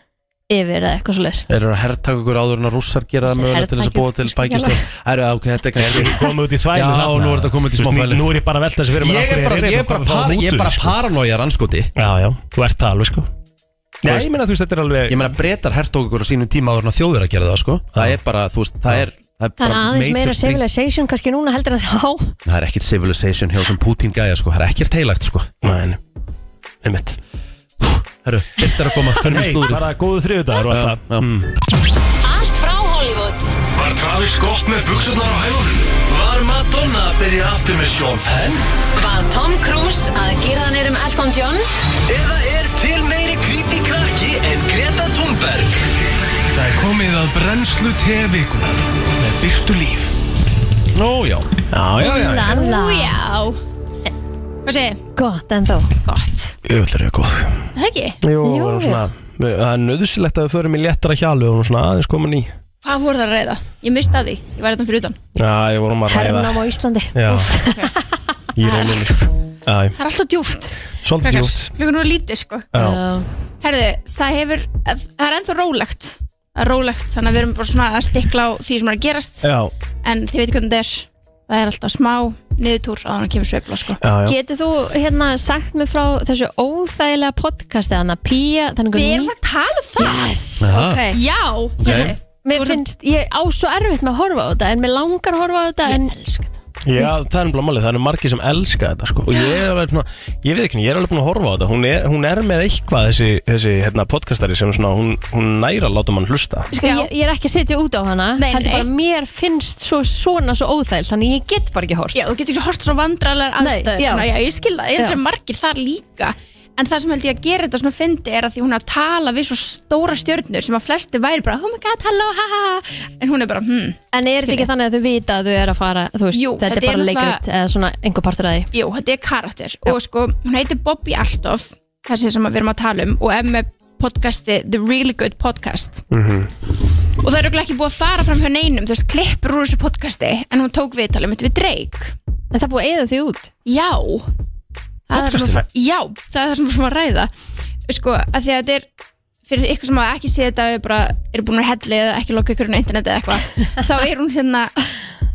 [SPEAKER 3] yfir eða eitthvað svo leis
[SPEAKER 2] er það að herrtaka okkur áður en að rússar gera það
[SPEAKER 3] Þessi
[SPEAKER 2] mögulega til þess að
[SPEAKER 3] hertaki-
[SPEAKER 2] búa til bækistur Æru, ok, þetta er kannski
[SPEAKER 4] Komum út í þvælu
[SPEAKER 2] Já,
[SPEAKER 4] þarna.
[SPEAKER 2] nú er þetta komið út í
[SPEAKER 4] Þú veist,
[SPEAKER 2] smá þvælu.
[SPEAKER 4] Nú er ég bara að velta þessu fyrir mér,
[SPEAKER 2] ég
[SPEAKER 4] af hverju
[SPEAKER 2] er bara,
[SPEAKER 4] hérna
[SPEAKER 2] ég er
[SPEAKER 4] hvað
[SPEAKER 2] bara,
[SPEAKER 4] við fáum
[SPEAKER 2] par,
[SPEAKER 4] út
[SPEAKER 2] ég
[SPEAKER 4] úr
[SPEAKER 2] er bara
[SPEAKER 4] þessu, sko.
[SPEAKER 2] paranojar anskoti
[SPEAKER 4] Já, já, þú ert það alveg, sko Já, ég meina, þú veist, þetta er alveg
[SPEAKER 2] ég meina breytar herrtaka okkur á sínum tíma áður en að þjóður að gera það, sko það er bara, þú veist, það er það er
[SPEAKER 3] Þannig
[SPEAKER 2] bara
[SPEAKER 3] aðeins
[SPEAKER 2] major
[SPEAKER 3] meira
[SPEAKER 2] spring-
[SPEAKER 3] civilization kannski núna heldur að þá
[SPEAKER 2] það er ekkert civilization hjá sem Putin gæja, sko, það er ekkert heilagt, sko
[SPEAKER 4] Nei, nei. einmitt
[SPEAKER 2] Herru, eitt er að koma, fyrir
[SPEAKER 4] Nei, bara góðu þriðudagur og alltaf
[SPEAKER 7] Allt frá Hollywood
[SPEAKER 1] Var Travis gott með buksurnar á hælunum? Var Madonna að byrja aftur með Sean Penn?
[SPEAKER 7] Var Tom Cruise að gera hann erum Elton John
[SPEAKER 1] Eða er til meiri creepy krakki en Greta Thunberg? Það er komið að brennslu tevikunar með byrtu líf
[SPEAKER 2] Ó, já
[SPEAKER 4] Já, já, já, já.
[SPEAKER 3] Lala,
[SPEAKER 8] já Hvað segir?
[SPEAKER 3] gott en þó
[SPEAKER 8] Gott
[SPEAKER 4] Öfðlar er góð
[SPEAKER 8] Það ekki?
[SPEAKER 4] Jú,
[SPEAKER 3] Jú,
[SPEAKER 4] við erum
[SPEAKER 3] já.
[SPEAKER 4] svona við- Það er nöðusilegt að við förum í léttara hjalu og erum svona aðeins komin í
[SPEAKER 8] Hvað voru það að reyða? Ég misti að því Ég var þetta fyrir utan
[SPEAKER 4] Já, ég vorum að ræða
[SPEAKER 3] Hernám á Íslandi
[SPEAKER 4] Já, ég reynin Já,
[SPEAKER 8] Það er alltaf djúft
[SPEAKER 4] svolítið djúpt
[SPEAKER 9] Klukkan var lítið sko
[SPEAKER 4] Já,
[SPEAKER 8] Herðu, það hefur Það er ennþá rólegt Það er rólegt Þannig að við erum bara svona að stikla á því sem er að gerast
[SPEAKER 4] já,
[SPEAKER 8] En þið veitir hvernig það er Það er alltaf smá niðurtúr að hann kemur sveifla sko.
[SPEAKER 4] já, já.
[SPEAKER 3] Getur þú hérna sagt mér frá þessu óþægilega podcasti þannig að Pía þannig
[SPEAKER 8] Við erum að tala um það
[SPEAKER 3] Yes,
[SPEAKER 2] Aha.
[SPEAKER 3] ok
[SPEAKER 8] Já okay.
[SPEAKER 3] Mér finnst, ég á svo erfitt með að horfa á þetta en mér langar að horfa á þetta en
[SPEAKER 4] já það er bara málið, það eru margir sem elska þetta sko. og ég er alveg svona, ég veit ekki, ég er alveg búin að horfa á þetta hún er, hún er með eitthvað þessi, þessi hérna, podcastari sem svona, hún, hún næra að láta mann hlusta
[SPEAKER 3] sko,
[SPEAKER 8] Já.
[SPEAKER 3] ég, ég er ekki að setja út á hana
[SPEAKER 8] Nei,
[SPEAKER 3] heldur
[SPEAKER 8] nei.
[SPEAKER 3] bara mér finnst svo, svona svo óþægild þannig ég get bara ekki hort
[SPEAKER 8] Já, þú getur ekki hort svona vandrarlegar
[SPEAKER 3] Nei,
[SPEAKER 8] aðstæður
[SPEAKER 3] já.
[SPEAKER 8] svona, já, ég skil það, ég held
[SPEAKER 3] Já.
[SPEAKER 8] sem margir þar líka en það sem held ég að gera þetta svona fyndi er að því hún er að tala við svo stóra stjörnur sem að flesti væri bara, oh my god, hello, ha ha ha en hún er bara, hmm,
[SPEAKER 3] En er þetta
[SPEAKER 8] Skil ég.
[SPEAKER 3] ekki þannig að þau vita að þau er að fara þú veist,
[SPEAKER 8] Jú,
[SPEAKER 3] þetta
[SPEAKER 8] þetta
[SPEAKER 3] er
[SPEAKER 8] er
[SPEAKER 3] bara leikrit
[SPEAKER 8] náttúrulega-
[SPEAKER 3] eða svona einhver partur að því
[SPEAKER 8] jú, þetta er karakter og sko, hún heitir Bobby Altoff þessi sem að við erum að tala um og er með podcasti The Really Good Podcast og það er örugglega ekki búið að fara fram hjá neinum, þú veist, klippur úr þessu podcasti en hún tók viðtalið mitt við Drake
[SPEAKER 3] En það er búið að eyða því út
[SPEAKER 8] Já það er það sem að- Já, það er það sem við erum að ræða Sko, að því að þetta er fyrir ykkur sem hafa ekki séð þetta og er bara eru búin að helli eða ekki loka ykkur á interneti eða eitthvað þá er hún hérna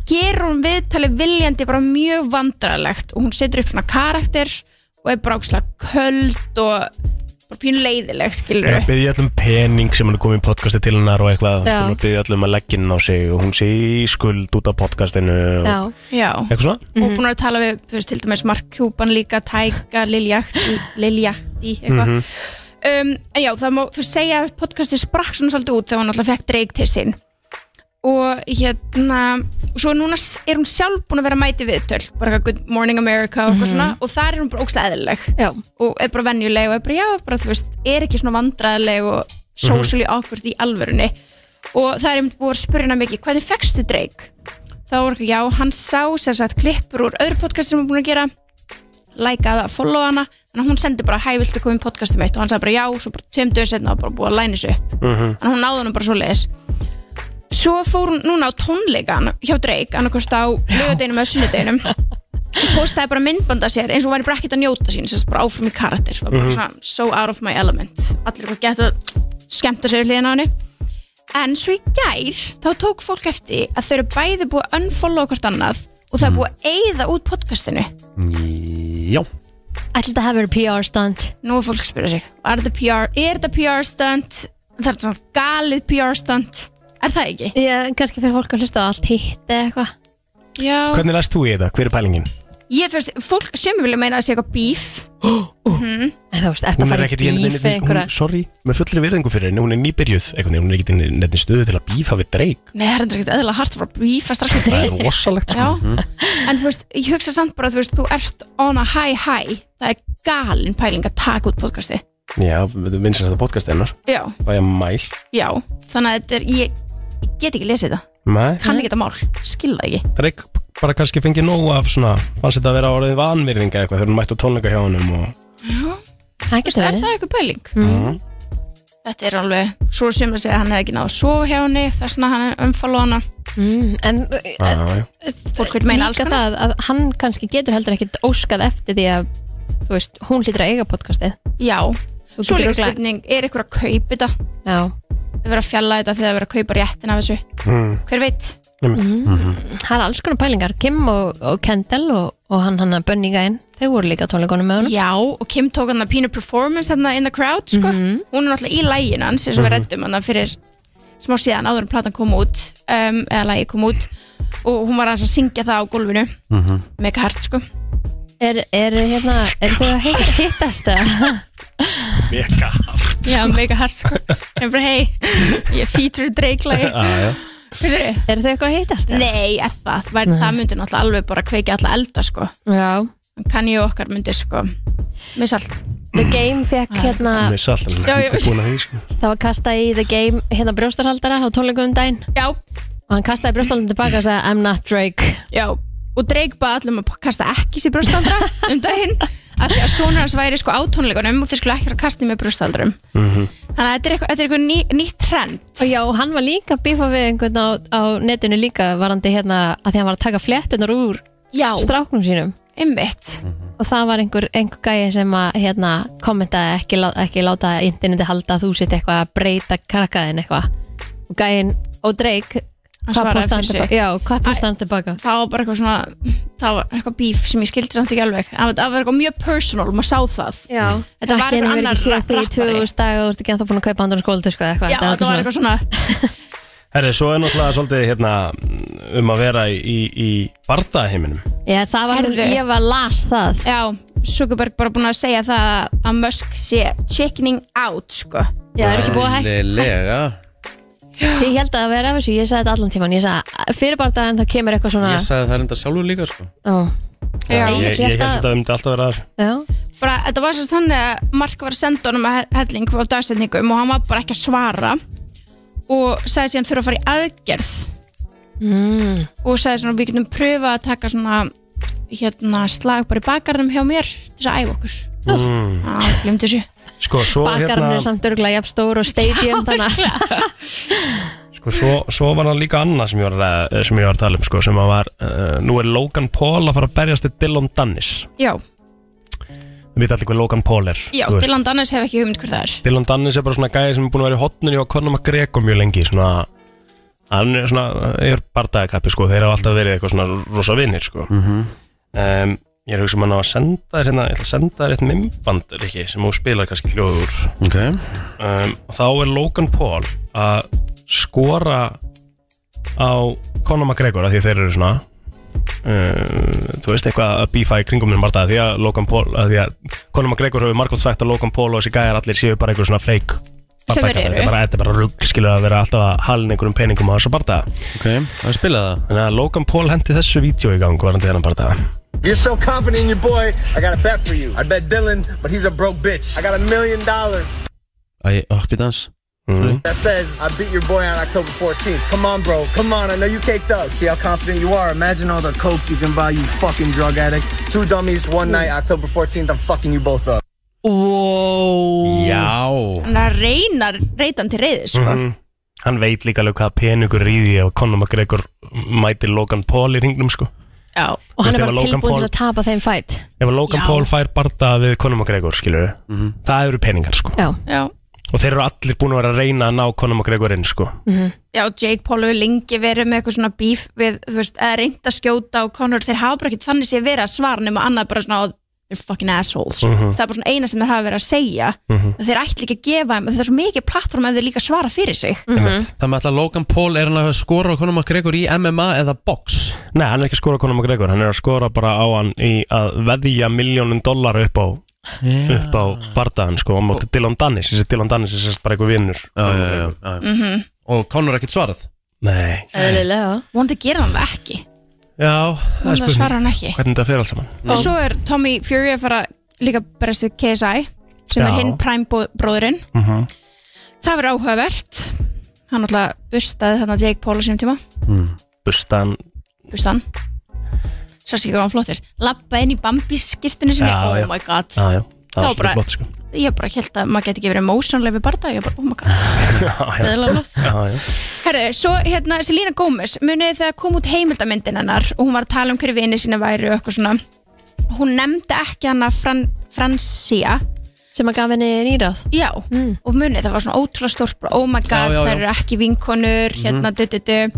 [SPEAKER 8] gerur hún viðtalið viljandi bara mjög vandrarlegt og hún setur upp svona karakter og er bara ákslega köld og bara pínu leiðileg skilur
[SPEAKER 4] Ég byrði allum pening sem hann er komið í podcasti til hennar og eitthvað,
[SPEAKER 3] Já.
[SPEAKER 4] hún byrði allum að leggja inn á sig og hún sé í skuld út af podcastinu og
[SPEAKER 3] Já,
[SPEAKER 8] Já
[SPEAKER 4] eitthvað svona
[SPEAKER 8] og búin að tala við þú veist, til dæmis Mark Cuban líka, Tæka, Liljakti Liljakti, eitthvað um, en já, það má fyrir segja að podcastið sprakk svona svolítið út þegar hún alltaf fekk dreik til sín og hérna og svo núna s- er hún sjálf búin að vera mæti viðtöl, bara eitthvað Good Morning America og, mm svona, og þar er hún bara ógstlega eðlileg
[SPEAKER 3] já,
[SPEAKER 8] og er bara venjuleg og er bara, já, bara, þú veist, er ekki svona vandræðileg og socially awkward í alvörunni og það er einmitt búið að spyrja hana mikið, hvernig fegstu Drake? Þá var ekki, já, hann sá sem sagt klippur úr öðru podcast sem hann er búin að gera lækað að followa hana þannig að hún sendi bara, hæ, viltu koma í podcastið mitt og hann sagði bara, já, svo bara tveim döðu setna og bara búið að læna þessu upp þannig að hún náði hann bara svo leiðis svo fór hún núna á tónleikan hjá Drake, annarkvist á lögadeinum eða sunnudeginum postaði bara myndbanda sér eins og væri bara ekkert að njóta sín sem sagt bara áfram í karakter var bara svona so out of my element allir bara geta skemmta sér við hliðina á henni en svo í gær þá tók fólk eftir að þau eru bæði búið að unfollow hvort annað og það er búið að eyða út podcastinu
[SPEAKER 4] Mm.
[SPEAKER 2] Já
[SPEAKER 3] ætli þetta hafi verið PR stand
[SPEAKER 8] nú er fólk að spyrja sig er þetta PR, er þetta PR stunt það er svona galið PR stunt er það ekki?
[SPEAKER 3] ég, Kannski fyrir fólk að hlusta á allt hitt eða eitthvað
[SPEAKER 8] Já.
[SPEAKER 4] Hvernig læst þú í þetta? Hver er pælingin?
[SPEAKER 8] ég fyrst, fólk sem vilja meina að það sé eitthvað bíf
[SPEAKER 3] En þú veist, ert að
[SPEAKER 4] Hún er
[SPEAKER 3] fara í
[SPEAKER 4] ekkert í
[SPEAKER 3] bíf eða
[SPEAKER 4] einhverja
[SPEAKER 3] einhverja
[SPEAKER 4] Sorry, með fullri virðingu fyrir henni, hún er nýbyrjuð einhvern veginn, hún er ekkert í nefnir stöðu til að bífa við dreik
[SPEAKER 8] nei, það er ekkert eðla hart að fara að bífa strax að
[SPEAKER 4] Það
[SPEAKER 8] dreif
[SPEAKER 4] er rosalegt sko.
[SPEAKER 8] Já, en þú veist, ég hugsa samt bara þú veist, þú ert on a high high það er galin pæling að taka út podcasti
[SPEAKER 4] Já, við vinsum þetta podcast hennar
[SPEAKER 8] já,
[SPEAKER 4] Bæja mæl
[SPEAKER 8] já, þannig að þetta er ég ég get ekki lesið þetta,
[SPEAKER 4] Nei,
[SPEAKER 8] kann ekki þetta mál skil það ekki,
[SPEAKER 4] dreik bara kannski fengið nóg af svona Fannst þetta að vera orðið vanvirðinga eitthvað Þegar hún mætt á tónleika hjá honum og
[SPEAKER 3] Það getur
[SPEAKER 8] er
[SPEAKER 3] verið
[SPEAKER 8] það eitthvað pæling? Þetta er alveg, svo sem að segja að hann hefði ekki náð að sofa hjá henni, þess vegna hann umfalla hana
[SPEAKER 3] mm, En uh,
[SPEAKER 4] Já, já.
[SPEAKER 8] fólk vil meina alls
[SPEAKER 3] líka
[SPEAKER 8] konar.
[SPEAKER 3] það að hann kannski getur heldur ekkit óskað eftir því að þú veist, hún hlýtur að eiga podcastið
[SPEAKER 8] Já,
[SPEAKER 3] Þú
[SPEAKER 8] svo
[SPEAKER 3] getur
[SPEAKER 8] líka
[SPEAKER 3] örugglega-
[SPEAKER 8] spurning, er ykkur að kaupa þetta?
[SPEAKER 3] Já,
[SPEAKER 8] Það verður að fjalla þetta þegar það verður að kaupa réttin af þessu
[SPEAKER 4] Mm.
[SPEAKER 8] Hver veit?
[SPEAKER 3] það er alls konar pælingar Kim og, og Kendall og, og hann hann að Bunny Gain, þau voru líka á tónleikunum með honum
[SPEAKER 8] Já, og Kim tók hann að pínu performance hann in the crowd, sko. Hún er náttúrulega í lægin hans, eins og við rættum hann fyrir smá síðan áður en platan kom út, um, eða lægi kom út, og hún var aðeins að syngja það á gólfinu, mega hart, sko.
[SPEAKER 3] Er, er, hérna, er þau að heita hittast eða?
[SPEAKER 4] Mega hart
[SPEAKER 8] Já, mega hart, sko. Ég bara, hei, ég feature dreiklægi.
[SPEAKER 4] já.
[SPEAKER 8] Hvað sér þið?
[SPEAKER 3] Er þau eitthvað að hittast eða?
[SPEAKER 8] Nei, er það, það, væri- það myndi náttúrulega alveg bara kveiki alla elda, sko.
[SPEAKER 3] Já,
[SPEAKER 8] Kann ég okkar myndi, sko, missa allt.
[SPEAKER 3] The Game fekk hérna
[SPEAKER 4] missa alltaf
[SPEAKER 8] Já, já.
[SPEAKER 4] búin að því sko.
[SPEAKER 3] það var kastað í The Game hérna brjóstarhaldara á tónleikum um daginn
[SPEAKER 8] Já,
[SPEAKER 3] og hann kastaði brjóstarhaldarinn tilbaka og sagði I'm not Drake
[SPEAKER 8] já Og Drake baði allum að kasta ekki sér brjóstaldra um daginn af því að sonur hans væri sko á tónleikunum og þeir skulle ekki vera að kasta með brjóstaldurum Þannig að þetta er eitthvað, þetta er eitthvað ný, nýtt trend
[SPEAKER 3] og já, og hann var líka að bífa við einhvern á, á netinu líka varandi hérna að því hann var að taka flettunar úr
[SPEAKER 8] Já,
[SPEAKER 3] stráknum sínum
[SPEAKER 8] einmitt
[SPEAKER 3] og það var einhver, einhver gæi sem að hérna, kommentaði ekki, lá- ekki láta interneti halda að þú sitt eitthvað að breyta krakkaðin eitthvað og gæin og Drake
[SPEAKER 8] Hann
[SPEAKER 3] hvað
[SPEAKER 8] svaraði
[SPEAKER 3] postaði hann
[SPEAKER 8] fyrir sig.
[SPEAKER 3] tilbaka? Já, hvað postaði hann tilbaka?
[SPEAKER 8] Það var bara eitthvað svona, það var eitthvað bíf sem ég skildi samt ekki alveg Það var- það var eitthvað mjög personal, maður sá það
[SPEAKER 3] Já,
[SPEAKER 8] Þetta var
[SPEAKER 3] Krakkin
[SPEAKER 8] einhver
[SPEAKER 3] hefur
[SPEAKER 8] annar
[SPEAKER 3] ekki séð því í
[SPEAKER 8] rappari.
[SPEAKER 3] 2000 daga og þú ert ekki ennþá búin að kaupa andan skólatösku eða sko, eitthvað
[SPEAKER 8] Já, þetta var
[SPEAKER 3] svona-
[SPEAKER 8] eitthvað svona
[SPEAKER 4] Herri, svo er náttúrulega svolítið hérna um að vera í, í bardaheiminum
[SPEAKER 3] Já, það var,
[SPEAKER 8] Herðu.
[SPEAKER 3] ég var las það
[SPEAKER 8] Já, Zuckerberg bara búin að segja það að Musk sé chickening out sko.
[SPEAKER 3] Já, það er ekki búið að hægt
[SPEAKER 2] Eðlilega
[SPEAKER 3] Ég held að það vera af þessu, ég sagði þetta allan tíman Ég sagði, fyrir bara daginn þá kemur eitthvað svona
[SPEAKER 2] Ég sagði það enda sjálfur líka sko
[SPEAKER 3] Ó,
[SPEAKER 8] Já.
[SPEAKER 3] Ég
[SPEAKER 4] Ég, ég held
[SPEAKER 3] held
[SPEAKER 4] að
[SPEAKER 3] að-
[SPEAKER 4] þetta myndi alltaf vera að þessu
[SPEAKER 3] Já,
[SPEAKER 8] Bara, þetta var sérst þannig að Mark var að senda honum að helling á dagsetningum og hann var bara ekki að svara og sagði síðan þurfa að fara í aðgerð
[SPEAKER 3] mm,
[SPEAKER 8] og sagði svona við getum pröfa að taka svona hérna slag bara í bakarnum hjá mér til þess að æfa okkur mm. Já, glemt þessu
[SPEAKER 4] Sko, svo,
[SPEAKER 3] Bakarinn er
[SPEAKER 4] hérna,
[SPEAKER 3] samt örgulega jafn stór og stadium Þannig að
[SPEAKER 4] sko, svo, svo var það líka annað sem ég var að, ræða- sem ég var að tala um sko, sem að var, uh, nú er Logan Paul að fara að berjast við Dylan Dennis
[SPEAKER 8] Já,
[SPEAKER 4] Við veit allir hvað Logan Paul er
[SPEAKER 8] já,
[SPEAKER 4] þú veist.
[SPEAKER 8] Dylan Dannes hef ekki hugmynd hver það er
[SPEAKER 4] Dylan Dennis er bara svona gæði sem er búin að vera í hotninu hjá Conor McGregor mjög lengi svona, hann er svona eh, er bardagakappi sko, þeir hafa alltaf verið eitthvað svona rosa vinnir sko. um, ég er að hugsa um hann á að senda þér hérna, ég ætla að senda þér eitt mimband Riki, sem hún spilaði kannski hljóður úr
[SPEAKER 2] Ok
[SPEAKER 4] um, og þá er Logan Paul að skora á Conor McGregor af því að þeir eru svona Uh, þú veist eitthvað að bífa í kringum minn barða því að Logan Paul að því að Conor McGregor hefur margótt sagt að Logan Paul og þessi gæjar allir séu bara einhver svona fake
[SPEAKER 8] Sem þeir
[SPEAKER 4] bardagarar.
[SPEAKER 8] eru.
[SPEAKER 4] þetta er bara, þetta er bara rugg skilur að vera alltaf að halin einhverjum peningum á þessu barða
[SPEAKER 2] Ok, það spilaði það
[SPEAKER 4] þannig að Logan Paul hendi þessu vídeo í gang varandi þennan barða
[SPEAKER 9] You're so confident in your boy, I got a bet for you. I bet Dylan, but he's a broke bitch. I got a million dollars
[SPEAKER 2] Æ, oppi dans
[SPEAKER 4] mm.
[SPEAKER 9] that says I beat your boy on October 14th. Come on, bro. Come on, I know you caked up. See how confident you are. Imagine all the coke you can buy, you fucking drug addict. Two dummies, one night, October 14th, I'm fucking you both up.
[SPEAKER 3] Wow
[SPEAKER 2] Já
[SPEAKER 8] Hann er að reyna reytan til reyði sko.
[SPEAKER 4] Mhm. hann veit líka alveg hvað peningur er í því að Conor McGregor mæti Logan Paul í ringnum sko
[SPEAKER 8] Já,
[SPEAKER 3] Og hann er
[SPEAKER 4] Veistu, ef að
[SPEAKER 3] bara
[SPEAKER 4] Logan
[SPEAKER 3] tilbúin
[SPEAKER 4] Paul-
[SPEAKER 3] til að tapa þeim fætt
[SPEAKER 4] ef að Logan
[SPEAKER 8] Já.
[SPEAKER 4] Paul fær barða við Conor McGregor skilur
[SPEAKER 2] Mhm.
[SPEAKER 4] það eru peningar sko
[SPEAKER 3] Já,
[SPEAKER 8] já
[SPEAKER 4] og þeir eru allir búin að vera að reyna að ná Conor McGregor inn sko
[SPEAKER 8] já, Jake Paul hefur lengi verið með eitthvað svona bíf við, þú veist, að reynda að skjóta og Conor, þeir hafa bara ekkert þannig sé verið að svara nema annað bara svona, "Oh, they're fucking assholes
[SPEAKER 4] Mhm.
[SPEAKER 8] það er bara svona eina sem þeir hafa verið að segja þeir ætli ekki að gefa þeim, þetta er svo mikið plattform ef þeir líka svara fyrir sig
[SPEAKER 2] Það með alltaf Logan Paul er hann að skora á konum að Gregor í MMA eða box
[SPEAKER 4] Nei, hann er ekki að skora Conor McGregor hann er að skora bara á hann í að veðja miljónum dollara upp á upp á bardaðan sko á móti Dylan Dennis, þessi Dylan Dennis er sérst bara einhver vinnur
[SPEAKER 2] Já, já, já, já.
[SPEAKER 3] Mhm.
[SPEAKER 2] Og Conor ekkert svarað
[SPEAKER 4] Nei,
[SPEAKER 3] eðlilega
[SPEAKER 8] vonandi gera hann það ekki
[SPEAKER 4] já, það er
[SPEAKER 8] vonandi að svara
[SPEAKER 4] spurning
[SPEAKER 8] hann ekki
[SPEAKER 4] hvernig þetta fer allt saman
[SPEAKER 8] og svo er Tommy Fury að fara líka bara þessu KSI sem er
[SPEAKER 4] Já.
[SPEAKER 8] hinn prime bó- bróðurinn
[SPEAKER 4] Mhm.
[SPEAKER 8] það verður áhugavert hann alltaf bustaði þannig Jake Paul á sínum tíma
[SPEAKER 4] Bustan,
[SPEAKER 8] veist hann svo sé ekki hvað hann flottir lappa inn í Bambi skirtinu sinni
[SPEAKER 4] Já,
[SPEAKER 8] oh
[SPEAKER 4] já.
[SPEAKER 8] my god
[SPEAKER 4] já, já, það
[SPEAKER 8] Þá
[SPEAKER 4] var
[SPEAKER 8] bara-
[SPEAKER 4] svolítið flott sko
[SPEAKER 8] ég bara held að maður geti ekki verið emotional yfir barða ég bara oh my god
[SPEAKER 4] Já, já, já, já.
[SPEAKER 8] herru svo hérna Selena Gomez munið þegar kom út heimildamyndin hennar og hún var að tala um hverju vini sína væri og eitthvað svona hún nefndi ekki hana Fran Francia
[SPEAKER 3] Sem að gaf henni nýráð
[SPEAKER 8] já og munið það var svona ótrúlega stórt bara, oh my god
[SPEAKER 2] já, Mhm. já.
[SPEAKER 8] það eru ekki vinkonur hérna du du du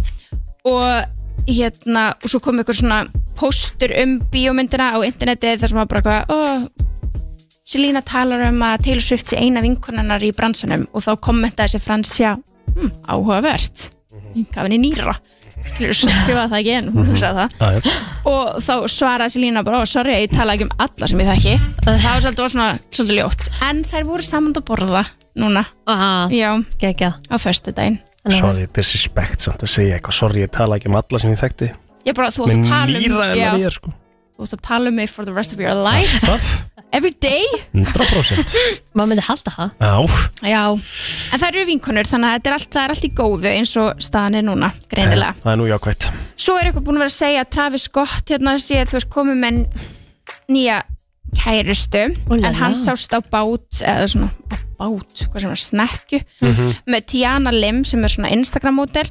[SPEAKER 8] og hérna og svo kom ykkur svona póstur um bíómyndina á internetið þar sem var bara eitthvað oh, Selina talar um að Taylor Swift sé eina vinkonunnar í bransanum og þá kommentaði sér fransja hm, áhugavert
[SPEAKER 2] Mhm.
[SPEAKER 8] gaf henni nýra skilur skrifa það ekki en hún hugsaði það
[SPEAKER 4] Já, já.
[SPEAKER 8] og þá svaraði Selína bara, "Ó, sorry, ég tala ekki um alla sem ég þekki það var svolítið, var svona, svolítið ljótt en þær voru saman að borða núna
[SPEAKER 3] Ah,
[SPEAKER 8] já,
[SPEAKER 3] geggjað
[SPEAKER 8] á föstudaginn
[SPEAKER 4] Sorry, disrespect samt að segja eitthvað Sorry, ég tala ekki um alla sem ég þekkti
[SPEAKER 8] ég bara, þú
[SPEAKER 4] Mér
[SPEAKER 8] átt að tala
[SPEAKER 4] nýra
[SPEAKER 8] um
[SPEAKER 4] en
[SPEAKER 8] já,
[SPEAKER 4] að ég er sko
[SPEAKER 8] þú átt að tala um mig for the rest of your life
[SPEAKER 4] Það?
[SPEAKER 8] Every day?
[SPEAKER 4] 100%
[SPEAKER 3] Maður myndi halda það
[SPEAKER 4] Já,
[SPEAKER 8] Já En það eru vinkonur þannig að þetta er allt, það er allt í góðu eins og staðan er núna, greinilega
[SPEAKER 4] það er nú jákvætt
[SPEAKER 8] Svo er eitthvað búin að vera að segja að Travis Scott hérna sé að þú veist komið með nýja kærustu
[SPEAKER 3] la
[SPEAKER 8] en hann
[SPEAKER 3] la.
[SPEAKER 8] sást á bát eða svona á bát, hvað sem var snekju með Tiana Lim sem er svona Instagram mótel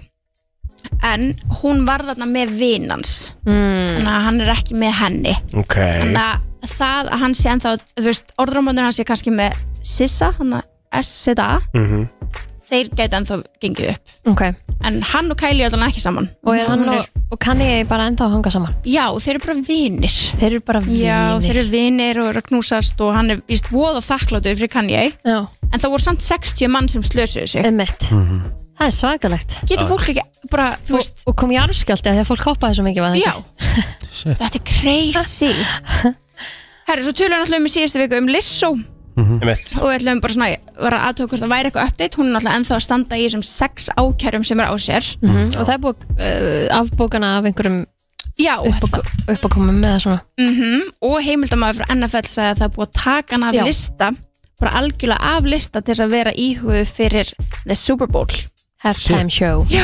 [SPEAKER 8] en hún var þarna með vinans mm. þannig að hann er ekki með henni
[SPEAKER 4] Ok,
[SPEAKER 8] þannig að það að hann sé ennþá þú veist, orðramöndur hans sé kannski með Sissa, hann að S-Z-A
[SPEAKER 4] Mhm.
[SPEAKER 8] þeir gætu ennþá gengið upp
[SPEAKER 3] Ok,
[SPEAKER 8] en hann og Kylie er alveg ekki saman
[SPEAKER 3] og er hann og, og kann ég bara ennþá að hanga saman
[SPEAKER 8] já, þeir eru bara vinir
[SPEAKER 3] Þeir eru bara vinir
[SPEAKER 8] já, þeir eru vinir og eru að knúsast og hann er víst voða þakkláttur fyrir Kanye
[SPEAKER 3] Já,
[SPEAKER 8] en það voru samt 60 mann sem slösuðu sig
[SPEAKER 3] ummitt
[SPEAKER 4] Mhm.
[SPEAKER 3] Það er svakalegt
[SPEAKER 8] getur fólk ekki bara, þú
[SPEAKER 3] og,
[SPEAKER 8] veist
[SPEAKER 3] og kom ég arfskjálti að því að fólk hoppaði svo mikið var það
[SPEAKER 8] já,
[SPEAKER 3] ekki?
[SPEAKER 8] þetta er crazy herri, svo tölum við náttúrulega um í síðustu viku um Lissó
[SPEAKER 4] einmitt
[SPEAKER 8] og við ætlum bara svona að vera aðtöku hvort það væri eitthvað update, hún er náttúrulega ennþá að standa í þessum sex ákærum sem er á sér
[SPEAKER 3] Mhm, Og það er búið uh, afbókana af einhverjum
[SPEAKER 8] já,
[SPEAKER 3] uppakomum eða svona
[SPEAKER 8] og heimildamæður frá NFL sagði að það er búið að taka hann af
[SPEAKER 3] Já.
[SPEAKER 8] lista bara algjörlega af lista til þess að vera íhuguð fyrir The Super Bowl
[SPEAKER 3] halftime show
[SPEAKER 8] já,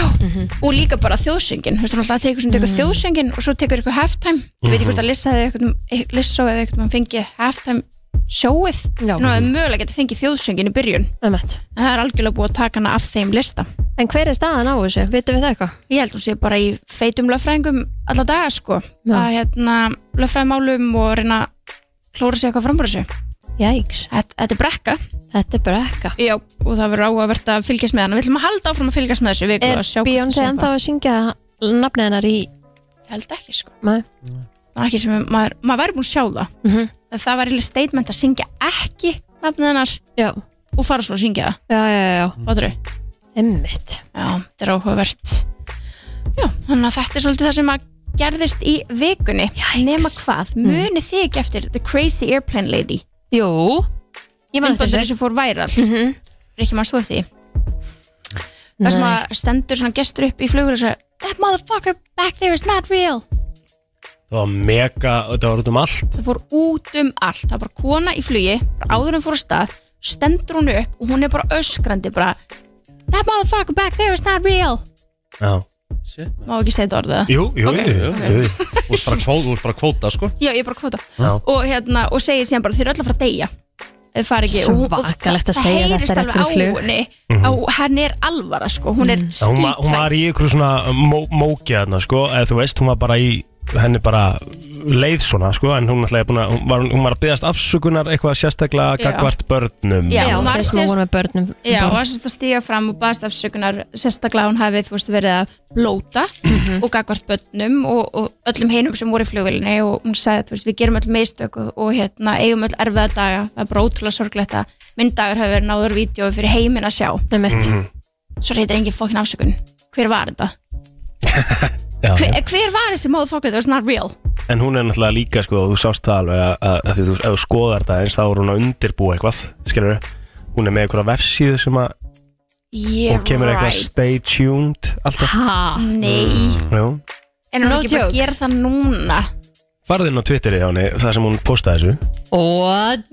[SPEAKER 8] og líka bara þjóðsöngin þú veist þannig að það tekur sem tekur þjóðsöngin og svo tekur eitthvað halftime, ég veit ekki hvort að lissa eða eitthvað, um- eh, lissa eða eitthvað mann fengið halftime sjóið,
[SPEAKER 3] Já.
[SPEAKER 8] nú að mögulega getið fengið þjóðsöngin í byrjun,
[SPEAKER 3] Ummitt
[SPEAKER 8] en það er algjörlega búið að taka hana af þeim lista
[SPEAKER 3] En hver er staðan á þessu? Vitum við það eitthvað?
[SPEAKER 8] ég held hún sé bara í feitum lögfræðingum alla daga sko
[SPEAKER 3] Já.
[SPEAKER 8] að hérna lögfræðimálum og reyna að klóra sér eitthvað frambúr þessu
[SPEAKER 3] Jæks,
[SPEAKER 8] þetta, þetta er brekka
[SPEAKER 3] þetta er bara ekka
[SPEAKER 8] Já, og það verður áhugavert að fylgjast með hann við ætlum að halda áfram að fylgjast með þessu viku
[SPEAKER 3] Er
[SPEAKER 8] og sjá hvort það sé
[SPEAKER 3] Beyoncé ennþá
[SPEAKER 8] eitthvað.
[SPEAKER 3] að syngja nafnið hennar í
[SPEAKER 8] ég held ekki sko
[SPEAKER 3] Nei.
[SPEAKER 8] það er ekki sem maður, maður verður búin að sjá það mm
[SPEAKER 3] Mhm.
[SPEAKER 8] það var eitthvað statement að syngja ekki nafnið hennar
[SPEAKER 3] Já,
[SPEAKER 8] og fara svo að syngja það,
[SPEAKER 3] já, já, já, já.
[SPEAKER 8] fattur
[SPEAKER 3] Einmitt
[SPEAKER 8] Já, þetta er áhugavert Já, þannig að þetta er svolítið það sem að gerðist í vikunni
[SPEAKER 3] Jæks.
[SPEAKER 8] nema hvað,
[SPEAKER 3] Mhm.
[SPEAKER 8] munið þið ekki eftir The Crazy Airplane Lady
[SPEAKER 3] Jú, ég man eftir þessu
[SPEAKER 8] umböndur
[SPEAKER 3] Mhm.
[SPEAKER 8] sem fór væral mm -hmm. Rikki, maður stóð því Það sem að stendur svona gestur upp í flugur og segja That motherfucker back there is not real
[SPEAKER 4] Það var mega, þetta var út um allt
[SPEAKER 8] Það fór út um allt, það var bara kona í flugi bara áður en fór á stað, stendur hún upp og hún er bara öskrandi bara That motherfucker back there is not real
[SPEAKER 4] Já.
[SPEAKER 8] Má ekki segja þetta orðið það?
[SPEAKER 4] Jú, jú,
[SPEAKER 8] Ok.
[SPEAKER 4] jú, jú, jú.
[SPEAKER 2] Þú ert bara kvóta, þú ert bara kvóta, sko
[SPEAKER 8] Já, ég er bara kvota
[SPEAKER 4] Já.
[SPEAKER 8] og, hérna, og segir síðan bara, þeir eru öll að fara að deyja Þau fara ekki og- og
[SPEAKER 3] Svakalegt að
[SPEAKER 8] það-
[SPEAKER 3] segja þetta
[SPEAKER 8] heyrist
[SPEAKER 3] rétt
[SPEAKER 8] alveg
[SPEAKER 3] fyrir flug.
[SPEAKER 8] á henni að henni er alvara sko, hún er
[SPEAKER 4] Mhm. Já, Hún, var, hún var í
[SPEAKER 8] skítrætt
[SPEAKER 4] ykkur svona uh, mó, mókja þarna sko, eða þú veist, hún var bara í henni bara leið svona sko, en hún, náttúrulega er búin að, hún, var, hún var að byggast afsökunar eitthvað sérstaklega
[SPEAKER 8] Já.
[SPEAKER 4] gagvart börnum
[SPEAKER 8] Já,
[SPEAKER 3] Já,
[SPEAKER 8] hún var
[SPEAKER 3] þeir sem
[SPEAKER 8] sérst-
[SPEAKER 3] voru með börnum um
[SPEAKER 8] Já,
[SPEAKER 3] borð.
[SPEAKER 8] og var sérst að stíga fram og baðast afsökunar sérstaklega að hún hafi, þú veist, verið að blóta
[SPEAKER 3] Mhm.
[SPEAKER 8] og gagvart börnum og, og öllum hinum sem voru í flugvélinni og hún sagði, þú veist, við gerum öll mistök og, og hérna, eigum öll erfiða daga það er bara ótrúlega sorglegt að myndagar hafi verið náður vídeo fyrir heimin að sjá
[SPEAKER 3] Einmitt.
[SPEAKER 8] svo reytir engin fokkin afsökun hver var þetta?
[SPEAKER 4] Já,
[SPEAKER 8] Hver, eh, hver var þessi motherfucker that was not real?
[SPEAKER 4] En hún er náttúrulega líka sko, og þú sást það alveg að, að, að því þú, ef þú skoðar það eins þá er hún að undirbúa eitthvað, skilur hún er með einhverja vefsíðu sem að
[SPEAKER 8] Yeah,
[SPEAKER 4] hún kemur eitthvað stay tuned alltaf,
[SPEAKER 3] Ha,
[SPEAKER 8] Nei,
[SPEAKER 4] já
[SPEAKER 8] Mm. en hún
[SPEAKER 3] No
[SPEAKER 8] er ekki bara
[SPEAKER 3] joke.
[SPEAKER 8] að gera það núna
[SPEAKER 4] Farðu inn á Twitterið hjá henni, það sem hún postaði þessu
[SPEAKER 3] what?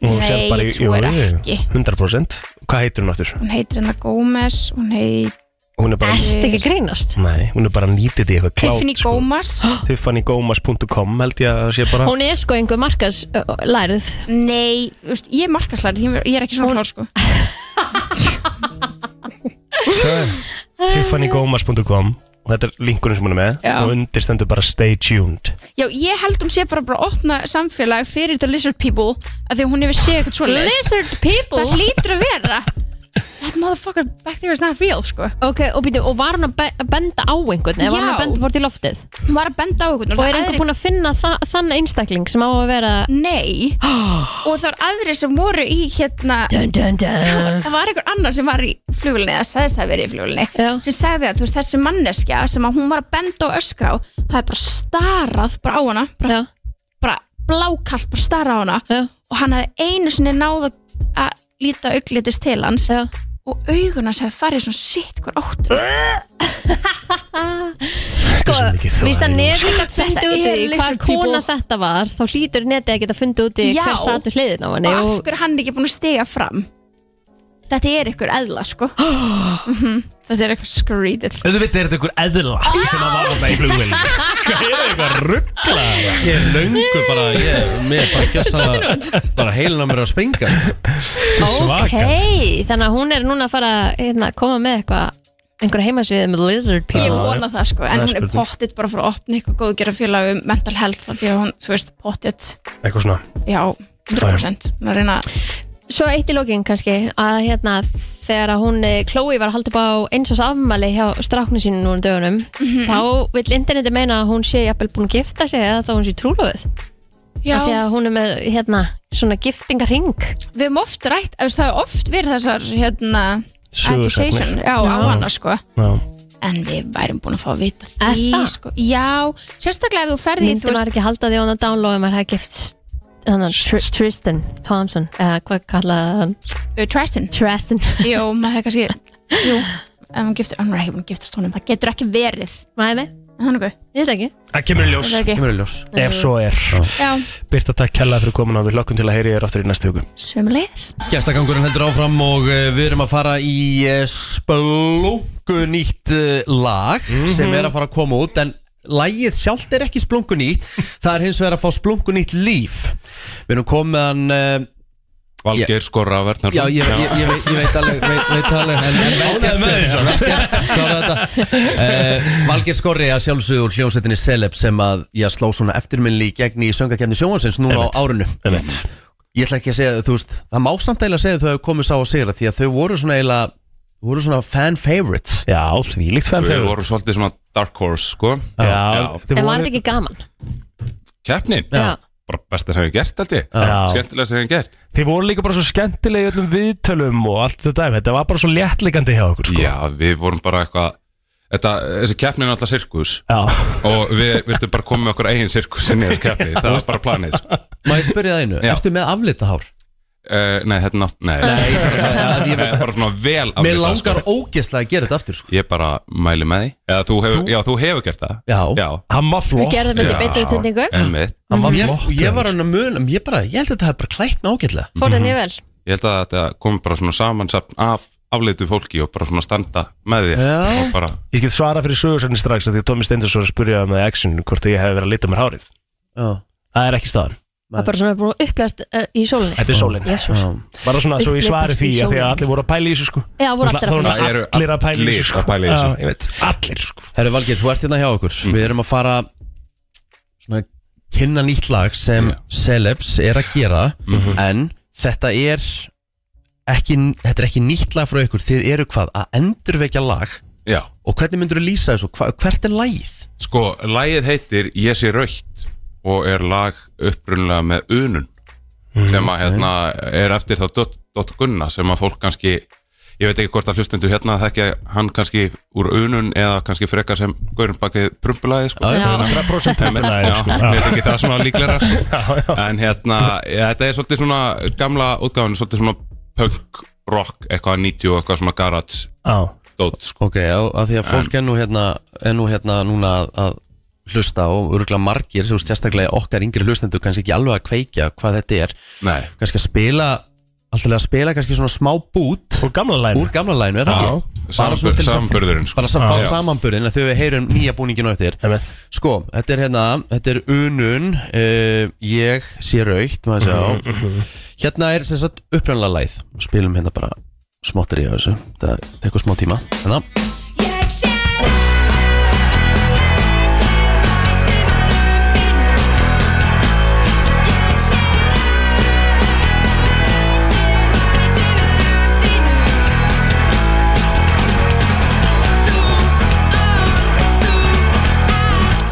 [SPEAKER 4] og hún
[SPEAKER 8] Nei,
[SPEAKER 4] sér bara í,
[SPEAKER 8] ég trúi ekki.
[SPEAKER 4] 100% Hvað heitir hún áttur?
[SPEAKER 8] Hún heitir hennar Gómez, hún heitir
[SPEAKER 4] Hún er bara,
[SPEAKER 3] Þetta ekki að grínast
[SPEAKER 4] nei, hún er bara nýtið í eitthvað sko. klátt
[SPEAKER 8] Tiffany Gómez
[SPEAKER 4] Tiffanygomas.com held ég að það sé bara
[SPEAKER 3] Hún er sko einhver markas ö, ö, lærið
[SPEAKER 8] Nei, þú veist, ég er markaslæri, ég ég er ekki svona klár sko
[SPEAKER 4] Tiffanygomas.com og þetta er linkurinn sem hún er með
[SPEAKER 8] Já.
[SPEAKER 4] og undir stendur bara stay tuned
[SPEAKER 8] Já, ég held hún sé bara bara að opna samfélag fyrir the lizard people af því að hún hefur séð eitthvað svo
[SPEAKER 3] Lizard people
[SPEAKER 8] Það hlýtur að vera That motherfucker back there is not real sko
[SPEAKER 3] Ok, og, býtum, og var hún að be- að benda á einhvern eða var hún
[SPEAKER 8] Já.
[SPEAKER 3] að benda bort í loftið
[SPEAKER 8] Hún var að benda á einhvern
[SPEAKER 3] og er einhver búinn að finna þa þann einstakling sem á að vera
[SPEAKER 8] Nei Og það var aðri sem voru í hérna
[SPEAKER 3] dun, dun, dun.
[SPEAKER 8] Það var einhver annar sem var í flugulni eða sagðist það verið í flugulni
[SPEAKER 3] Já.
[SPEAKER 8] sem sagði að þú veist, þessi manneskja sem að hún var að benda og öskra á það er bara starað bara á hana bara,
[SPEAKER 3] Já,
[SPEAKER 8] bara blákalt bara starað á hana
[SPEAKER 3] já,
[SPEAKER 8] og hann hafði einu sinni náð að- að líta auglitist til hans
[SPEAKER 3] já
[SPEAKER 8] og augun hans hefði farið svona sitt hver áttur
[SPEAKER 3] Sko,
[SPEAKER 4] svo mikið þvæl.
[SPEAKER 3] víst að neti geta
[SPEAKER 8] Þetta
[SPEAKER 3] fundið út
[SPEAKER 8] er
[SPEAKER 3] í hvað
[SPEAKER 8] lizard
[SPEAKER 3] kona
[SPEAKER 8] people.
[SPEAKER 3] þetta var þá hlýtur neti að geta fundið út í
[SPEAKER 8] Já.
[SPEAKER 3] hver satu hliðin á
[SPEAKER 8] og
[SPEAKER 3] henni
[SPEAKER 8] af
[SPEAKER 3] og
[SPEAKER 8] hverju er hann ekki búin að stiga fram þetta er ykkur eðla sko Mhm, þetta er eitthvað skrítið
[SPEAKER 4] Auðvitað er þetta ykkur eðla
[SPEAKER 8] Ah.
[SPEAKER 4] sem að var þetta í flugvélinu Hvað er þetta eitthvað ruggla?
[SPEAKER 2] Ég er löngu bara, ég mér er bara gjössalega, bara heilin á mér er að springa.
[SPEAKER 3] ok,
[SPEAKER 4] svaka.
[SPEAKER 3] þannig að hún er núna að fara hérna, að koma með eitthvað einhverja heimasvið með lizard people
[SPEAKER 8] ég vona það sko, en
[SPEAKER 4] Það er
[SPEAKER 8] hún er
[SPEAKER 4] spurning.
[SPEAKER 8] pottitt bara fyrir að opna eitthvað góðgerða félag um mental health af því að hún, þú veist, pottitt
[SPEAKER 4] Eitthvað svona
[SPEAKER 8] já, 100% hún er að reyna að-
[SPEAKER 3] Svo eitt í lokin kannski að hérna þegar að hún eh, Chloe var að halda upp á eins og afmæli hjá stráknu sínu núna um dögunum
[SPEAKER 8] Mhm.
[SPEAKER 3] þá vill interneti meina að hún sé jafnvel búin að gifta sig eða þá hún sé trúlófið
[SPEAKER 8] já,
[SPEAKER 3] af því að hún er með hérna svona giftingarring
[SPEAKER 8] við höfum oft rætt, þú veist, það er oft verið þessar hérna,
[SPEAKER 4] Sögusagnir.
[SPEAKER 8] accusation já, á hana sko
[SPEAKER 4] Já.
[SPEAKER 8] en við værum búin að fá að vita
[SPEAKER 3] Er
[SPEAKER 8] því
[SPEAKER 3] það?
[SPEAKER 8] sko, já, sérstaklega ef þú ferði
[SPEAKER 3] myndi maður ekki halda því að hún að downloada maður hefði gift hana, Tr Tristan Thompson eða hvað kallaði hann
[SPEAKER 8] uh, Tristan
[SPEAKER 3] Tristan
[SPEAKER 8] Jú, maður það kannski Jú, ef hún giftur, hann er ekki búin að giftast honum Það getur ekki verið
[SPEAKER 3] maður með
[SPEAKER 8] Er Það er nokkuð,
[SPEAKER 3] ég veit ekki
[SPEAKER 4] Það kemur í ljós
[SPEAKER 8] það er ekki
[SPEAKER 2] Ég mér er ljós.
[SPEAKER 4] Ef svo er
[SPEAKER 8] Já,
[SPEAKER 4] Birta, takk kærlega fyrir komin á Við hlokkum til að heyri þér aftur í næstu hugun
[SPEAKER 8] sömulegis
[SPEAKER 2] Gæstakangurinn heldur áfram og eh, við erum að fara í eh, splunkunýtt eh, lag sem
[SPEAKER 4] Mhm.
[SPEAKER 2] er að fara að koma út en lagið sjálft er ekki splunkunýtt það er hins vegar að fá splunkunýtt líf Við erum komið hann eh,
[SPEAKER 1] Valgeir skorra verðnar
[SPEAKER 2] Já, ég, ég, ég, veit, ég veit alveg, veit, veit alveg en, en velgert
[SPEAKER 4] með þig, Svavar.
[SPEAKER 2] klára þetta uh, Valgeir Skorri að sjálfsögðu úr hljómsettinni Celeb sem að ég sló svona eftirminni í gegn í söngakefni sjónvansins núna á árinu Ég ætla ekki að segja, þú veist, það má samt eiginlega segja að þau hafa komið sá að sigra því að þau voru svona eiginlega, voru svona fan favorites
[SPEAKER 4] Já, því líkt fenn
[SPEAKER 1] Við vorum svolítið svona dark horse sko
[SPEAKER 4] Já, þið
[SPEAKER 3] en var
[SPEAKER 4] voru-
[SPEAKER 3] þetta ekki gaman
[SPEAKER 1] Keppnin,
[SPEAKER 3] Já.
[SPEAKER 1] bara besta sem við gert held ég
[SPEAKER 4] Já.
[SPEAKER 1] Skemmtilega sem við gert
[SPEAKER 4] Þið voru líka bara svo skemmtilegi öllum viðtölum og allt þetta dæmi. Þetta var bara svo léttlikandi hjá okkur sko.
[SPEAKER 1] Já, við vorum bara eitthvað Þetta, þessi keppnin er alltaf sirkus
[SPEAKER 4] Já.
[SPEAKER 1] og við viltum bara koma með okkur eigin sirkus inn í þessi keppni, það var bara planið sko.
[SPEAKER 2] Má ég spyrja það einu,
[SPEAKER 1] Já.
[SPEAKER 2] ertu með aflitahár?
[SPEAKER 1] uh, Nei, þetta er nátt, nei Nei, ég er bara svona vel aflitað,
[SPEAKER 2] Mér langar
[SPEAKER 1] sko.
[SPEAKER 2] ógeðslega að gera þetta aftur, sko
[SPEAKER 1] Ég bara mæli með því Eða, þú hefur, Já, þú hefur gert það
[SPEAKER 2] Já.
[SPEAKER 1] Já,
[SPEAKER 4] Hann var
[SPEAKER 3] við
[SPEAKER 4] flott.
[SPEAKER 3] gerðum þetta í beinni útsendingu
[SPEAKER 1] Einmitt.
[SPEAKER 4] Hann var
[SPEAKER 2] Ég,
[SPEAKER 4] flott.
[SPEAKER 2] ég var hann að muna, ég bara, ég held að þetta hef bara klætt mig ágætlega
[SPEAKER 3] fór þetta mjög vel
[SPEAKER 1] Ég held að þetta kom bara svona samansapn af afleitu fólki og bara svona standa með því
[SPEAKER 2] Já.
[SPEAKER 1] og bara,
[SPEAKER 4] Ég get svara fyrir sögursörni strax að því að Tómi Steindarsson var að spurja með Action hvort ég hef verið að lita mér hárið.
[SPEAKER 2] Já,
[SPEAKER 4] Það er ekki staðan.
[SPEAKER 3] það er bara svona búin að upplæst eh, í sólunni
[SPEAKER 4] Þetta er sólinn.
[SPEAKER 3] jésús
[SPEAKER 4] Bara svona svo ég svari
[SPEAKER 3] Upplitast
[SPEAKER 4] því
[SPEAKER 3] í
[SPEAKER 4] að því að
[SPEAKER 3] sólinn.
[SPEAKER 4] allir voru að pæla í þessu sko.
[SPEAKER 3] Já, voru allir að pæla í
[SPEAKER 1] þessu.
[SPEAKER 4] þessu. Allir að pæla í þessu sko.
[SPEAKER 1] Allir að pæla í þessu.
[SPEAKER 4] Já, ég veit. Allir sko.
[SPEAKER 2] Herru Valgeir, þú ert hérna hjá okkur Við erum að fara svona kynna nýtt lag sem Celebs er að gera en þetta er ekki, þetta er ekki nýtt lag frá ykkur þið eru hvað að endurvekja lag
[SPEAKER 1] já
[SPEAKER 2] og hvernig myndur þú lýsa þessu, Hva, hvert er lagið?
[SPEAKER 1] Sko, lagið heitir Ég sé raukt og er lag upprunlega með unun
[SPEAKER 4] Mhm,
[SPEAKER 1] sem að hérna er eftir þá Dott Dott Gunna sem að fólk kannski ég veit ekki hvort að hlustendur hérna þekkja hann kannski úr unun eða kannski frekar sem gaurin bakið prumpulaði sko.
[SPEAKER 2] Já.
[SPEAKER 4] 100%
[SPEAKER 1] Einmitt,
[SPEAKER 4] pæla í
[SPEAKER 1] já,
[SPEAKER 4] þessu sko.
[SPEAKER 1] mér þykir það svona líklega sko. en hérna, ja, þetta er svolítið svona gamla útgáfinu, svolítið svona punk rock, eitthvað 90 og eitthvað svona garage
[SPEAKER 4] Já.
[SPEAKER 1] dót, sko.
[SPEAKER 2] Ok, já, af því að fólk er nú hérna, er nú hérna núna að, að hlusta og örgulega margir, þú veist, sérstaklega okkar yngri hlustendur kannski ekki alveg að kveikja hvað þetta er
[SPEAKER 1] Nei,
[SPEAKER 2] kannski að spila, alltaf að spila kannski svona smá bút
[SPEAKER 4] Úr gamla læn.
[SPEAKER 2] úr gamla læginu, er það
[SPEAKER 1] Já.
[SPEAKER 2] ekki? Bara svona til þess að-
[SPEAKER 1] Samanburðurinn, sko.
[SPEAKER 2] bara að fá
[SPEAKER 4] Já.
[SPEAKER 2] samanburðin að þau við heyrum nýja búningin á eftir
[SPEAKER 4] Einmitt.
[SPEAKER 2] sko, þetta er hérna, þetta er unun uh, ég sé raukt maður
[SPEAKER 1] Mhm,
[SPEAKER 2] sjá hérna er sem sagt upprænlega læð spilum hérna bara smottir í þessu þetta tekur smá tíma hérna.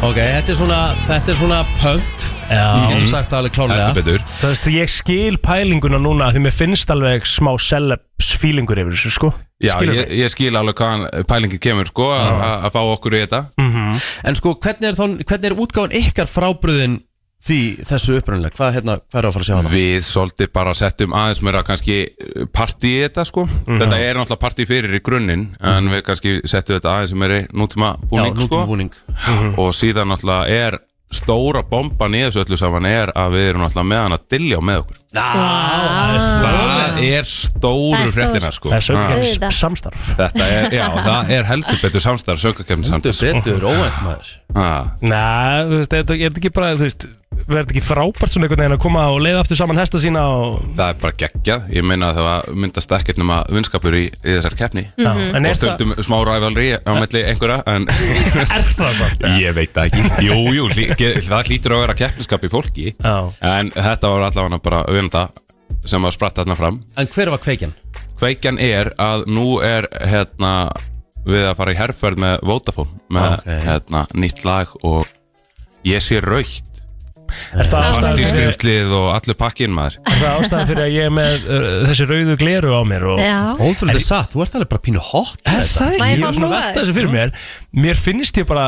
[SPEAKER 2] ok, þetta er svona þetta er svona punk
[SPEAKER 4] Já.
[SPEAKER 2] við getum sagt það alveg
[SPEAKER 1] heldur
[SPEAKER 2] klánlega
[SPEAKER 1] betur
[SPEAKER 4] Það veist, ég skil pælinguna núna af því mér finnst alveg smá celebs feelingur yfir þessu sko.
[SPEAKER 1] Já,
[SPEAKER 4] Skilurðu?
[SPEAKER 1] ég, ég skil alveg hvaðan pælingi kemur sko að- að að fá okkur í þetta
[SPEAKER 2] Mhm. en sko, hvernig er, þá, hvernig er útgáðan ykkar frábröðin því þessu upprunalega? Hvað, hérna, hvað er að fara að sjá hana?
[SPEAKER 1] Við svolítið bara settum aðeins meira kannski eh, partí í þetta sko
[SPEAKER 2] Mhm.
[SPEAKER 1] Þetta er náttúrulega partí fyrir í grunninn En við kannski settum þetta aðeins meira í nútíma búning
[SPEAKER 2] Já, Mhm.
[SPEAKER 1] sko
[SPEAKER 2] nútíma búning.
[SPEAKER 1] Og síðan náttúrulega er stóra bomban í þessu öllu saman er að við erum náttúrulega með hann að dilja með okkur
[SPEAKER 3] Ah.
[SPEAKER 2] Ah.
[SPEAKER 1] Það er stóru
[SPEAKER 4] Það er stórt.
[SPEAKER 1] fréttina sko
[SPEAKER 4] Það er söngvakeppnis-
[SPEAKER 1] Ha.
[SPEAKER 4] samstarf.
[SPEAKER 1] Þetta er, já, það er heldur betur samstarf sko. Ah. söngakefni samstarf
[SPEAKER 2] Heldur betur, óvænt maður
[SPEAKER 4] Næ, þú veist, er þetta er þetta ekki bara, þú veist, verður þetta ekki frábært svona einhvern veginn að koma og leiða aftur saman hesta sína og...
[SPEAKER 1] Það er bara geggjað, ég meina að það myndast ekkert nema vinskapur í, í þessar keppni
[SPEAKER 4] Já.
[SPEAKER 3] Mhm.
[SPEAKER 4] En er
[SPEAKER 1] og stundum smá rævalri á melli einhverja en
[SPEAKER 4] Er það svo?
[SPEAKER 1] ég veit það ekki Jú, jú, lí, ge- það hlýtur að vera keppniskap í fólki
[SPEAKER 4] Já.
[SPEAKER 1] en þetta var allavega bara auðvenda sem að spratta þarna fram
[SPEAKER 2] En hver var kveikjan?
[SPEAKER 1] Kveikjan er að nú er hérna við að fara í herrferð með Vodafone með hérna nýtt lag og ég sé raukt
[SPEAKER 4] Er það ástæðan fyrir,
[SPEAKER 1] Partískrimslið og allur pakkin maður
[SPEAKER 4] Ah, er það ástæðan fyrir að ég er með uh, þessi rauðu gleru á mér og...
[SPEAKER 3] Já.
[SPEAKER 2] Ótrúlega satt, þú ert alveg bara pínu hot
[SPEAKER 4] Er það
[SPEAKER 3] Má ég
[SPEAKER 4] ekki? Ég
[SPEAKER 3] fá
[SPEAKER 4] er
[SPEAKER 3] að
[SPEAKER 4] svona að
[SPEAKER 3] prófa?
[SPEAKER 4] velta þessu fyrir mér Mér finnst ég bara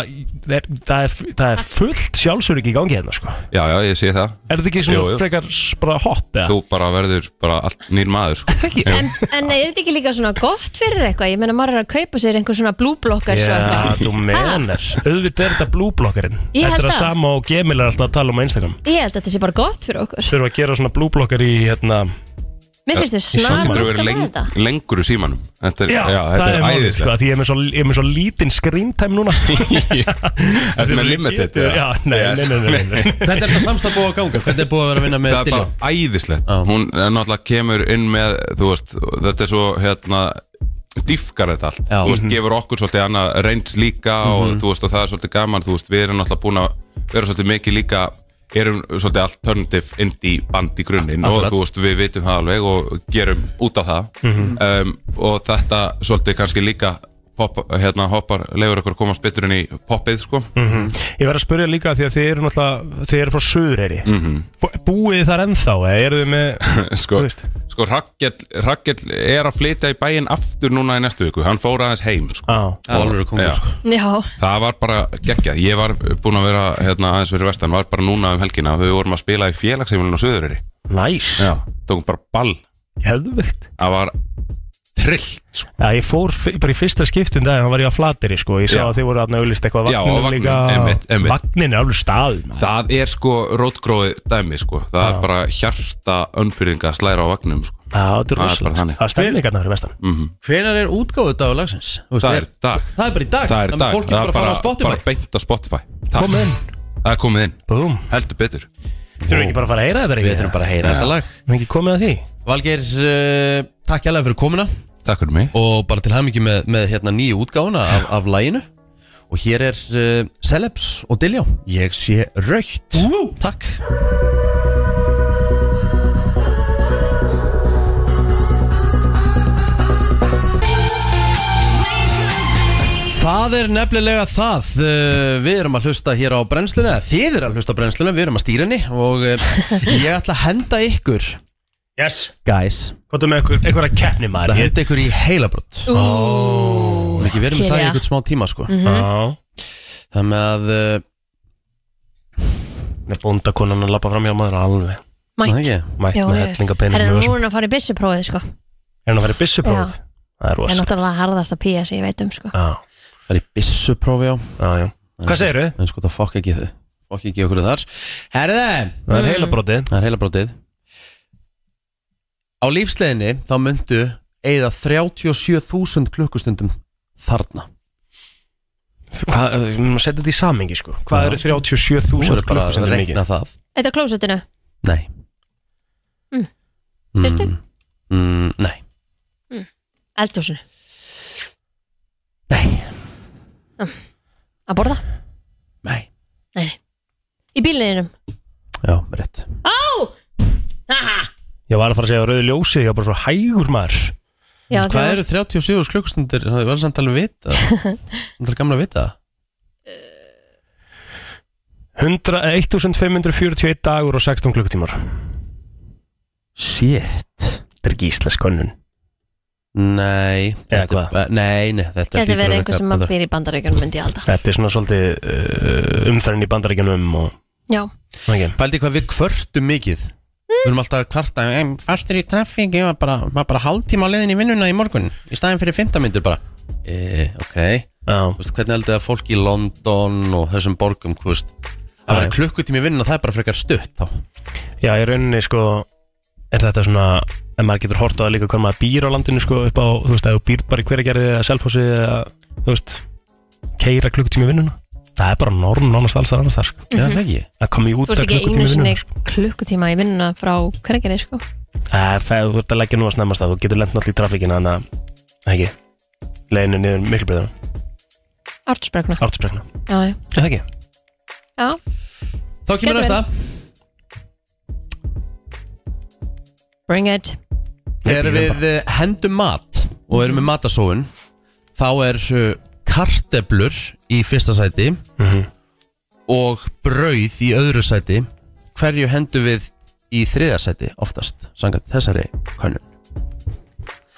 [SPEAKER 4] Það er, það er, það er fullt sjálfsöryggi í gangi hérna sko.
[SPEAKER 1] Já, já, ég sé það
[SPEAKER 4] Er þetta ekki svona
[SPEAKER 1] Jú, jú.
[SPEAKER 4] frekar s- bara hot eða?
[SPEAKER 1] Þú bara verður bara allt nýr maður sko.
[SPEAKER 4] Ekki?
[SPEAKER 1] Jú.
[SPEAKER 3] En, en er þetta ekki líka svona gott fyrir eitthvað? Ég meina, maður er að kaupa sér einhver svona blúblokkar svo
[SPEAKER 4] Já,
[SPEAKER 3] eitthvað.
[SPEAKER 4] þú menar Auðvitað er þetta blúblokkarinn
[SPEAKER 3] Ég
[SPEAKER 4] Þetta
[SPEAKER 3] held
[SPEAKER 4] er að
[SPEAKER 3] það.
[SPEAKER 4] sama og Gemil er alltaf að tala um á Instagram
[SPEAKER 3] Ég held að þetta sé bara gott fyrir okkur.
[SPEAKER 4] Þurfa að gera svona blúblokkar í hérna
[SPEAKER 3] Mér finnst þér
[SPEAKER 1] Svo
[SPEAKER 3] snar
[SPEAKER 1] getur þú
[SPEAKER 3] langar
[SPEAKER 1] verið
[SPEAKER 3] með
[SPEAKER 1] leng,
[SPEAKER 3] þetta.
[SPEAKER 1] lengur í símanum Þetta er,
[SPEAKER 4] Já,
[SPEAKER 1] já, þetta
[SPEAKER 4] það
[SPEAKER 1] er,
[SPEAKER 4] er málið
[SPEAKER 1] æðislegt
[SPEAKER 4] sko, Því ég er með svo, ég er með svo lítinn screen time núna
[SPEAKER 1] Þetta er með limited eða?
[SPEAKER 4] Já, nei, nei, nei, nei, nei.
[SPEAKER 2] Hvernig er þetta samstæð búið að ganga? Hvernig er búið að vera að vinna með
[SPEAKER 1] Það er
[SPEAKER 2] Dilljó?
[SPEAKER 1] bara æðislegt Hún er náttúrulega kemur inn með Þú veist, þetta er svo hérna dýfkar þetta allt,
[SPEAKER 2] Já. Mhm.
[SPEAKER 1] þú veist, gefur okkur svolítið annað reyns líka og þú veist og það er svolítið gaman, þú veist, við erum náttúrulega búin að vera svolítið mikið líka erum svolítið alternative indie band í grunninn og
[SPEAKER 2] Akkurat.
[SPEAKER 1] þú veist, við vitum það alveg og gerum út af það um, og þetta svolítið kannski líka pop, hérna, hoppar, leiður okkur að komast betur inn í poppið, sko
[SPEAKER 4] Mhm. Ég verð að spyrja líka því að þið eru náttúrulega Þið eru frá Suðureyri
[SPEAKER 1] Mhm.
[SPEAKER 4] Bú- Búið þið þar ennþá, eða eru þið með
[SPEAKER 1] sko,
[SPEAKER 4] Þú veist.
[SPEAKER 1] sko Rakkell, Rakkell er að flytja í bæinn aftur núna í næstu viku, hann fór aðeins heim sko.
[SPEAKER 4] Á,
[SPEAKER 2] Það er alveg
[SPEAKER 1] Já.
[SPEAKER 2] kongur sko
[SPEAKER 3] Já,
[SPEAKER 1] það var bara geggjað, ég var búinn að vera hérna, aðeins fyrir vestan, var bara núna um helgina við vorum að spila í félagsheimilinu á Suðurri
[SPEAKER 4] næs
[SPEAKER 1] tókum bara ball,
[SPEAKER 4] Hefðvögt
[SPEAKER 1] það var trillt sko.
[SPEAKER 4] Já, ég fór f- bara í fyrsta skiptum dag Hann var ég á flateri, sko Ég sá
[SPEAKER 1] Já.
[SPEAKER 4] að þið voru að auðlist eitthvað á
[SPEAKER 1] Já, á
[SPEAKER 4] vagninum
[SPEAKER 1] vagninum,
[SPEAKER 4] líka
[SPEAKER 1] einmitt, einmitt.
[SPEAKER 4] Vagnin er alveg staðum
[SPEAKER 1] það er sko rótgróið dæmi sko, það er bara hjarta önfyrðinga að slæra á vagnum sko. Mhm.
[SPEAKER 4] Já, þetta er
[SPEAKER 1] Það er bara
[SPEAKER 4] rosalegt
[SPEAKER 1] þannig.
[SPEAKER 4] Það er stemningarnar í vestan
[SPEAKER 2] Hvenær er útgáðu dagur lagsins? Þú veist,
[SPEAKER 1] það er dag
[SPEAKER 2] það er bara í dag
[SPEAKER 1] það er
[SPEAKER 2] Þannig að
[SPEAKER 1] dag,
[SPEAKER 2] fólk
[SPEAKER 1] það
[SPEAKER 2] getur bara
[SPEAKER 1] er
[SPEAKER 2] að fara á
[SPEAKER 1] bara, bara
[SPEAKER 2] Spotify
[SPEAKER 1] beint á Spotify
[SPEAKER 4] Kom inn.
[SPEAKER 1] það er komið inn,
[SPEAKER 4] Búm
[SPEAKER 1] heldur betur
[SPEAKER 4] Þurfum við ekki bara að fara að heyra þetta
[SPEAKER 2] Við þurfum bara að heyra þetta lag
[SPEAKER 4] Við ekki komið að því
[SPEAKER 2] Valgeir, uh, takk hérlega fyrir komuna
[SPEAKER 1] takk fyrir mig
[SPEAKER 2] og bara til hæmingi með, með hérna nýju útgáfuna af, af læginu og hér er uh, Celebs og Dilljó Ég sé raukt Takk Það er nefnilega það Uh, Við erum að hlusta hér á brennsluna eða Þið eru að hlusta á brennsluna, við erum að stýra henni og uh, ég ætla að henda ykkur
[SPEAKER 4] Yes
[SPEAKER 2] Guys,
[SPEAKER 4] Kvotum með einhver, einhverja
[SPEAKER 2] ég
[SPEAKER 4] keppni
[SPEAKER 2] ætla
[SPEAKER 4] maður
[SPEAKER 2] að
[SPEAKER 4] Ég-
[SPEAKER 2] henda ykkur í heilabrutt Við ekki verið með
[SPEAKER 3] til
[SPEAKER 2] það í
[SPEAKER 3] í að.
[SPEAKER 2] einhvern smá tíma sko
[SPEAKER 4] Mm. Já
[SPEAKER 2] Þannig að uh,
[SPEAKER 4] Nei, bóndakonan að labba fram hjá maður alveg
[SPEAKER 2] það
[SPEAKER 3] mætt.
[SPEAKER 2] ekki
[SPEAKER 4] Mætt
[SPEAKER 3] Já,
[SPEAKER 4] með
[SPEAKER 3] já.
[SPEAKER 4] hellingapenning
[SPEAKER 3] Herra,
[SPEAKER 4] Er
[SPEAKER 3] nú er
[SPEAKER 4] hann
[SPEAKER 3] hún að fara í byssuprófið, sko.
[SPEAKER 4] að fara í byssupróð?
[SPEAKER 3] Já.
[SPEAKER 4] Það er
[SPEAKER 3] Það er
[SPEAKER 4] rosa
[SPEAKER 3] náttúrulega harðasta pía sem ég veit um, sko.
[SPEAKER 4] Já,
[SPEAKER 2] Það er í byssuprófi á
[SPEAKER 4] já, já Hvað segirðu?
[SPEAKER 2] En sko það fokk ekki þau Fokk ekki okkur þar Herði
[SPEAKER 4] Það er heilabrótið
[SPEAKER 2] Það er heila brótið Á lífsleginni þá myndu Eða 37.000 klukkustundum Þarna
[SPEAKER 4] Hvað, eh, maður setja þetta í samingi sko Hvað eru 37.000
[SPEAKER 2] er bara að
[SPEAKER 4] klukkusendur mikið?
[SPEAKER 2] regna það
[SPEAKER 3] Þetta er klósutinu,
[SPEAKER 2] Nei
[SPEAKER 3] styrtu?
[SPEAKER 2] mm, Nei
[SPEAKER 3] Eldhúsinu,
[SPEAKER 2] Nei
[SPEAKER 3] að borða?
[SPEAKER 2] Nei
[SPEAKER 3] Nei, nei. Í bílininum?
[SPEAKER 2] Já, rétt
[SPEAKER 3] Á! Aha!
[SPEAKER 4] Ég var að fara að segja rauðu ljósi, ég var bara svo hægur maður
[SPEAKER 3] Já,
[SPEAKER 2] Hvað
[SPEAKER 3] þegar-
[SPEAKER 2] eru 37 klukkustundir? Það er vel samt alveg vita Það er gamla að vita það.
[SPEAKER 4] 100 1541 dagur og 16 klukkutímar
[SPEAKER 2] Shit
[SPEAKER 4] Þetta er ekki íslensk könnun
[SPEAKER 2] Nei
[SPEAKER 4] Eða
[SPEAKER 2] þetta er
[SPEAKER 4] hvað?
[SPEAKER 2] bara- Nei, nei Þetta
[SPEAKER 3] Gæti
[SPEAKER 2] hlýtur
[SPEAKER 3] verið
[SPEAKER 2] að
[SPEAKER 3] einhver
[SPEAKER 2] vera-
[SPEAKER 3] sem að býr í bandaríkjunum myndi ég halda
[SPEAKER 4] Þetta er svona svolítið uh, umferðin í bandaríkjunum og
[SPEAKER 3] Já,
[SPEAKER 2] Pældi hvað við kvörtum mikið Við erum alltaf að kvarta "Em, Fastur í trafík, ég var bara, var bara hálftíma á leiðin í vinnuna í morgun Í staðin fyrir 15 myndir bara e, Ok
[SPEAKER 4] Þú
[SPEAKER 2] veist, Hvernig heldur það fólk í London og þessum borgum hvað veist, Að vera klukkutími í vinnuna, það er bara frekar stutt þá
[SPEAKER 4] Já, í rauninni sko er þetta svona en maður getur hort á það líka hvað maður býr á landinu sko upp á, þú veist, að þú býr bara í hverjargerði eða selfhósi eða, þú veist keira klukkutími í vinnuna það er bara norm nánast alls þar annars þar sko
[SPEAKER 2] Já, það
[SPEAKER 3] Mhm.
[SPEAKER 2] ekki
[SPEAKER 4] Það kom ég
[SPEAKER 3] þú
[SPEAKER 4] út
[SPEAKER 3] ert
[SPEAKER 4] að
[SPEAKER 3] ekki einu
[SPEAKER 4] klukkutími í
[SPEAKER 3] sinni
[SPEAKER 4] vinnuna sko.
[SPEAKER 3] klukkutíma í vinnuna frá hverjargerði sko.
[SPEAKER 4] Það er fæð, þú ert að leggja nú að snemmast það þú getur lent náttúrulega í trafíkina þannig að ekki, leginu niður miklu breyðan
[SPEAKER 3] Ártsbrekna
[SPEAKER 4] ártsprekna,
[SPEAKER 3] Já, já,
[SPEAKER 4] er það ekki?
[SPEAKER 3] já
[SPEAKER 2] Þá kemur
[SPEAKER 3] Getur
[SPEAKER 2] næsta
[SPEAKER 3] Bring it
[SPEAKER 2] Þegar við eh, hendum mat og erum með matasóun þá er eh, karteblur í fyrsta sæti
[SPEAKER 4] Mhm.
[SPEAKER 2] og brauð í öðru sæti hverju hendum við í þriða sæti oftast sangat þessari hönnun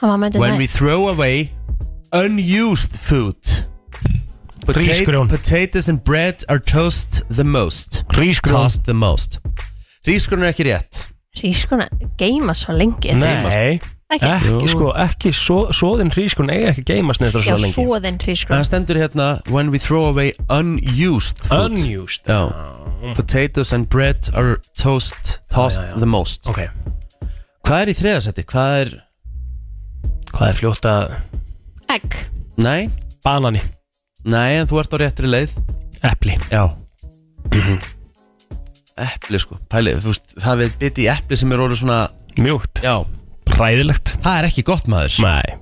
[SPEAKER 3] Hann var með
[SPEAKER 2] When we throw away unused food
[SPEAKER 4] Rísgrjón.
[SPEAKER 2] Potatoes and bread are tossed the most
[SPEAKER 4] Rísgrjón.
[SPEAKER 2] Tossed the most Rísgrón er ekki rétt
[SPEAKER 3] Rískuna geima svo lengi
[SPEAKER 4] Nei,
[SPEAKER 3] Ekki.
[SPEAKER 4] ekki sko, ekki svo, svoðin hrískun eiga ekki geimast neitt
[SPEAKER 3] Já,
[SPEAKER 4] svo lengi
[SPEAKER 3] svoðin
[SPEAKER 2] En
[SPEAKER 3] rískuna
[SPEAKER 2] það stendur hérna When we throw away unused food
[SPEAKER 4] Unused
[SPEAKER 2] Já Potatoes and bread are toast, tossed the most
[SPEAKER 4] Ok,
[SPEAKER 2] Hvað er í þriðasetti? Hvað er...
[SPEAKER 4] hvað er fljótt að
[SPEAKER 3] Egg
[SPEAKER 2] Nei,
[SPEAKER 4] banani,
[SPEAKER 2] nei, en þú ert á réttri leið
[SPEAKER 4] epli
[SPEAKER 2] Já Epli sko, pæli, þú veist, það við biti í epli sem er orðið svona
[SPEAKER 4] mjúkt,
[SPEAKER 2] Já,
[SPEAKER 4] ræðilegt
[SPEAKER 2] það er ekki gott maður
[SPEAKER 4] Nei,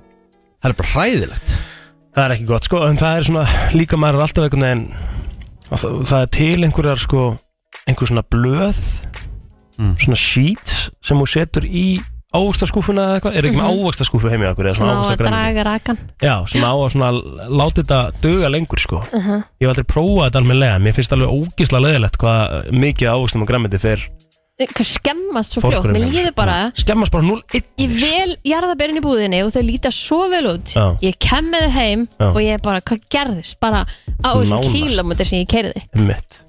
[SPEAKER 2] Það er bara hræðilegt
[SPEAKER 4] það er ekki gott sko en það er svona, líka maður er alltaf einhvern veginn að það, það er til einhverjar sko einhver svona blöð svona sheets sem hún setur í ávastaskúfuna eða eitthvað, er ekki með ávastaskúfu heim í okkur eða
[SPEAKER 3] sem á Mhm.
[SPEAKER 4] svona
[SPEAKER 3] að
[SPEAKER 4] ávastagrænmeti?
[SPEAKER 3] draga rakan
[SPEAKER 4] Já, sem á að svona láta þetta döga lengur sko
[SPEAKER 3] Uh-huh.
[SPEAKER 4] Ég hef aldrei prófað þetta almennilega Mér finnst alveg ógislega leðilegt hvað mikið ávöxtum og græmiti fyrir
[SPEAKER 3] Hvað skemmast svo fljótt Mér
[SPEAKER 2] hérna.
[SPEAKER 3] líður bara
[SPEAKER 4] Skemmast bara 0-1
[SPEAKER 3] Ég vel jarðaberin í búðinni og þau líta svo vel út
[SPEAKER 4] Já.
[SPEAKER 3] Ég kem með þau heim
[SPEAKER 4] Já.
[SPEAKER 3] og ég bara, hvað gerðist? Bara á þessum
[SPEAKER 4] Nánast.
[SPEAKER 3] kílómetri sem ég keiriði
[SPEAKER 4] Mitt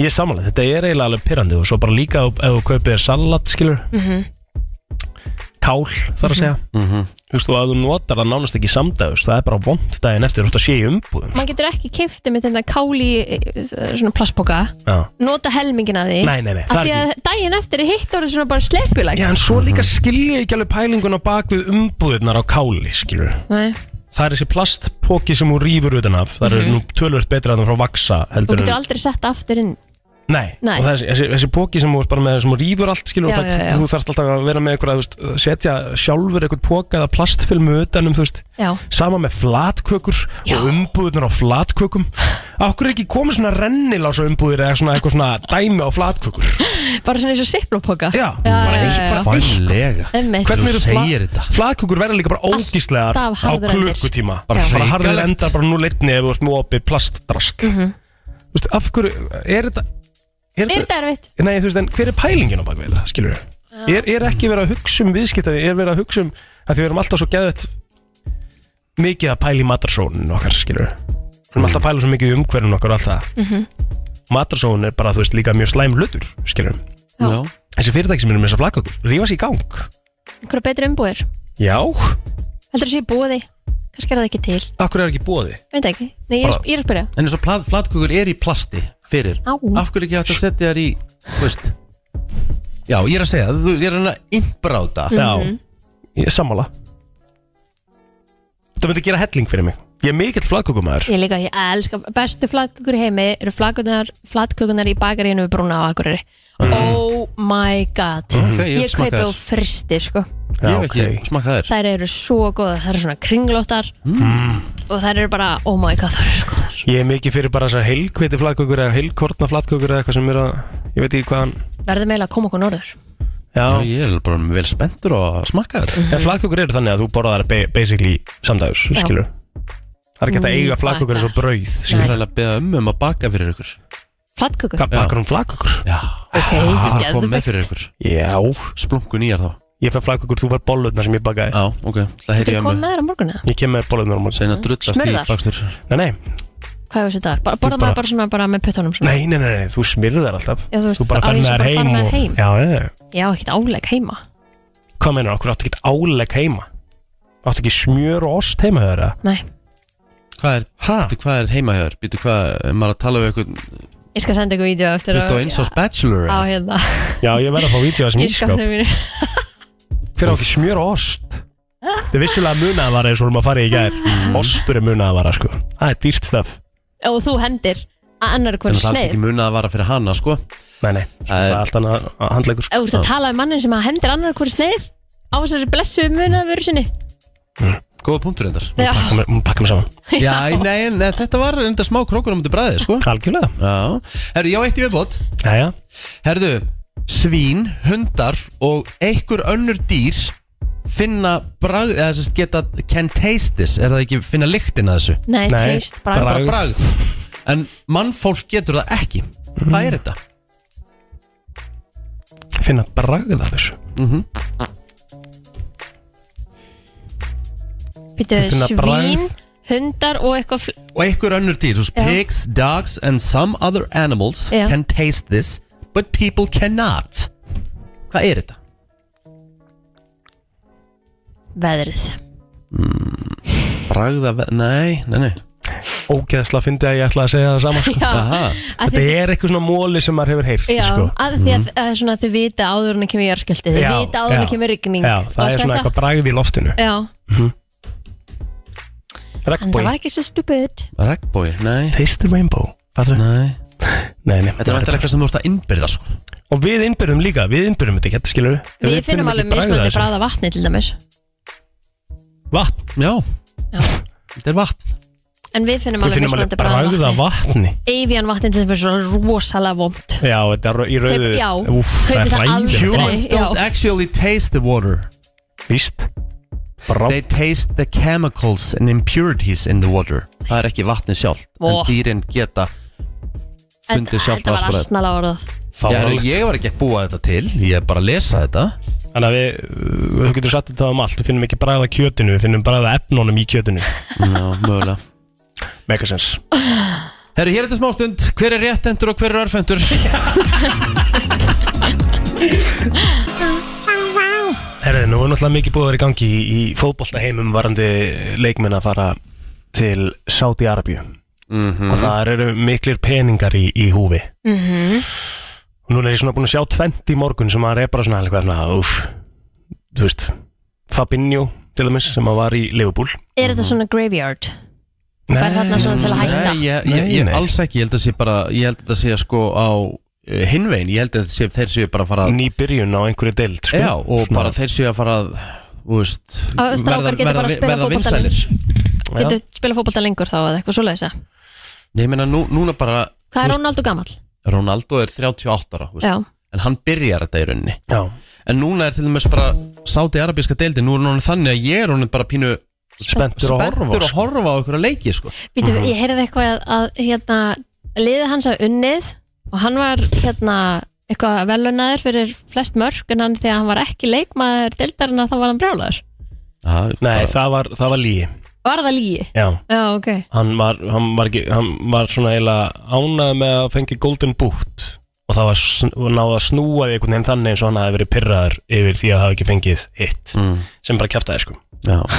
[SPEAKER 4] Ég er samanlega, þetta er eiginlega alveg pyrrandi og svo bara líka ef ef þú kaupir salat, skilur
[SPEAKER 3] Uh-huh.
[SPEAKER 4] Kál, þarf að segja Þú veist, og ef þú notar það nánast ekki samdæðus það er bara vond daginn eftir, þú veist að sé í umbúðum
[SPEAKER 3] Maður getur ekki keftið með þetta káli svona plastboka
[SPEAKER 4] Já.
[SPEAKER 3] nota helmingin að því
[SPEAKER 4] Nei, nei, nei,
[SPEAKER 3] Af
[SPEAKER 4] það er
[SPEAKER 3] því að daginn eftir er hitt orðið svona bara slepjulegt
[SPEAKER 4] Já, en svo líka skilja ég ekki alveg pælingun á bak við umbúðunar á káli, skilur
[SPEAKER 3] Nei.
[SPEAKER 4] það er þessi plastpóki sem hún rýfur utan af það er nú tölvöld betra en það frá vaksa
[SPEAKER 3] Mhm. Þú
[SPEAKER 4] heldur
[SPEAKER 3] getur
[SPEAKER 4] en,
[SPEAKER 3] aldrei sett aftur inn
[SPEAKER 4] nei,
[SPEAKER 3] Nei.
[SPEAKER 4] og þessi, þessi, þessi póki sem hún bara með sem hún rýfur allt
[SPEAKER 3] Já,
[SPEAKER 4] skilur og það,
[SPEAKER 3] já, já.
[SPEAKER 4] þú þarfst alltaf að vera með eitthvað þú veist, setja sjálfur eitthvað póka eða plastfilmu utan um þú veist
[SPEAKER 3] Já,
[SPEAKER 4] sama með flatkökur og umbúðunar á flatkökum okkur er ekki komið svona rennilása umbúðir eða svona eitthvað svona dæmi á flatkökur
[SPEAKER 3] bara svona eins og siplopoka
[SPEAKER 4] já,
[SPEAKER 3] já, já, já.
[SPEAKER 2] Bara Fælega
[SPEAKER 3] Einmitt.
[SPEAKER 4] hvernig eru fla
[SPEAKER 2] segir þetta?
[SPEAKER 4] flatkökur verða líka bara ógíslegar á
[SPEAKER 3] Alltaf harður endir.
[SPEAKER 4] klukkutíma
[SPEAKER 2] Bara
[SPEAKER 4] bara,
[SPEAKER 2] hrikalegt.
[SPEAKER 4] bara harður endar bara nú leitni ef þú ert með opið plastdrasl mm veist, af hverju er þetta er
[SPEAKER 3] Er
[SPEAKER 4] þetta
[SPEAKER 3] þetta erfitt?
[SPEAKER 4] nei, þú veist, en hver er pælingin á bak við það, skilur við er, er ekki verið að hugsa um viðskiptaði er verið að hugsa um að því við erum alltaf svo geðvett mikið að pæla í matarsónin okkar, skilur við við erum alltaf að pæla svo mikið um hverjum okkar og allt það mm matarsónin er bara, þú veist, líka mjög slæm hlutur, skilur við
[SPEAKER 2] Já
[SPEAKER 4] þessi fyrirtæki sem eru með þess að flaka okkur, rífa sér í gang
[SPEAKER 3] Einhverja betri umbúðir?
[SPEAKER 4] já,
[SPEAKER 3] Heldur þessi í búði? Kannski er það ekki til
[SPEAKER 4] Akkur er ekki bóði?
[SPEAKER 3] Veit það ekki Nei, ég, er-
[SPEAKER 4] Bara-
[SPEAKER 3] ég er að spyrja
[SPEAKER 2] En eins og plat- flatkökur er í plasti fyrir
[SPEAKER 3] Á.
[SPEAKER 2] Af hverju ekki hægt að setja þær í Þú veist Já, ég er að segja, þú ég er hann að innbráta
[SPEAKER 4] Mm. Já Mhm. Ég er sammála Þetta myndi gera helling fyrir mig Ég er mikill flagkökumæður
[SPEAKER 3] Ég líka, ég elska Bestu flatkökur í heimi eru flatkökunar, flatkökunar í bakaríinu við brúna á akkurri
[SPEAKER 4] Mm.
[SPEAKER 3] Oh my god
[SPEAKER 2] Ok, ég
[SPEAKER 3] Ég kaupi
[SPEAKER 2] smakka
[SPEAKER 3] og
[SPEAKER 2] þær.
[SPEAKER 3] fristi, sko
[SPEAKER 2] Ég hef ekki smakað þér
[SPEAKER 3] Þær eru svo góða, þær eru svona kringlóttar
[SPEAKER 4] Mm.
[SPEAKER 3] Og þær eru bara, oh my god, þær eru svo góðar
[SPEAKER 4] Ég er mikið fyrir bara þessar heilkviti flagkökur eða heilkortna flagkökur eða eitthvað sem er að Ég veit ekki hvað hann
[SPEAKER 3] Verðum eiginlega að koma okkur norður
[SPEAKER 2] Já,
[SPEAKER 4] Já
[SPEAKER 2] ég er bara vel spenntur og að smaka þér
[SPEAKER 4] En flagkökur eru þannig að þú borðar þær ba- basically samdægurs,
[SPEAKER 3] Já.
[SPEAKER 4] skilur Það er ekki hægt að
[SPEAKER 3] Ný
[SPEAKER 4] eiga flagkökur eins og brauð
[SPEAKER 2] Ég
[SPEAKER 4] skilur.
[SPEAKER 2] er að beða um um að baka fyrir ykkur
[SPEAKER 3] Flatkökur?
[SPEAKER 4] Hvað bakar hún flagkökur?
[SPEAKER 2] Já,
[SPEAKER 3] Ok,
[SPEAKER 2] það
[SPEAKER 4] Ah,
[SPEAKER 2] kom með
[SPEAKER 3] geðveikt.
[SPEAKER 2] fyrir ykkur
[SPEAKER 4] Já
[SPEAKER 2] Splunkun í þar þá
[SPEAKER 4] Ég fær flagkökur, þú fær bollutnar sem ég bakaði
[SPEAKER 2] Já, ok, það heyri
[SPEAKER 3] Þú
[SPEAKER 2] ég að
[SPEAKER 3] kom
[SPEAKER 2] mig
[SPEAKER 3] með þér á morgunu?
[SPEAKER 4] Ég kem með bollutnar á morgun
[SPEAKER 2] Segna drullast í
[SPEAKER 3] Smurðar?
[SPEAKER 2] bakstur
[SPEAKER 4] Nei, nei
[SPEAKER 3] hvað hefur þessi dag? Bara, borða
[SPEAKER 4] bara-
[SPEAKER 3] maður bara svona bara með puttunum svona?
[SPEAKER 4] Nei, nei, nei, nei, þú smyrðu þær alltaf
[SPEAKER 3] Já, þú veist,
[SPEAKER 4] bara
[SPEAKER 3] á
[SPEAKER 4] ferð
[SPEAKER 3] ég
[SPEAKER 4] með
[SPEAKER 3] svo
[SPEAKER 4] þær
[SPEAKER 3] bara
[SPEAKER 4] heim,
[SPEAKER 3] fara með
[SPEAKER 4] og,
[SPEAKER 3] heim?
[SPEAKER 4] Já, já, já.
[SPEAKER 3] Ég á ekkert áleg heima
[SPEAKER 4] Hvað meinar, okkur áttu ekki áleg heima? Áttu ekki smjör og ost heima hjá þér? eða?
[SPEAKER 3] Nei,
[SPEAKER 2] Hvað er, bíddu, hvað er heima hjá þér? Býtu hvað, er maður að tala við eitthvað
[SPEAKER 3] ég skal senda ykkur vídeo eftir
[SPEAKER 2] 21 árs bachelor
[SPEAKER 3] á
[SPEAKER 2] eða?
[SPEAKER 3] hérna
[SPEAKER 4] Já, ég verð að fá vítja þessum
[SPEAKER 3] í
[SPEAKER 4] ískap
[SPEAKER 3] skapnum mínu
[SPEAKER 4] Hver á ekki smjör og ost? Þetta er vissulega munaðvara eins og við erum að fara í
[SPEAKER 3] Mm.
[SPEAKER 4] gær Ostur er munaðvara, sko Það er dýrt stöf
[SPEAKER 3] og þú hendir að annar hvern
[SPEAKER 2] Þannig að alls
[SPEAKER 3] sneið
[SPEAKER 2] ekki muna að vara fyrir hana sko
[SPEAKER 4] Nei, nei, svo
[SPEAKER 2] Það er-
[SPEAKER 4] það er allt annað sko. að handlegur
[SPEAKER 3] Ef þú ert að tala um mannin sem að hendir annar hvern sneið á þessari blessu munavöru sinni
[SPEAKER 2] Góða punktur endar
[SPEAKER 3] Já,
[SPEAKER 4] Hún pakka mig saman
[SPEAKER 2] Já, nei, nei, þetta var enda smá krókur á múti bræði sko
[SPEAKER 4] Algjörlega
[SPEAKER 2] Já, herru, já, eitt í viðbót
[SPEAKER 4] Jæja
[SPEAKER 2] Herðu, svín, hundar og einhver önnur dýr finna bragð, eða sérst geta can taste this, er það ekki finna lyktin að þessu?
[SPEAKER 3] ah, nei,
[SPEAKER 4] Nei,
[SPEAKER 3] teist, bara
[SPEAKER 2] Bara
[SPEAKER 4] Bragð.
[SPEAKER 2] bragð En mannfólk getur það ekki Hvað er þetta?
[SPEAKER 4] Finna bragð af þessu
[SPEAKER 3] býtu
[SPEAKER 4] finna
[SPEAKER 3] svín, hundar og eitthvað fl-
[SPEAKER 2] Og einhver önnur dýr, þú veist,
[SPEAKER 3] Já.
[SPEAKER 2] pigs, dogs and some other animals
[SPEAKER 3] Já.
[SPEAKER 2] can taste this but people cannot Hvað er þetta?
[SPEAKER 3] veðrið
[SPEAKER 2] Bragða, nei, nei, nei
[SPEAKER 4] Ógeðsla fyndi að ég ætla að segja það sama sko.
[SPEAKER 2] Aha,
[SPEAKER 3] Að
[SPEAKER 4] Þetta
[SPEAKER 3] því-
[SPEAKER 4] er eitthvað svona móli sem maður hefur heyrt
[SPEAKER 3] Já,
[SPEAKER 4] sko.
[SPEAKER 3] að því að, að svona, þau vita áður en að kemur jarðskjöldi þau
[SPEAKER 4] Já,
[SPEAKER 3] vita áður en að
[SPEAKER 4] já.
[SPEAKER 3] kemur rigning
[SPEAKER 4] Já,
[SPEAKER 3] og
[SPEAKER 4] það
[SPEAKER 3] allt
[SPEAKER 4] er svona
[SPEAKER 3] þetta.
[SPEAKER 4] eitthvað bragð í loftinu
[SPEAKER 3] Já, en það
[SPEAKER 4] Regnbói,
[SPEAKER 3] var ekki svo stupid
[SPEAKER 2] regnbói, nei,
[SPEAKER 4] taste the rainbow Fattur?
[SPEAKER 2] nei
[SPEAKER 4] Nei, nei,
[SPEAKER 2] Þetta er vantar eitthvað sem þú ert að innbyrða, sko
[SPEAKER 4] Og við innbyrjum líka, við innbyrjum þetta ekki, skilur við
[SPEAKER 3] Við, finnum alveg mismunandi bráða vatni til dæmis
[SPEAKER 4] Vatn,
[SPEAKER 2] Já,
[SPEAKER 3] Já.
[SPEAKER 2] þetta er vatn
[SPEAKER 3] En við finnum
[SPEAKER 4] við
[SPEAKER 3] alveg
[SPEAKER 4] finnum alveg
[SPEAKER 3] mismunandi bráða
[SPEAKER 4] bragða
[SPEAKER 3] vatni
[SPEAKER 4] vatni
[SPEAKER 3] Evian vatni til dæmis er svona rosalega vond
[SPEAKER 4] Já, þetta er í
[SPEAKER 3] Kaup-
[SPEAKER 4] rauðu
[SPEAKER 3] já,
[SPEAKER 4] Úff, það
[SPEAKER 3] kaupi
[SPEAKER 4] er
[SPEAKER 3] það
[SPEAKER 4] hræðilegt
[SPEAKER 3] aldrei.
[SPEAKER 2] Humans
[SPEAKER 3] já.
[SPEAKER 2] don't actually taste the water
[SPEAKER 4] Víst Brá,
[SPEAKER 2] They taste the chemicals and impurities in the water Það er ekki vatni sjálft
[SPEAKER 3] Ó.
[SPEAKER 2] En dýrin geta fundið sjálft
[SPEAKER 3] Þetta var
[SPEAKER 2] vatnsbræð
[SPEAKER 3] astnala orðað
[SPEAKER 2] Ég,
[SPEAKER 4] fáránlegt
[SPEAKER 2] ég var ekki að búa þetta til, ég er bara að lesa þetta
[SPEAKER 4] Þannig að við, uh, þú getur satt þetta um allt Við finnum ekki bragða kjötinu, við finnum bragða efnunum í kjötinu
[SPEAKER 2] Já, mögulega
[SPEAKER 4] Megasens
[SPEAKER 2] Herru, hér er þetta smástund, hver er réttendur og hver er örfendur?
[SPEAKER 4] Herðið, nú er náttúrulega mikið búið að vera í gangi í, í fótbolta heimum varandi leikmenn að fara til Saudi Arabíu
[SPEAKER 2] Mhm.
[SPEAKER 4] og það eru miklir peningar í, í húfi
[SPEAKER 3] Mhm.
[SPEAKER 4] og núna er ég svona búin að sjá tvent í morgun sem maður er bara svona eitthvað svona, uff, þú veist Fabinho til dæmis sem að var í Liverpool
[SPEAKER 3] Er þetta svona graveyard? Fær þarna svona til að
[SPEAKER 2] Nei,
[SPEAKER 3] hætta?
[SPEAKER 2] ég, ég,
[SPEAKER 4] Mm. Nei,
[SPEAKER 2] ég,
[SPEAKER 4] nei.
[SPEAKER 2] alls ekki, ég held að sé bara Ég held að þetta sé sko á eh, hinn veginn Ég held að þetta sé, þeir séu bara að fara að
[SPEAKER 4] ný byrjun á einhverju deild sko.
[SPEAKER 2] Já, og
[SPEAKER 4] Svona-
[SPEAKER 2] bara þeir séu að fara að Þú veist,
[SPEAKER 3] Að strákar geti bara að spila fótbolta
[SPEAKER 2] vinsælir
[SPEAKER 4] Já.
[SPEAKER 3] Getur spila fótbolta lengur þá eða eitthvað svoleiðis eða?
[SPEAKER 2] Ég meina nú, núna bara
[SPEAKER 3] Hvað
[SPEAKER 2] þú
[SPEAKER 3] er
[SPEAKER 2] veist,
[SPEAKER 3] Ronaldo gamall?
[SPEAKER 2] Ronaldo er 38 ára þú veist,
[SPEAKER 3] Já,
[SPEAKER 2] En hann byrjar þetta í rauninni
[SPEAKER 4] Já.
[SPEAKER 2] En núna er til dæmis bara Sáti arabíska deildi Nú er hann orðinn þannig að ég er honum bara pínu
[SPEAKER 4] spenntur að horfa
[SPEAKER 2] Spenntur að
[SPEAKER 4] sko.
[SPEAKER 2] horfa á okkur að leiki sko.
[SPEAKER 3] Býtu,
[SPEAKER 4] Mhm.
[SPEAKER 3] ég heyrði eitthvað að, að hérna, liðið hans að unnið og hann var hérna eitthvað velunaður fyrir flest mörg en hann þegar hann var ekki leikmaður deildarinn þá var hann brjálaður.
[SPEAKER 2] Aha,
[SPEAKER 4] Nei,
[SPEAKER 2] bara-
[SPEAKER 4] það var, það var lígi
[SPEAKER 3] Var það lígi?
[SPEAKER 4] Já
[SPEAKER 3] Já, ok.
[SPEAKER 4] hann var, hann var, ekki, hann var svona eiginlega ánað með að fengi golden boot og það var sn- og náði að snúa því einhvern veginn þannig eins og hann hafi verið pyrraður yfir því að hafa ekki fengið hitt
[SPEAKER 2] Mm.
[SPEAKER 4] sem bara kjæftaði sko
[SPEAKER 2] Já,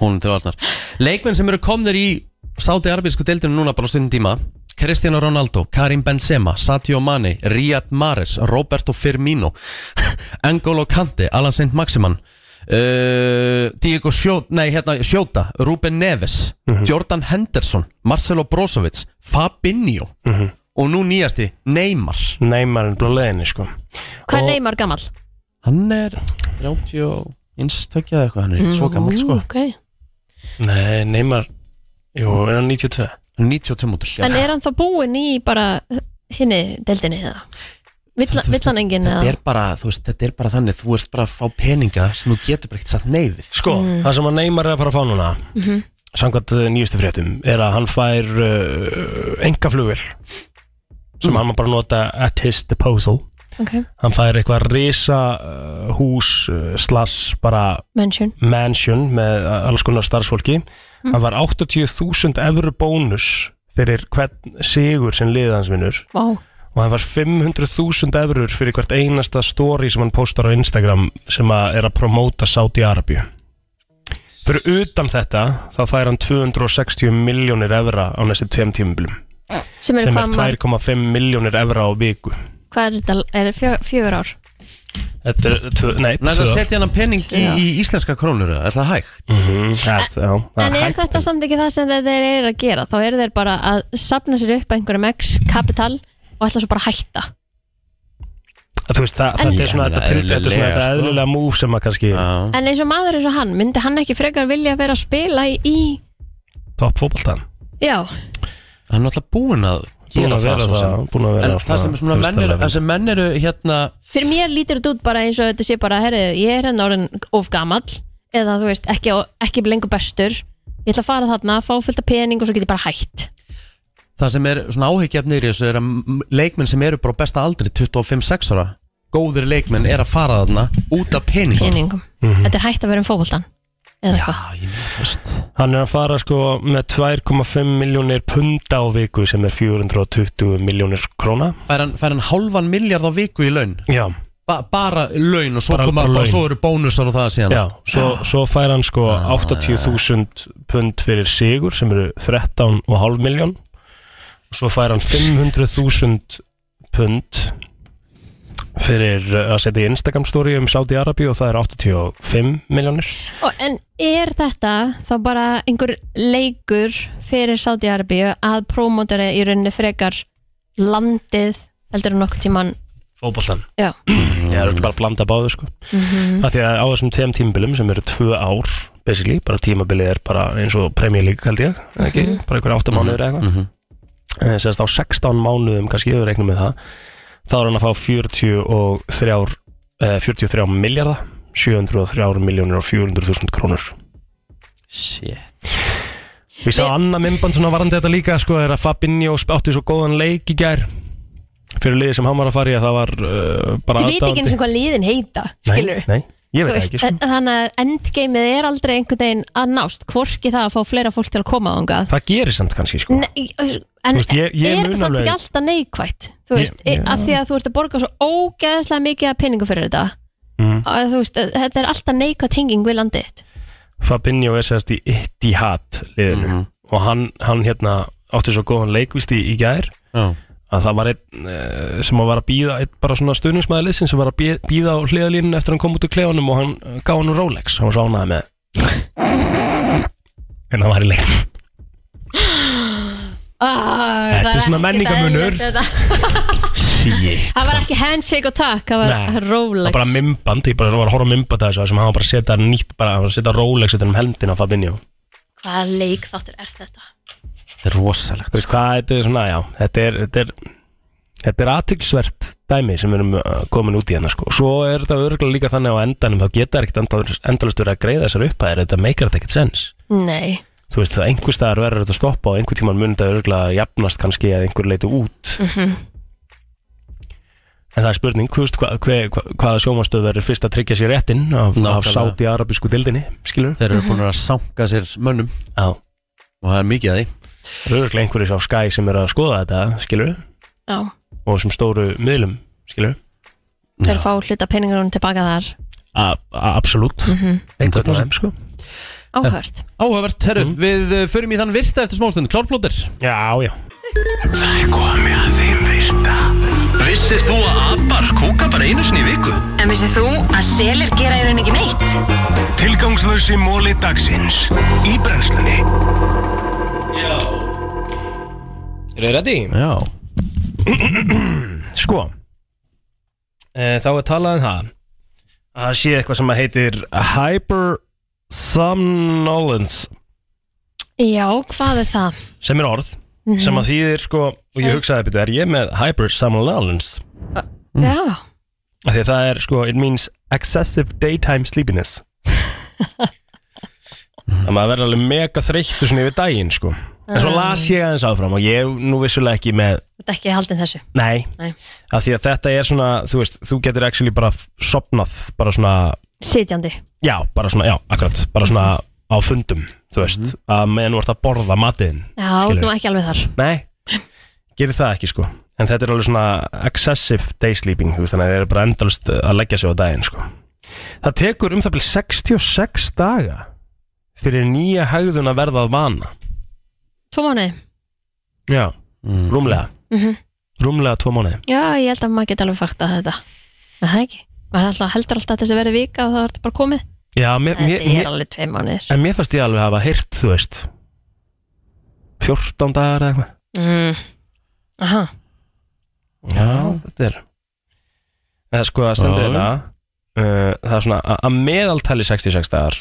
[SPEAKER 2] honum til varnar Leikmenn sem eru komnir í Sáti arabísku deildinu núna bara á stundin tíma Cristiano Ronaldo, Karim Benzema, Sadio Mane Riyad Mahrez, Roberto Firmino Angolo Kante, Alan Saint Maximan uh, Diego Sjóta, nei hérna Sjóta Ruben Neves, Jordan Henderson Marcelo Brozovic, Fabinho og nú nýjasti Neymar
[SPEAKER 4] Neymar en blá leðinni sko
[SPEAKER 3] Hvað er
[SPEAKER 4] Og-
[SPEAKER 3] Neymar gamall?
[SPEAKER 2] Hann er 30 og innstökjað eitthvað, hann er mm. svo gammal sko
[SPEAKER 3] Ú, ok.
[SPEAKER 4] Nei, Neymar, jú, er hann 92
[SPEAKER 2] 92 mútur
[SPEAKER 3] En er hann þá búinn í bara hinni deildinni eða? Vill
[SPEAKER 2] Þú- þú
[SPEAKER 3] vill
[SPEAKER 2] veist,
[SPEAKER 3] hann enginn
[SPEAKER 2] þetta
[SPEAKER 3] eða?
[SPEAKER 2] er, bara, þú veist, þetta er bara þannig þú ert bara að fá peninga sem þú getur bara ekkert satt neyfið
[SPEAKER 4] Sko, það sem að Neymar er að fara að fá núna samkvæmt uh, nýjustu fréttum er að hann fær uh, enga flugil sem hann má bara nota at his disposal
[SPEAKER 3] Ok,
[SPEAKER 4] hann fær eitthvað risa uh, hús uh, slass bara
[SPEAKER 3] mention.
[SPEAKER 4] mansion með uh, alls konar starfsfólki hann var 80.000 eurur bónus fyrir hvern sigur sem liðansvinnur
[SPEAKER 3] Vá.
[SPEAKER 4] og hann var 500.000 eurur fyrir hvert einasta story sem hann postar á Instagram sem að er að promóta Saudi Arabíu fyrir utan þetta þá fær hann 260 miljónir evra á næstu tveim tímubilum
[SPEAKER 3] Sem eru
[SPEAKER 4] sem
[SPEAKER 3] hvað
[SPEAKER 4] er
[SPEAKER 3] marg-
[SPEAKER 4] 2,5 miljónir evra á viku
[SPEAKER 3] Hvað er þetta? Er fjö, fjögur ár?
[SPEAKER 4] Þetta er, tvö, nei,
[SPEAKER 2] Nær það
[SPEAKER 4] tvö
[SPEAKER 2] að
[SPEAKER 4] ár.
[SPEAKER 2] setja hann pening í, í íslenska krónur eða? Er það hægt?
[SPEAKER 4] Mhm, það er- já, það
[SPEAKER 3] En er
[SPEAKER 4] hægt.
[SPEAKER 3] þetta samt ekki það sem þeir eru að gera? Þá eru þeir bara að safna sér upp einhverjum x-kapital og ætla svo bara að hætta
[SPEAKER 4] Þú veist, það,
[SPEAKER 3] En-
[SPEAKER 4] þetta er svona
[SPEAKER 2] Já,
[SPEAKER 4] þetta,
[SPEAKER 2] meina,
[SPEAKER 4] til- þetta er svona
[SPEAKER 2] eðlilega,
[SPEAKER 4] þetta
[SPEAKER 2] sko.
[SPEAKER 4] eðlilega múf sem að kannski
[SPEAKER 3] En eins og maður eins og hann, myndi hann ekki frekar vilja vera að spila í, í
[SPEAKER 4] topp fótboltan
[SPEAKER 3] já,
[SPEAKER 2] Hann er alltaf búinn að
[SPEAKER 4] Búin
[SPEAKER 2] gera það
[SPEAKER 4] að vera
[SPEAKER 2] svo
[SPEAKER 4] það,
[SPEAKER 2] sem
[SPEAKER 4] búin að vera
[SPEAKER 2] En það sem svona menn eru, það sem menn eru hérna
[SPEAKER 3] fyrir mér lítur þetta út bara eins og þetta sé bara, herru, ég er henni orðin of gamall, eða þú veist, ekki, ekki lengur bestur, ég ætla að fara þarna fá fullt af pening og svo get ég bara hætt
[SPEAKER 2] það sem er svona áhyggjafnir í þessu er að m- leikmenn sem eru bara á besta aldri 25-6 ára, góðir leikmenn er að fara þarna út af pening
[SPEAKER 3] peningum, þetta er hætt að vera um fótboltan eða eitthvað,
[SPEAKER 2] Já, ég meina fyrst
[SPEAKER 4] Hann er að fara sko með 2,5 miljónir punda á viku sem er 420 miljónir króna
[SPEAKER 2] Fær hann, fær hann hálfan miljard á viku í laun
[SPEAKER 4] Já,
[SPEAKER 2] ba bara laun og svo,
[SPEAKER 4] Bara-
[SPEAKER 2] bara,
[SPEAKER 4] bara
[SPEAKER 2] bara,
[SPEAKER 4] laun.
[SPEAKER 2] svo eru bónusar og það síðan
[SPEAKER 4] já, svo, svo fær hann sko
[SPEAKER 2] Ah.
[SPEAKER 4] 80.000 pund fyrir sigur sem eru 13,5 miljón og svo fær hann 500.000 pund fyrir uh, að setja í Instagram story um Saudi Arabi og það er 85 miljónir
[SPEAKER 3] og, en er þetta þá bara einhver leikur fyrir Saudi Arabíu að prómótari í rauninni frekar landið, heldur en nokkuð tíman
[SPEAKER 4] Fótboltan
[SPEAKER 3] Já.
[SPEAKER 4] Það er bara að blanda báðu sko Af því að á þessum tveim tímabilum sem eru tvö ár basically, bara tímabilið er bara eins og Premier League held ég, eða ekki, bara einhverja átta mánuður eða eitthvað mm -hmm. sérst á 16 mánuðum kannski, ef við reiknum með það þá er hann að fá 43 eh, 43 miljardar 703 miljónir og 400.000 krónur
[SPEAKER 2] Shit
[SPEAKER 4] Við sá annað mymband svona varandi þetta líka sko, er að Fabinho átti svo góðan leik í gær fyrir liðið sem hann var að fara í að það var uh, bara
[SPEAKER 3] Þið veit ekki eins og hvað liðin heita, skilur
[SPEAKER 4] Nei, nei ég veit það ekki sko.
[SPEAKER 3] Þannig að endgameið er aldrei einhvern veginn að nást Hvorki það að fá fleira fólk til að koma ángað
[SPEAKER 4] Það gerir samt kannski sko.
[SPEAKER 3] Nei, En
[SPEAKER 4] Þú veist, ég- ég
[SPEAKER 3] er
[SPEAKER 4] mun
[SPEAKER 3] það samt
[SPEAKER 4] alveg-
[SPEAKER 3] ekki alltaf neikvætt Þú
[SPEAKER 4] Ég-
[SPEAKER 3] veist, ég,
[SPEAKER 4] ég-
[SPEAKER 3] af því að þú ert að borga svo ógeðslega mikið að peningu fyrir þetta
[SPEAKER 4] Mm.
[SPEAKER 3] að Þú veist, að þetta er alltaf neikvætt henging við landið
[SPEAKER 4] Fabinho er sérst í Ittihad liðinu og hann, hann hérna átti svo góðan leikvist í, í gær
[SPEAKER 2] Já.
[SPEAKER 4] að það var einn eh, sem að var að býða einn bara svona stuðnismæði liðsin sem var að býða á hliðalínu eftir að hann kom út úr klefanum og hann eh, gaf hann Rolex, hann var svo ánæði með en hann var í leik Þetta er svona menningarmunur. Shit
[SPEAKER 3] Það var ekki handshake og takk, það var
[SPEAKER 4] Það var bara
[SPEAKER 3] Rolex
[SPEAKER 4] mymband, ég bara var að horfa á mymband að þessu þar sem hann var bara að setja nýtt, bara hann var að setja Rolex utan um hendina á Fabinho
[SPEAKER 3] Hvaða leik þáttur er þetta?
[SPEAKER 2] Þetta er rosalegt
[SPEAKER 4] þú veist hvað, þetta er svona, já þetta er, þetta er, þetta er aðtilsvert dæmi sem við erum uh, komin út í hérna sko. svo er þetta örgulega líka þannig á endanum þá geta það ekkert endalust verið að greiða þessar upphæðir þetta meikar þetta ekkert sens
[SPEAKER 3] Nei,
[SPEAKER 4] þú veist það einhver staðar verður þetta að stoppa og einhver tíman mun þetta örgulega jafnast kannski eða einhver leitu út en það er spurning þú veist, hva, hva, hva, hvaða sjómanstöð verður fyrst að tryggja sér réttinn af, af
[SPEAKER 2] Nákvæmlega.
[SPEAKER 4] sáti arabísku dildinni skilur
[SPEAKER 2] Þeir eru búin að sanka sér mönnum
[SPEAKER 4] Já.
[SPEAKER 2] og það er mikið að því
[SPEAKER 4] Það eru örgulega einhverjir á Sky sem eru að skoða þetta skilur
[SPEAKER 3] já,
[SPEAKER 4] og þessum stóru miðlum skilur
[SPEAKER 3] þeir fá hluta peningunum tilbaka þar
[SPEAKER 4] Absolutt
[SPEAKER 2] Einhvern
[SPEAKER 4] Einhvern
[SPEAKER 2] veginn,
[SPEAKER 4] veginn sko
[SPEAKER 3] Áhverst
[SPEAKER 2] Áhugavert, herru, við uh, förum í þann virta eftir smástund Klárplóter
[SPEAKER 4] Já, já
[SPEAKER 2] Vissir þú að abar kúka bara einu sinni í viku?
[SPEAKER 7] En vissið þú að selir gera í raun ekki neitt?
[SPEAKER 10] Tilgangslösi móli dagsins Í brennslunni
[SPEAKER 4] Er þið ready?
[SPEAKER 2] Já
[SPEAKER 4] Sko e, Þá er talað um það að það sé eitthvað sem að heitir hypersomnolence
[SPEAKER 3] Já, hvað er það?
[SPEAKER 4] sem er orð sem að þýðir sko og ég hugsaði betur er ég með hypersomnolence Mm.
[SPEAKER 3] Já,
[SPEAKER 4] af því að það er sko it means excessive daytime sleepiness það maður verður alveg mega þreyttu svona yfir daginn sko en svo las ég aðeins áfram og ég er nú vissulega ekki með
[SPEAKER 3] þetta er ekki haldin þessu
[SPEAKER 4] Nei,
[SPEAKER 3] Nei.
[SPEAKER 4] af því að þetta er svona þú veist, þú getur actually bara f- sofnað bara svona,
[SPEAKER 3] Sitjandi
[SPEAKER 4] já, bara svona, já, akkurat bara svona á fundum þú veist, að meðan þú ert að borða matinn
[SPEAKER 3] Já,
[SPEAKER 4] skilurðu.
[SPEAKER 3] nú ekki alveg þar
[SPEAKER 4] Nei, gerir það ekki sko En þetta er alveg svona excessive day sleeping þú veist, Þannig að það er bara endalust að leggja sig á daginn sko. Það tekur um það byrja 66 daga Fyrir nýja hegðun að verða að vana
[SPEAKER 3] Tvo mánuði
[SPEAKER 4] Já, rúmlega
[SPEAKER 3] Mhm.
[SPEAKER 4] Rúmlega tvo mánuði
[SPEAKER 3] Já, ég held að maður geti alveg faktað þetta Er það ekki? Maður alltaf heldur alltaf að þessi verið vika og það ertu bara komið
[SPEAKER 4] Já, mér, mér,
[SPEAKER 3] Þetta er
[SPEAKER 4] mér,
[SPEAKER 3] alveg tvei mánuðir
[SPEAKER 4] En mér fannst ég alveg hafa heyrt, þú veist 14 dagar eða eitthvað
[SPEAKER 3] mm. Aha,
[SPEAKER 4] Já, þetta er Það er sko að stendur
[SPEAKER 2] Já.
[SPEAKER 4] þetta uh, Það er svona að- að meðaltali 66 dagar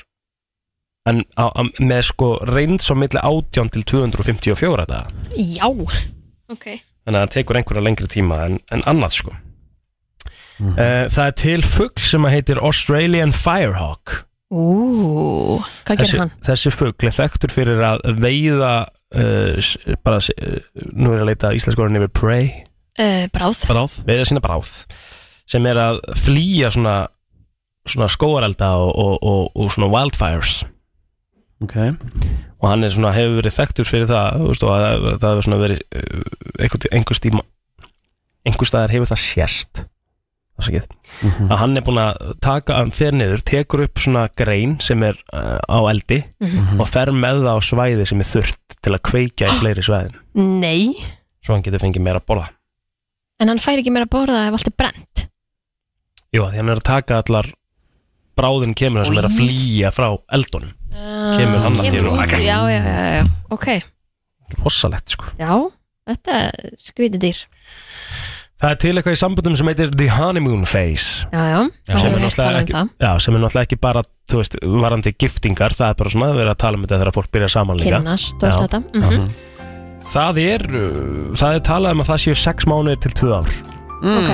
[SPEAKER 4] En á, á, með sko reynd svo milli 18 til 254 dagar
[SPEAKER 3] já Ok
[SPEAKER 4] Þannig að það tekur einhverja lengri tíma en, en annað sko uh, Það er til fugl sem að heitir Australian Firehawk
[SPEAKER 3] Ú, hvað gerir
[SPEAKER 4] þessi,
[SPEAKER 3] hann?
[SPEAKER 4] þessi fugl er þekktur fyrir að veiða uh, s- bara, s- uh, nú er ég að leita íslensku orðin yfir prey
[SPEAKER 3] Uh, bráð
[SPEAKER 4] bráð veiða sína bráð sem er að flýja svona, svona skóarelda og, og, og, og svona wildfires
[SPEAKER 2] okay.
[SPEAKER 4] og hann er svona, hefur verið þekktur fyrir það þú veist, og að, að það hefur svona verið uh, einhver, einhver stíma einhver staðar hefur það sérst mm að hann er búin að taka hann fer niður, tekur upp svona grein sem er uh, á eldi og fer með það á svæði sem er þurft til að kveikja í fleiri svæðin
[SPEAKER 3] Nei,
[SPEAKER 4] svo hann getur fengið meira að borða
[SPEAKER 3] en hann fær ekki meira að borða ef allt er brent
[SPEAKER 4] Jú, því hann er að taka allar bráðin kemur hann sem er að flýja frá eldunum Kemur hann allt í einu.
[SPEAKER 3] út, Já, já, já, já, ok
[SPEAKER 4] Rossalegt sko
[SPEAKER 3] Já, þetta er skrítið dýr
[SPEAKER 4] Það er til eitthvað í sambundum sem heitir The Honeymoon Phase
[SPEAKER 3] Já, já, um
[SPEAKER 4] Já, sem, er náttúrulega
[SPEAKER 3] ekki
[SPEAKER 4] ekki, já, sem er náttúrulega ekki bara þú veist, varandi giftingar, það er bara svona við erum að tala um þetta þegar fólk byrja saman líka
[SPEAKER 3] Kynnast og
[SPEAKER 4] Já.
[SPEAKER 3] þetta Mhm.
[SPEAKER 4] það er, uh, það er talað um að það séu 6 mánuðir til 2 ár
[SPEAKER 3] Ok,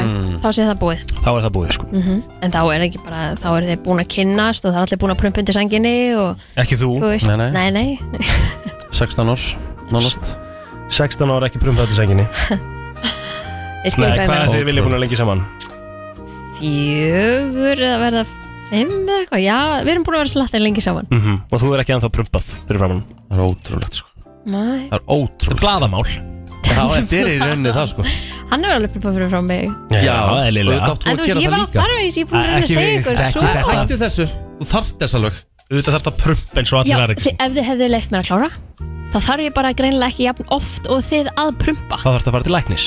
[SPEAKER 3] Þá sé það búið
[SPEAKER 4] Þá er það búið sko
[SPEAKER 3] Mhm. En þá er ekki bara, þá eru þeir búin að kynnast og það er allir búin að prumpa undir sanginni og
[SPEAKER 4] Ekki þú,
[SPEAKER 3] þú veist, nei, nei,
[SPEAKER 4] 16 ár, nánast 16 ár ekki prumfættu senginni
[SPEAKER 3] Ég skil hvað ég
[SPEAKER 4] hvað
[SPEAKER 3] meina.
[SPEAKER 4] er þið viljið búin að lengi saman?
[SPEAKER 3] Fjögur eða verða fimm eða eitthvað, já, við erum búin að vera slattin lengi saman
[SPEAKER 4] Mm Og þú er ekki ennþá prumpað fyrir framann Það er ótrúlegt sko
[SPEAKER 3] Nei,
[SPEAKER 4] Það er ótrúlegt Bladamál Já,
[SPEAKER 2] þetta er í rauninni það sko
[SPEAKER 3] hann er alveg prumpa fyrir frá mig
[SPEAKER 4] Já,
[SPEAKER 2] eðlilega.
[SPEAKER 4] eðlilega
[SPEAKER 3] En þú veist, ég var að fara í þessu, ég er búin að reyna að segja ykkur svo
[SPEAKER 2] Hættu þessu, þú þarft þess alveg
[SPEAKER 4] Þetta þarft að prumpa eins og
[SPEAKER 3] Já, þi- ef þið hefðu leift mér að klára þá þarf ég bara greinilega ekki jafn oft og þið að prumpa
[SPEAKER 4] Þá þarfst að fara til læknis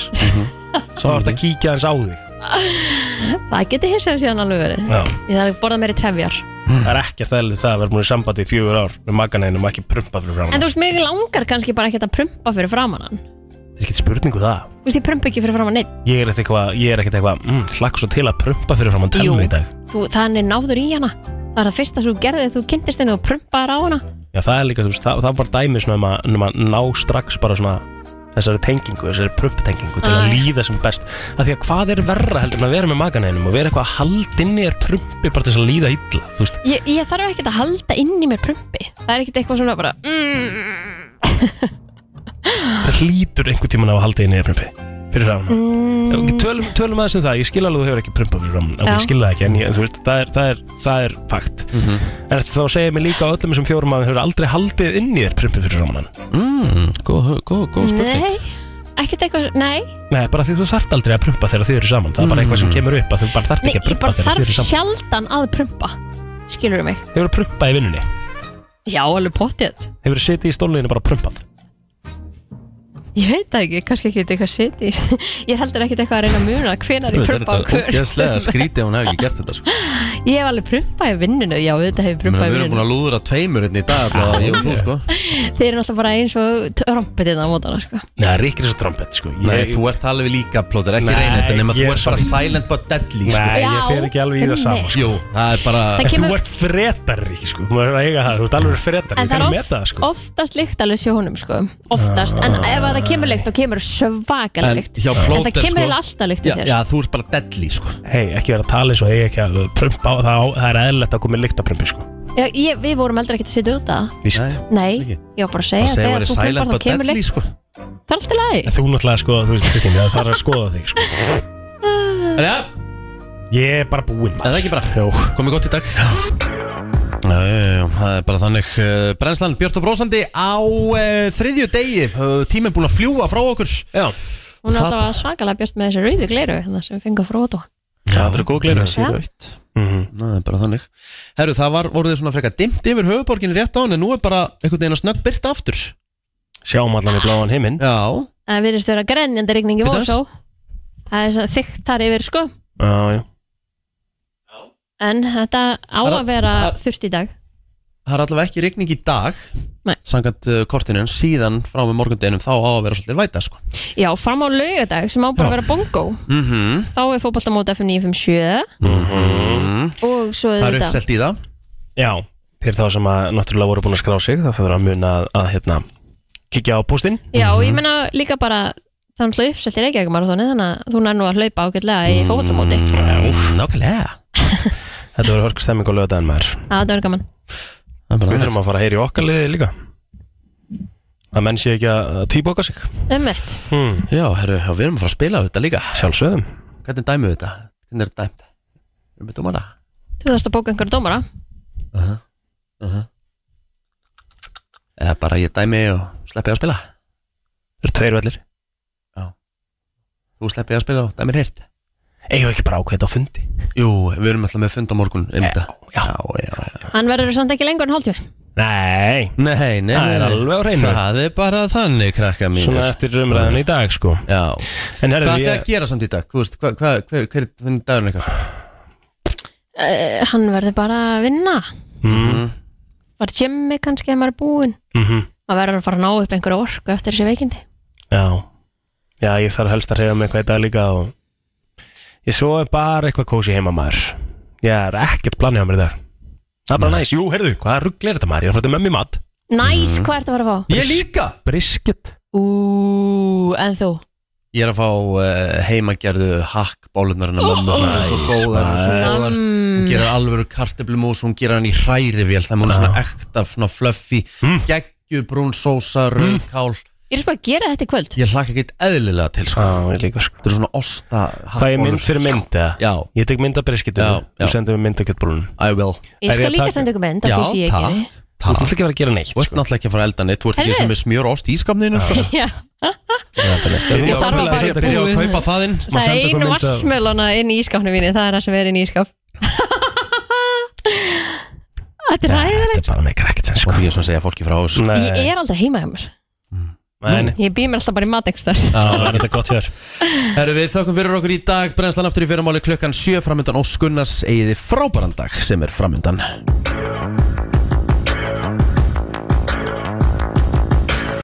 [SPEAKER 4] Svo þarfst að kíkja hans á þig
[SPEAKER 3] Það geti hins vegar síðan alveg verið
[SPEAKER 4] Já.
[SPEAKER 3] Ég þarf að borða meiri trefjar
[SPEAKER 4] Það er ekki að það er það að vera búin í sambandi í fjögur ár með maganeinum og ekki prumpa fyrir framann
[SPEAKER 3] En þú veist, mig langar kannski bara ekki að prumpa fyrir framan hann
[SPEAKER 4] Það er ekkert spurningu það
[SPEAKER 3] Þú veist, ég prumpa ekki fyrir framan neitt
[SPEAKER 4] Ég er ekkert eitthvað, ég er ekkert eitthvað mm, Slakk svo til að prumpa fyrir framann
[SPEAKER 3] Jú.
[SPEAKER 4] telmi í dag
[SPEAKER 3] þú, Þannig náður í hana Það er það fyrsta sem þú gerði þú kynntist henni og prumpaðir á hana
[SPEAKER 4] Já það er líka, þú veist, það, það er bara dæmi svona um að, um að ná strax bara svona þessari tengingu, þessari prumptengingu til
[SPEAKER 3] Ah,
[SPEAKER 4] að
[SPEAKER 3] já.
[SPEAKER 4] líða sem best af því að hvað er verra heldur en að vera með maganeinum og vera eitthvað að haldinni er prumpi bara til þess að líða illa, þú veist
[SPEAKER 3] Ég, ég þarf ekkert að halda inn í mér prumpi Það er ekkert eitthvað svona bara mm,
[SPEAKER 4] það hlýtur einhvern tíman á að halda inn í prumpi fyrir framann mm. tölum, tölum aðeins um það, ég skil alveg að þú hefur ekki prumpa fyrir framann
[SPEAKER 10] Já.
[SPEAKER 4] ég skil það ekki, en ég, þú veist, það er, það er, það er fakt en þetta þá segir mér líka á öllum þessum fjórum að þú hefur aldrei haldið inn í þér prumpi fyrir framann mm, góð, góð,
[SPEAKER 3] Nei, ekkert eitthvað, nei
[SPEAKER 4] Nei, bara því þú þarft aldrei að prumpa þegar þið eru saman Það er bara eitthvað sem kemur upp að þú bara þarft
[SPEAKER 3] Nei,
[SPEAKER 4] ekki að
[SPEAKER 3] ég
[SPEAKER 4] prumpa
[SPEAKER 3] bara
[SPEAKER 4] þegar þið
[SPEAKER 3] þarf
[SPEAKER 4] eru saman
[SPEAKER 3] sjaldan að prumpa Skilur mig
[SPEAKER 4] Hefur þú prumpað í vinnunni?
[SPEAKER 3] Já, alveg pottið
[SPEAKER 4] Hefur þú setið í stólinu bara prumpað?
[SPEAKER 3] Ég veit það ekki, kannski ekki eitthvað seti Ég heldur ekkert eitthvað að reyna að muna Hvenar ég prumpa á hver
[SPEAKER 2] ógeðslega skrítið ef hún hefði ekki gert þetta sko
[SPEAKER 3] Ég hef alveg prumpað í vinnunni Já, þetta hef ég
[SPEAKER 2] Ég meina, Við
[SPEAKER 3] prumpað í
[SPEAKER 2] erum búin
[SPEAKER 3] vinnunni
[SPEAKER 2] að lúðra tveimur hérna í dag allavega, ég og þú sko
[SPEAKER 3] Þeir eru náttúrulega bara eins og trompið þetta á mótana sko.
[SPEAKER 4] Nei, það er ekki þessu trompet sko
[SPEAKER 2] Nei, þú ert alveg líka plóður, ekki
[SPEAKER 4] Nei,
[SPEAKER 2] reyna þetta nema þú
[SPEAKER 4] ég-
[SPEAKER 2] ert bara silent but deadly sko.
[SPEAKER 4] Nei, ég fer ekki alveg í það saman sko.
[SPEAKER 2] Jú, það er bara
[SPEAKER 3] Það En þú kemur-
[SPEAKER 4] ert fretari sko Þú er að eiga það, þú ert alveg fretari
[SPEAKER 3] En það er oft,
[SPEAKER 4] sko.
[SPEAKER 3] oftast lykt alveg sjónum sko. Oftast, en
[SPEAKER 2] sko. Ah.
[SPEAKER 3] ef að það kemur lykt þá kemur svakalega
[SPEAKER 2] En
[SPEAKER 3] lykt
[SPEAKER 2] hjá
[SPEAKER 3] En það
[SPEAKER 2] plóter, sko-
[SPEAKER 3] kemur eiginlega alltaf lykt í
[SPEAKER 2] Já,
[SPEAKER 3] þér
[SPEAKER 2] já, þú ert bara deadly sko
[SPEAKER 4] Hei, ekki vera að tala eins og eiga ekki að prumpa á það Það er eðlilegt að koma í lyktaprumpi sko
[SPEAKER 3] Já, ég, Við vorum heldur ekkert að sitja út að
[SPEAKER 4] Víst
[SPEAKER 3] Nei, ég var bara að segja
[SPEAKER 4] Bara segja
[SPEAKER 3] þegar
[SPEAKER 4] væri
[SPEAKER 3] þú
[SPEAKER 4] silent
[SPEAKER 3] prumpar þá
[SPEAKER 4] but
[SPEAKER 3] kemur
[SPEAKER 4] deadly,
[SPEAKER 3] lykt
[SPEAKER 2] sko.
[SPEAKER 3] Það er alltaf læg
[SPEAKER 4] En Þú náttúrulega sko, þú veist Kristín, það þarf að skoða þig sko Ég er bara búinn maður
[SPEAKER 2] Eða ekki bara, komið gott í dag Já, já, já, já, það er bara þannig eh, Brennslan Björn og Brósandi á uh, þriðju degi, uh, tíminn búin að fljúa frá okkur
[SPEAKER 4] Já,
[SPEAKER 3] Hún er
[SPEAKER 2] Það-
[SPEAKER 3] alltaf svakalega björt með þessi rauðu gleru þannig sem fengur frá ótó
[SPEAKER 2] það er góð gleru
[SPEAKER 3] Já.
[SPEAKER 2] Það Eh,
[SPEAKER 4] Mhm.
[SPEAKER 2] er bara þannig Herru, það var, voruð þið svona frekar dimmt yfir höfuborgin rétt á hann en nú er bara einhvern veginn að snögg byrta aftur
[SPEAKER 4] Sjáum allan í bláan heiminn
[SPEAKER 2] Já,
[SPEAKER 3] En við erum stöður að grenjandi rigning í
[SPEAKER 2] Bíddu
[SPEAKER 3] Vósó Það er svo þykkt þar yfir sko
[SPEAKER 4] já, já
[SPEAKER 3] En þetta á
[SPEAKER 2] Það er-
[SPEAKER 3] að vera
[SPEAKER 2] það
[SPEAKER 3] þurft í dag
[SPEAKER 2] það er allavega ekki rigning í dag
[SPEAKER 3] Nei.
[SPEAKER 2] Sangat uh, kortinu en síðan frá með morgundeginum þá á að vera svolítið væta sko
[SPEAKER 3] Já, fram á laugadag sem á bara að vera bongo
[SPEAKER 2] mm -hmm.
[SPEAKER 4] Mhm.
[SPEAKER 3] Þá er fótboltamót FM 957 Og svo auðvitað
[SPEAKER 2] í Mhm. það
[SPEAKER 4] Já, fyrir þá sem að náttúrulega voru búin að skrá sig það fyrir að muna að, að hérna kikja á pústinn
[SPEAKER 3] Já, og ég meina líka bara Það er náttúrulega uppselt í Reykjavíkumarþóni Þannig að þú nær nú að hlaupa ágætlega í fótboltamóti
[SPEAKER 2] Nákvæmlega
[SPEAKER 4] Mm, Þetta verður hörk stemming á lögadaginn maður
[SPEAKER 3] Það er gaman
[SPEAKER 4] Við þurfum að fara að heyra í okkar liði líka Það menn sé ekki að týboka sig
[SPEAKER 3] Ömmett
[SPEAKER 4] hmm.
[SPEAKER 2] Já, herru, já, við erum að fara að spila þetta líka
[SPEAKER 4] Sjálfsögum
[SPEAKER 2] Hvernig dæmið þetta? Hvernig er þetta dæmt? Erum við dómara?
[SPEAKER 3] Þú þarfst að bóka einhverja dómara
[SPEAKER 2] Eða bara ég dæmi og sleppi að spila
[SPEAKER 4] Það eru tveir vellir
[SPEAKER 2] Þú sleppi að spila og dæmir heyrt
[SPEAKER 4] Eigum við ekki bara ákveðið á fundi
[SPEAKER 2] Jú, við erum alltaf með fund á morgun um þetta Já, já, já
[SPEAKER 3] Hann verður samt ekki lengur en hálftími
[SPEAKER 4] Nei
[SPEAKER 2] Nei, nei,
[SPEAKER 4] Það er
[SPEAKER 2] nei.
[SPEAKER 4] alveg á hreinu.
[SPEAKER 2] Það er bara þannig, krakka mín
[SPEAKER 4] Svona eftir umræðan í dag sko
[SPEAKER 2] Já
[SPEAKER 4] En herri,
[SPEAKER 2] Hvað ætlaði
[SPEAKER 4] ég-
[SPEAKER 2] að gera samt í dag? Hvað, hvað, hvað, hver, hver, hvernig dagurinn ykkar?
[SPEAKER 3] uh, Hann verður bara að vinna
[SPEAKER 2] Mm.
[SPEAKER 3] Var Jimmy kannski að maður er búinn
[SPEAKER 4] Mhm.
[SPEAKER 3] Maður verður að fara að ná upp einhverju orku eftir þessi veikindi
[SPEAKER 4] Já Já, ég þarf helst að reyða mig eitthvað í dag líka og ég svo er bara eitthvað kósi heima maður Ég er ekkert planið á mér í dag Það er bara næs, jú, heyrðu, hvaða rugl er þetta maður? Ég er að fara til mömmi í mat
[SPEAKER 3] Næs,
[SPEAKER 4] Mhm.
[SPEAKER 3] hvað ertu að fara að fá?
[SPEAKER 2] Ég líka
[SPEAKER 4] Brisket
[SPEAKER 3] Ú, en þú
[SPEAKER 2] Ég er að fá uh, heimagerðu hakk bólurnar hennar mamma
[SPEAKER 3] Ó,
[SPEAKER 2] Hún er svo
[SPEAKER 4] næs,
[SPEAKER 2] góðar, hún er svo
[SPEAKER 4] maður.
[SPEAKER 2] góðar
[SPEAKER 3] Mm.
[SPEAKER 2] Hún gerir alvöru kartöflumús, hún gerir hann í hrærivél Það er hún er svona ekta, svona fluffy mm. Geggju, brún sósa, rauðkál
[SPEAKER 3] Ég er svo bara að gera þetta í kvöld
[SPEAKER 2] Ég hlakka ekkert eðlilega til sko.
[SPEAKER 4] Já, ég líka sko
[SPEAKER 2] Þetta er svona osta
[SPEAKER 4] Hvað ég mynd fyrir mynd eða?
[SPEAKER 2] Já
[SPEAKER 4] Ég tek mynd af brisketinu
[SPEAKER 2] Já, já.
[SPEAKER 4] og sendið mér mynd af kjöttbrúnum
[SPEAKER 2] I will
[SPEAKER 3] Ég skal líka senda ykkur mynd, af því sé ég ekki við.
[SPEAKER 4] Þú ert náttúrulega ekki að fara að gera neitt sko.
[SPEAKER 2] Þú ert náttúrulega ekki að fara að elda neitt Þú ert ekki
[SPEAKER 3] Herðu.
[SPEAKER 2] sem með smjör og ost í skapninu sko.
[SPEAKER 3] Já,
[SPEAKER 2] Byrja að-
[SPEAKER 3] Ég þarf að fara í
[SPEAKER 2] byrja- byrja að
[SPEAKER 3] búð.
[SPEAKER 2] kaupa það inn
[SPEAKER 3] það er einu vassmjöluna inn í ískapnum mínu Það er það sem er inn í ískap Þetta er ræðilegt
[SPEAKER 4] Þetta er bara með krekkt
[SPEAKER 2] Þú
[SPEAKER 4] sem
[SPEAKER 2] ert ekki svona að segja fólki frá þessu
[SPEAKER 4] sko. Nei,
[SPEAKER 3] Ég er aldrei heima hjá mér
[SPEAKER 4] nei, nei.
[SPEAKER 3] Ég býð mér alltaf bara í matekstars
[SPEAKER 4] Það er þetta gott hér
[SPEAKER 2] Herru við þökkum fyrir okkur í dag Brennslan aftur í fyrramáli klukkan 7 Framöndan Óskunnars Egiði frábæran dag sem er framöndan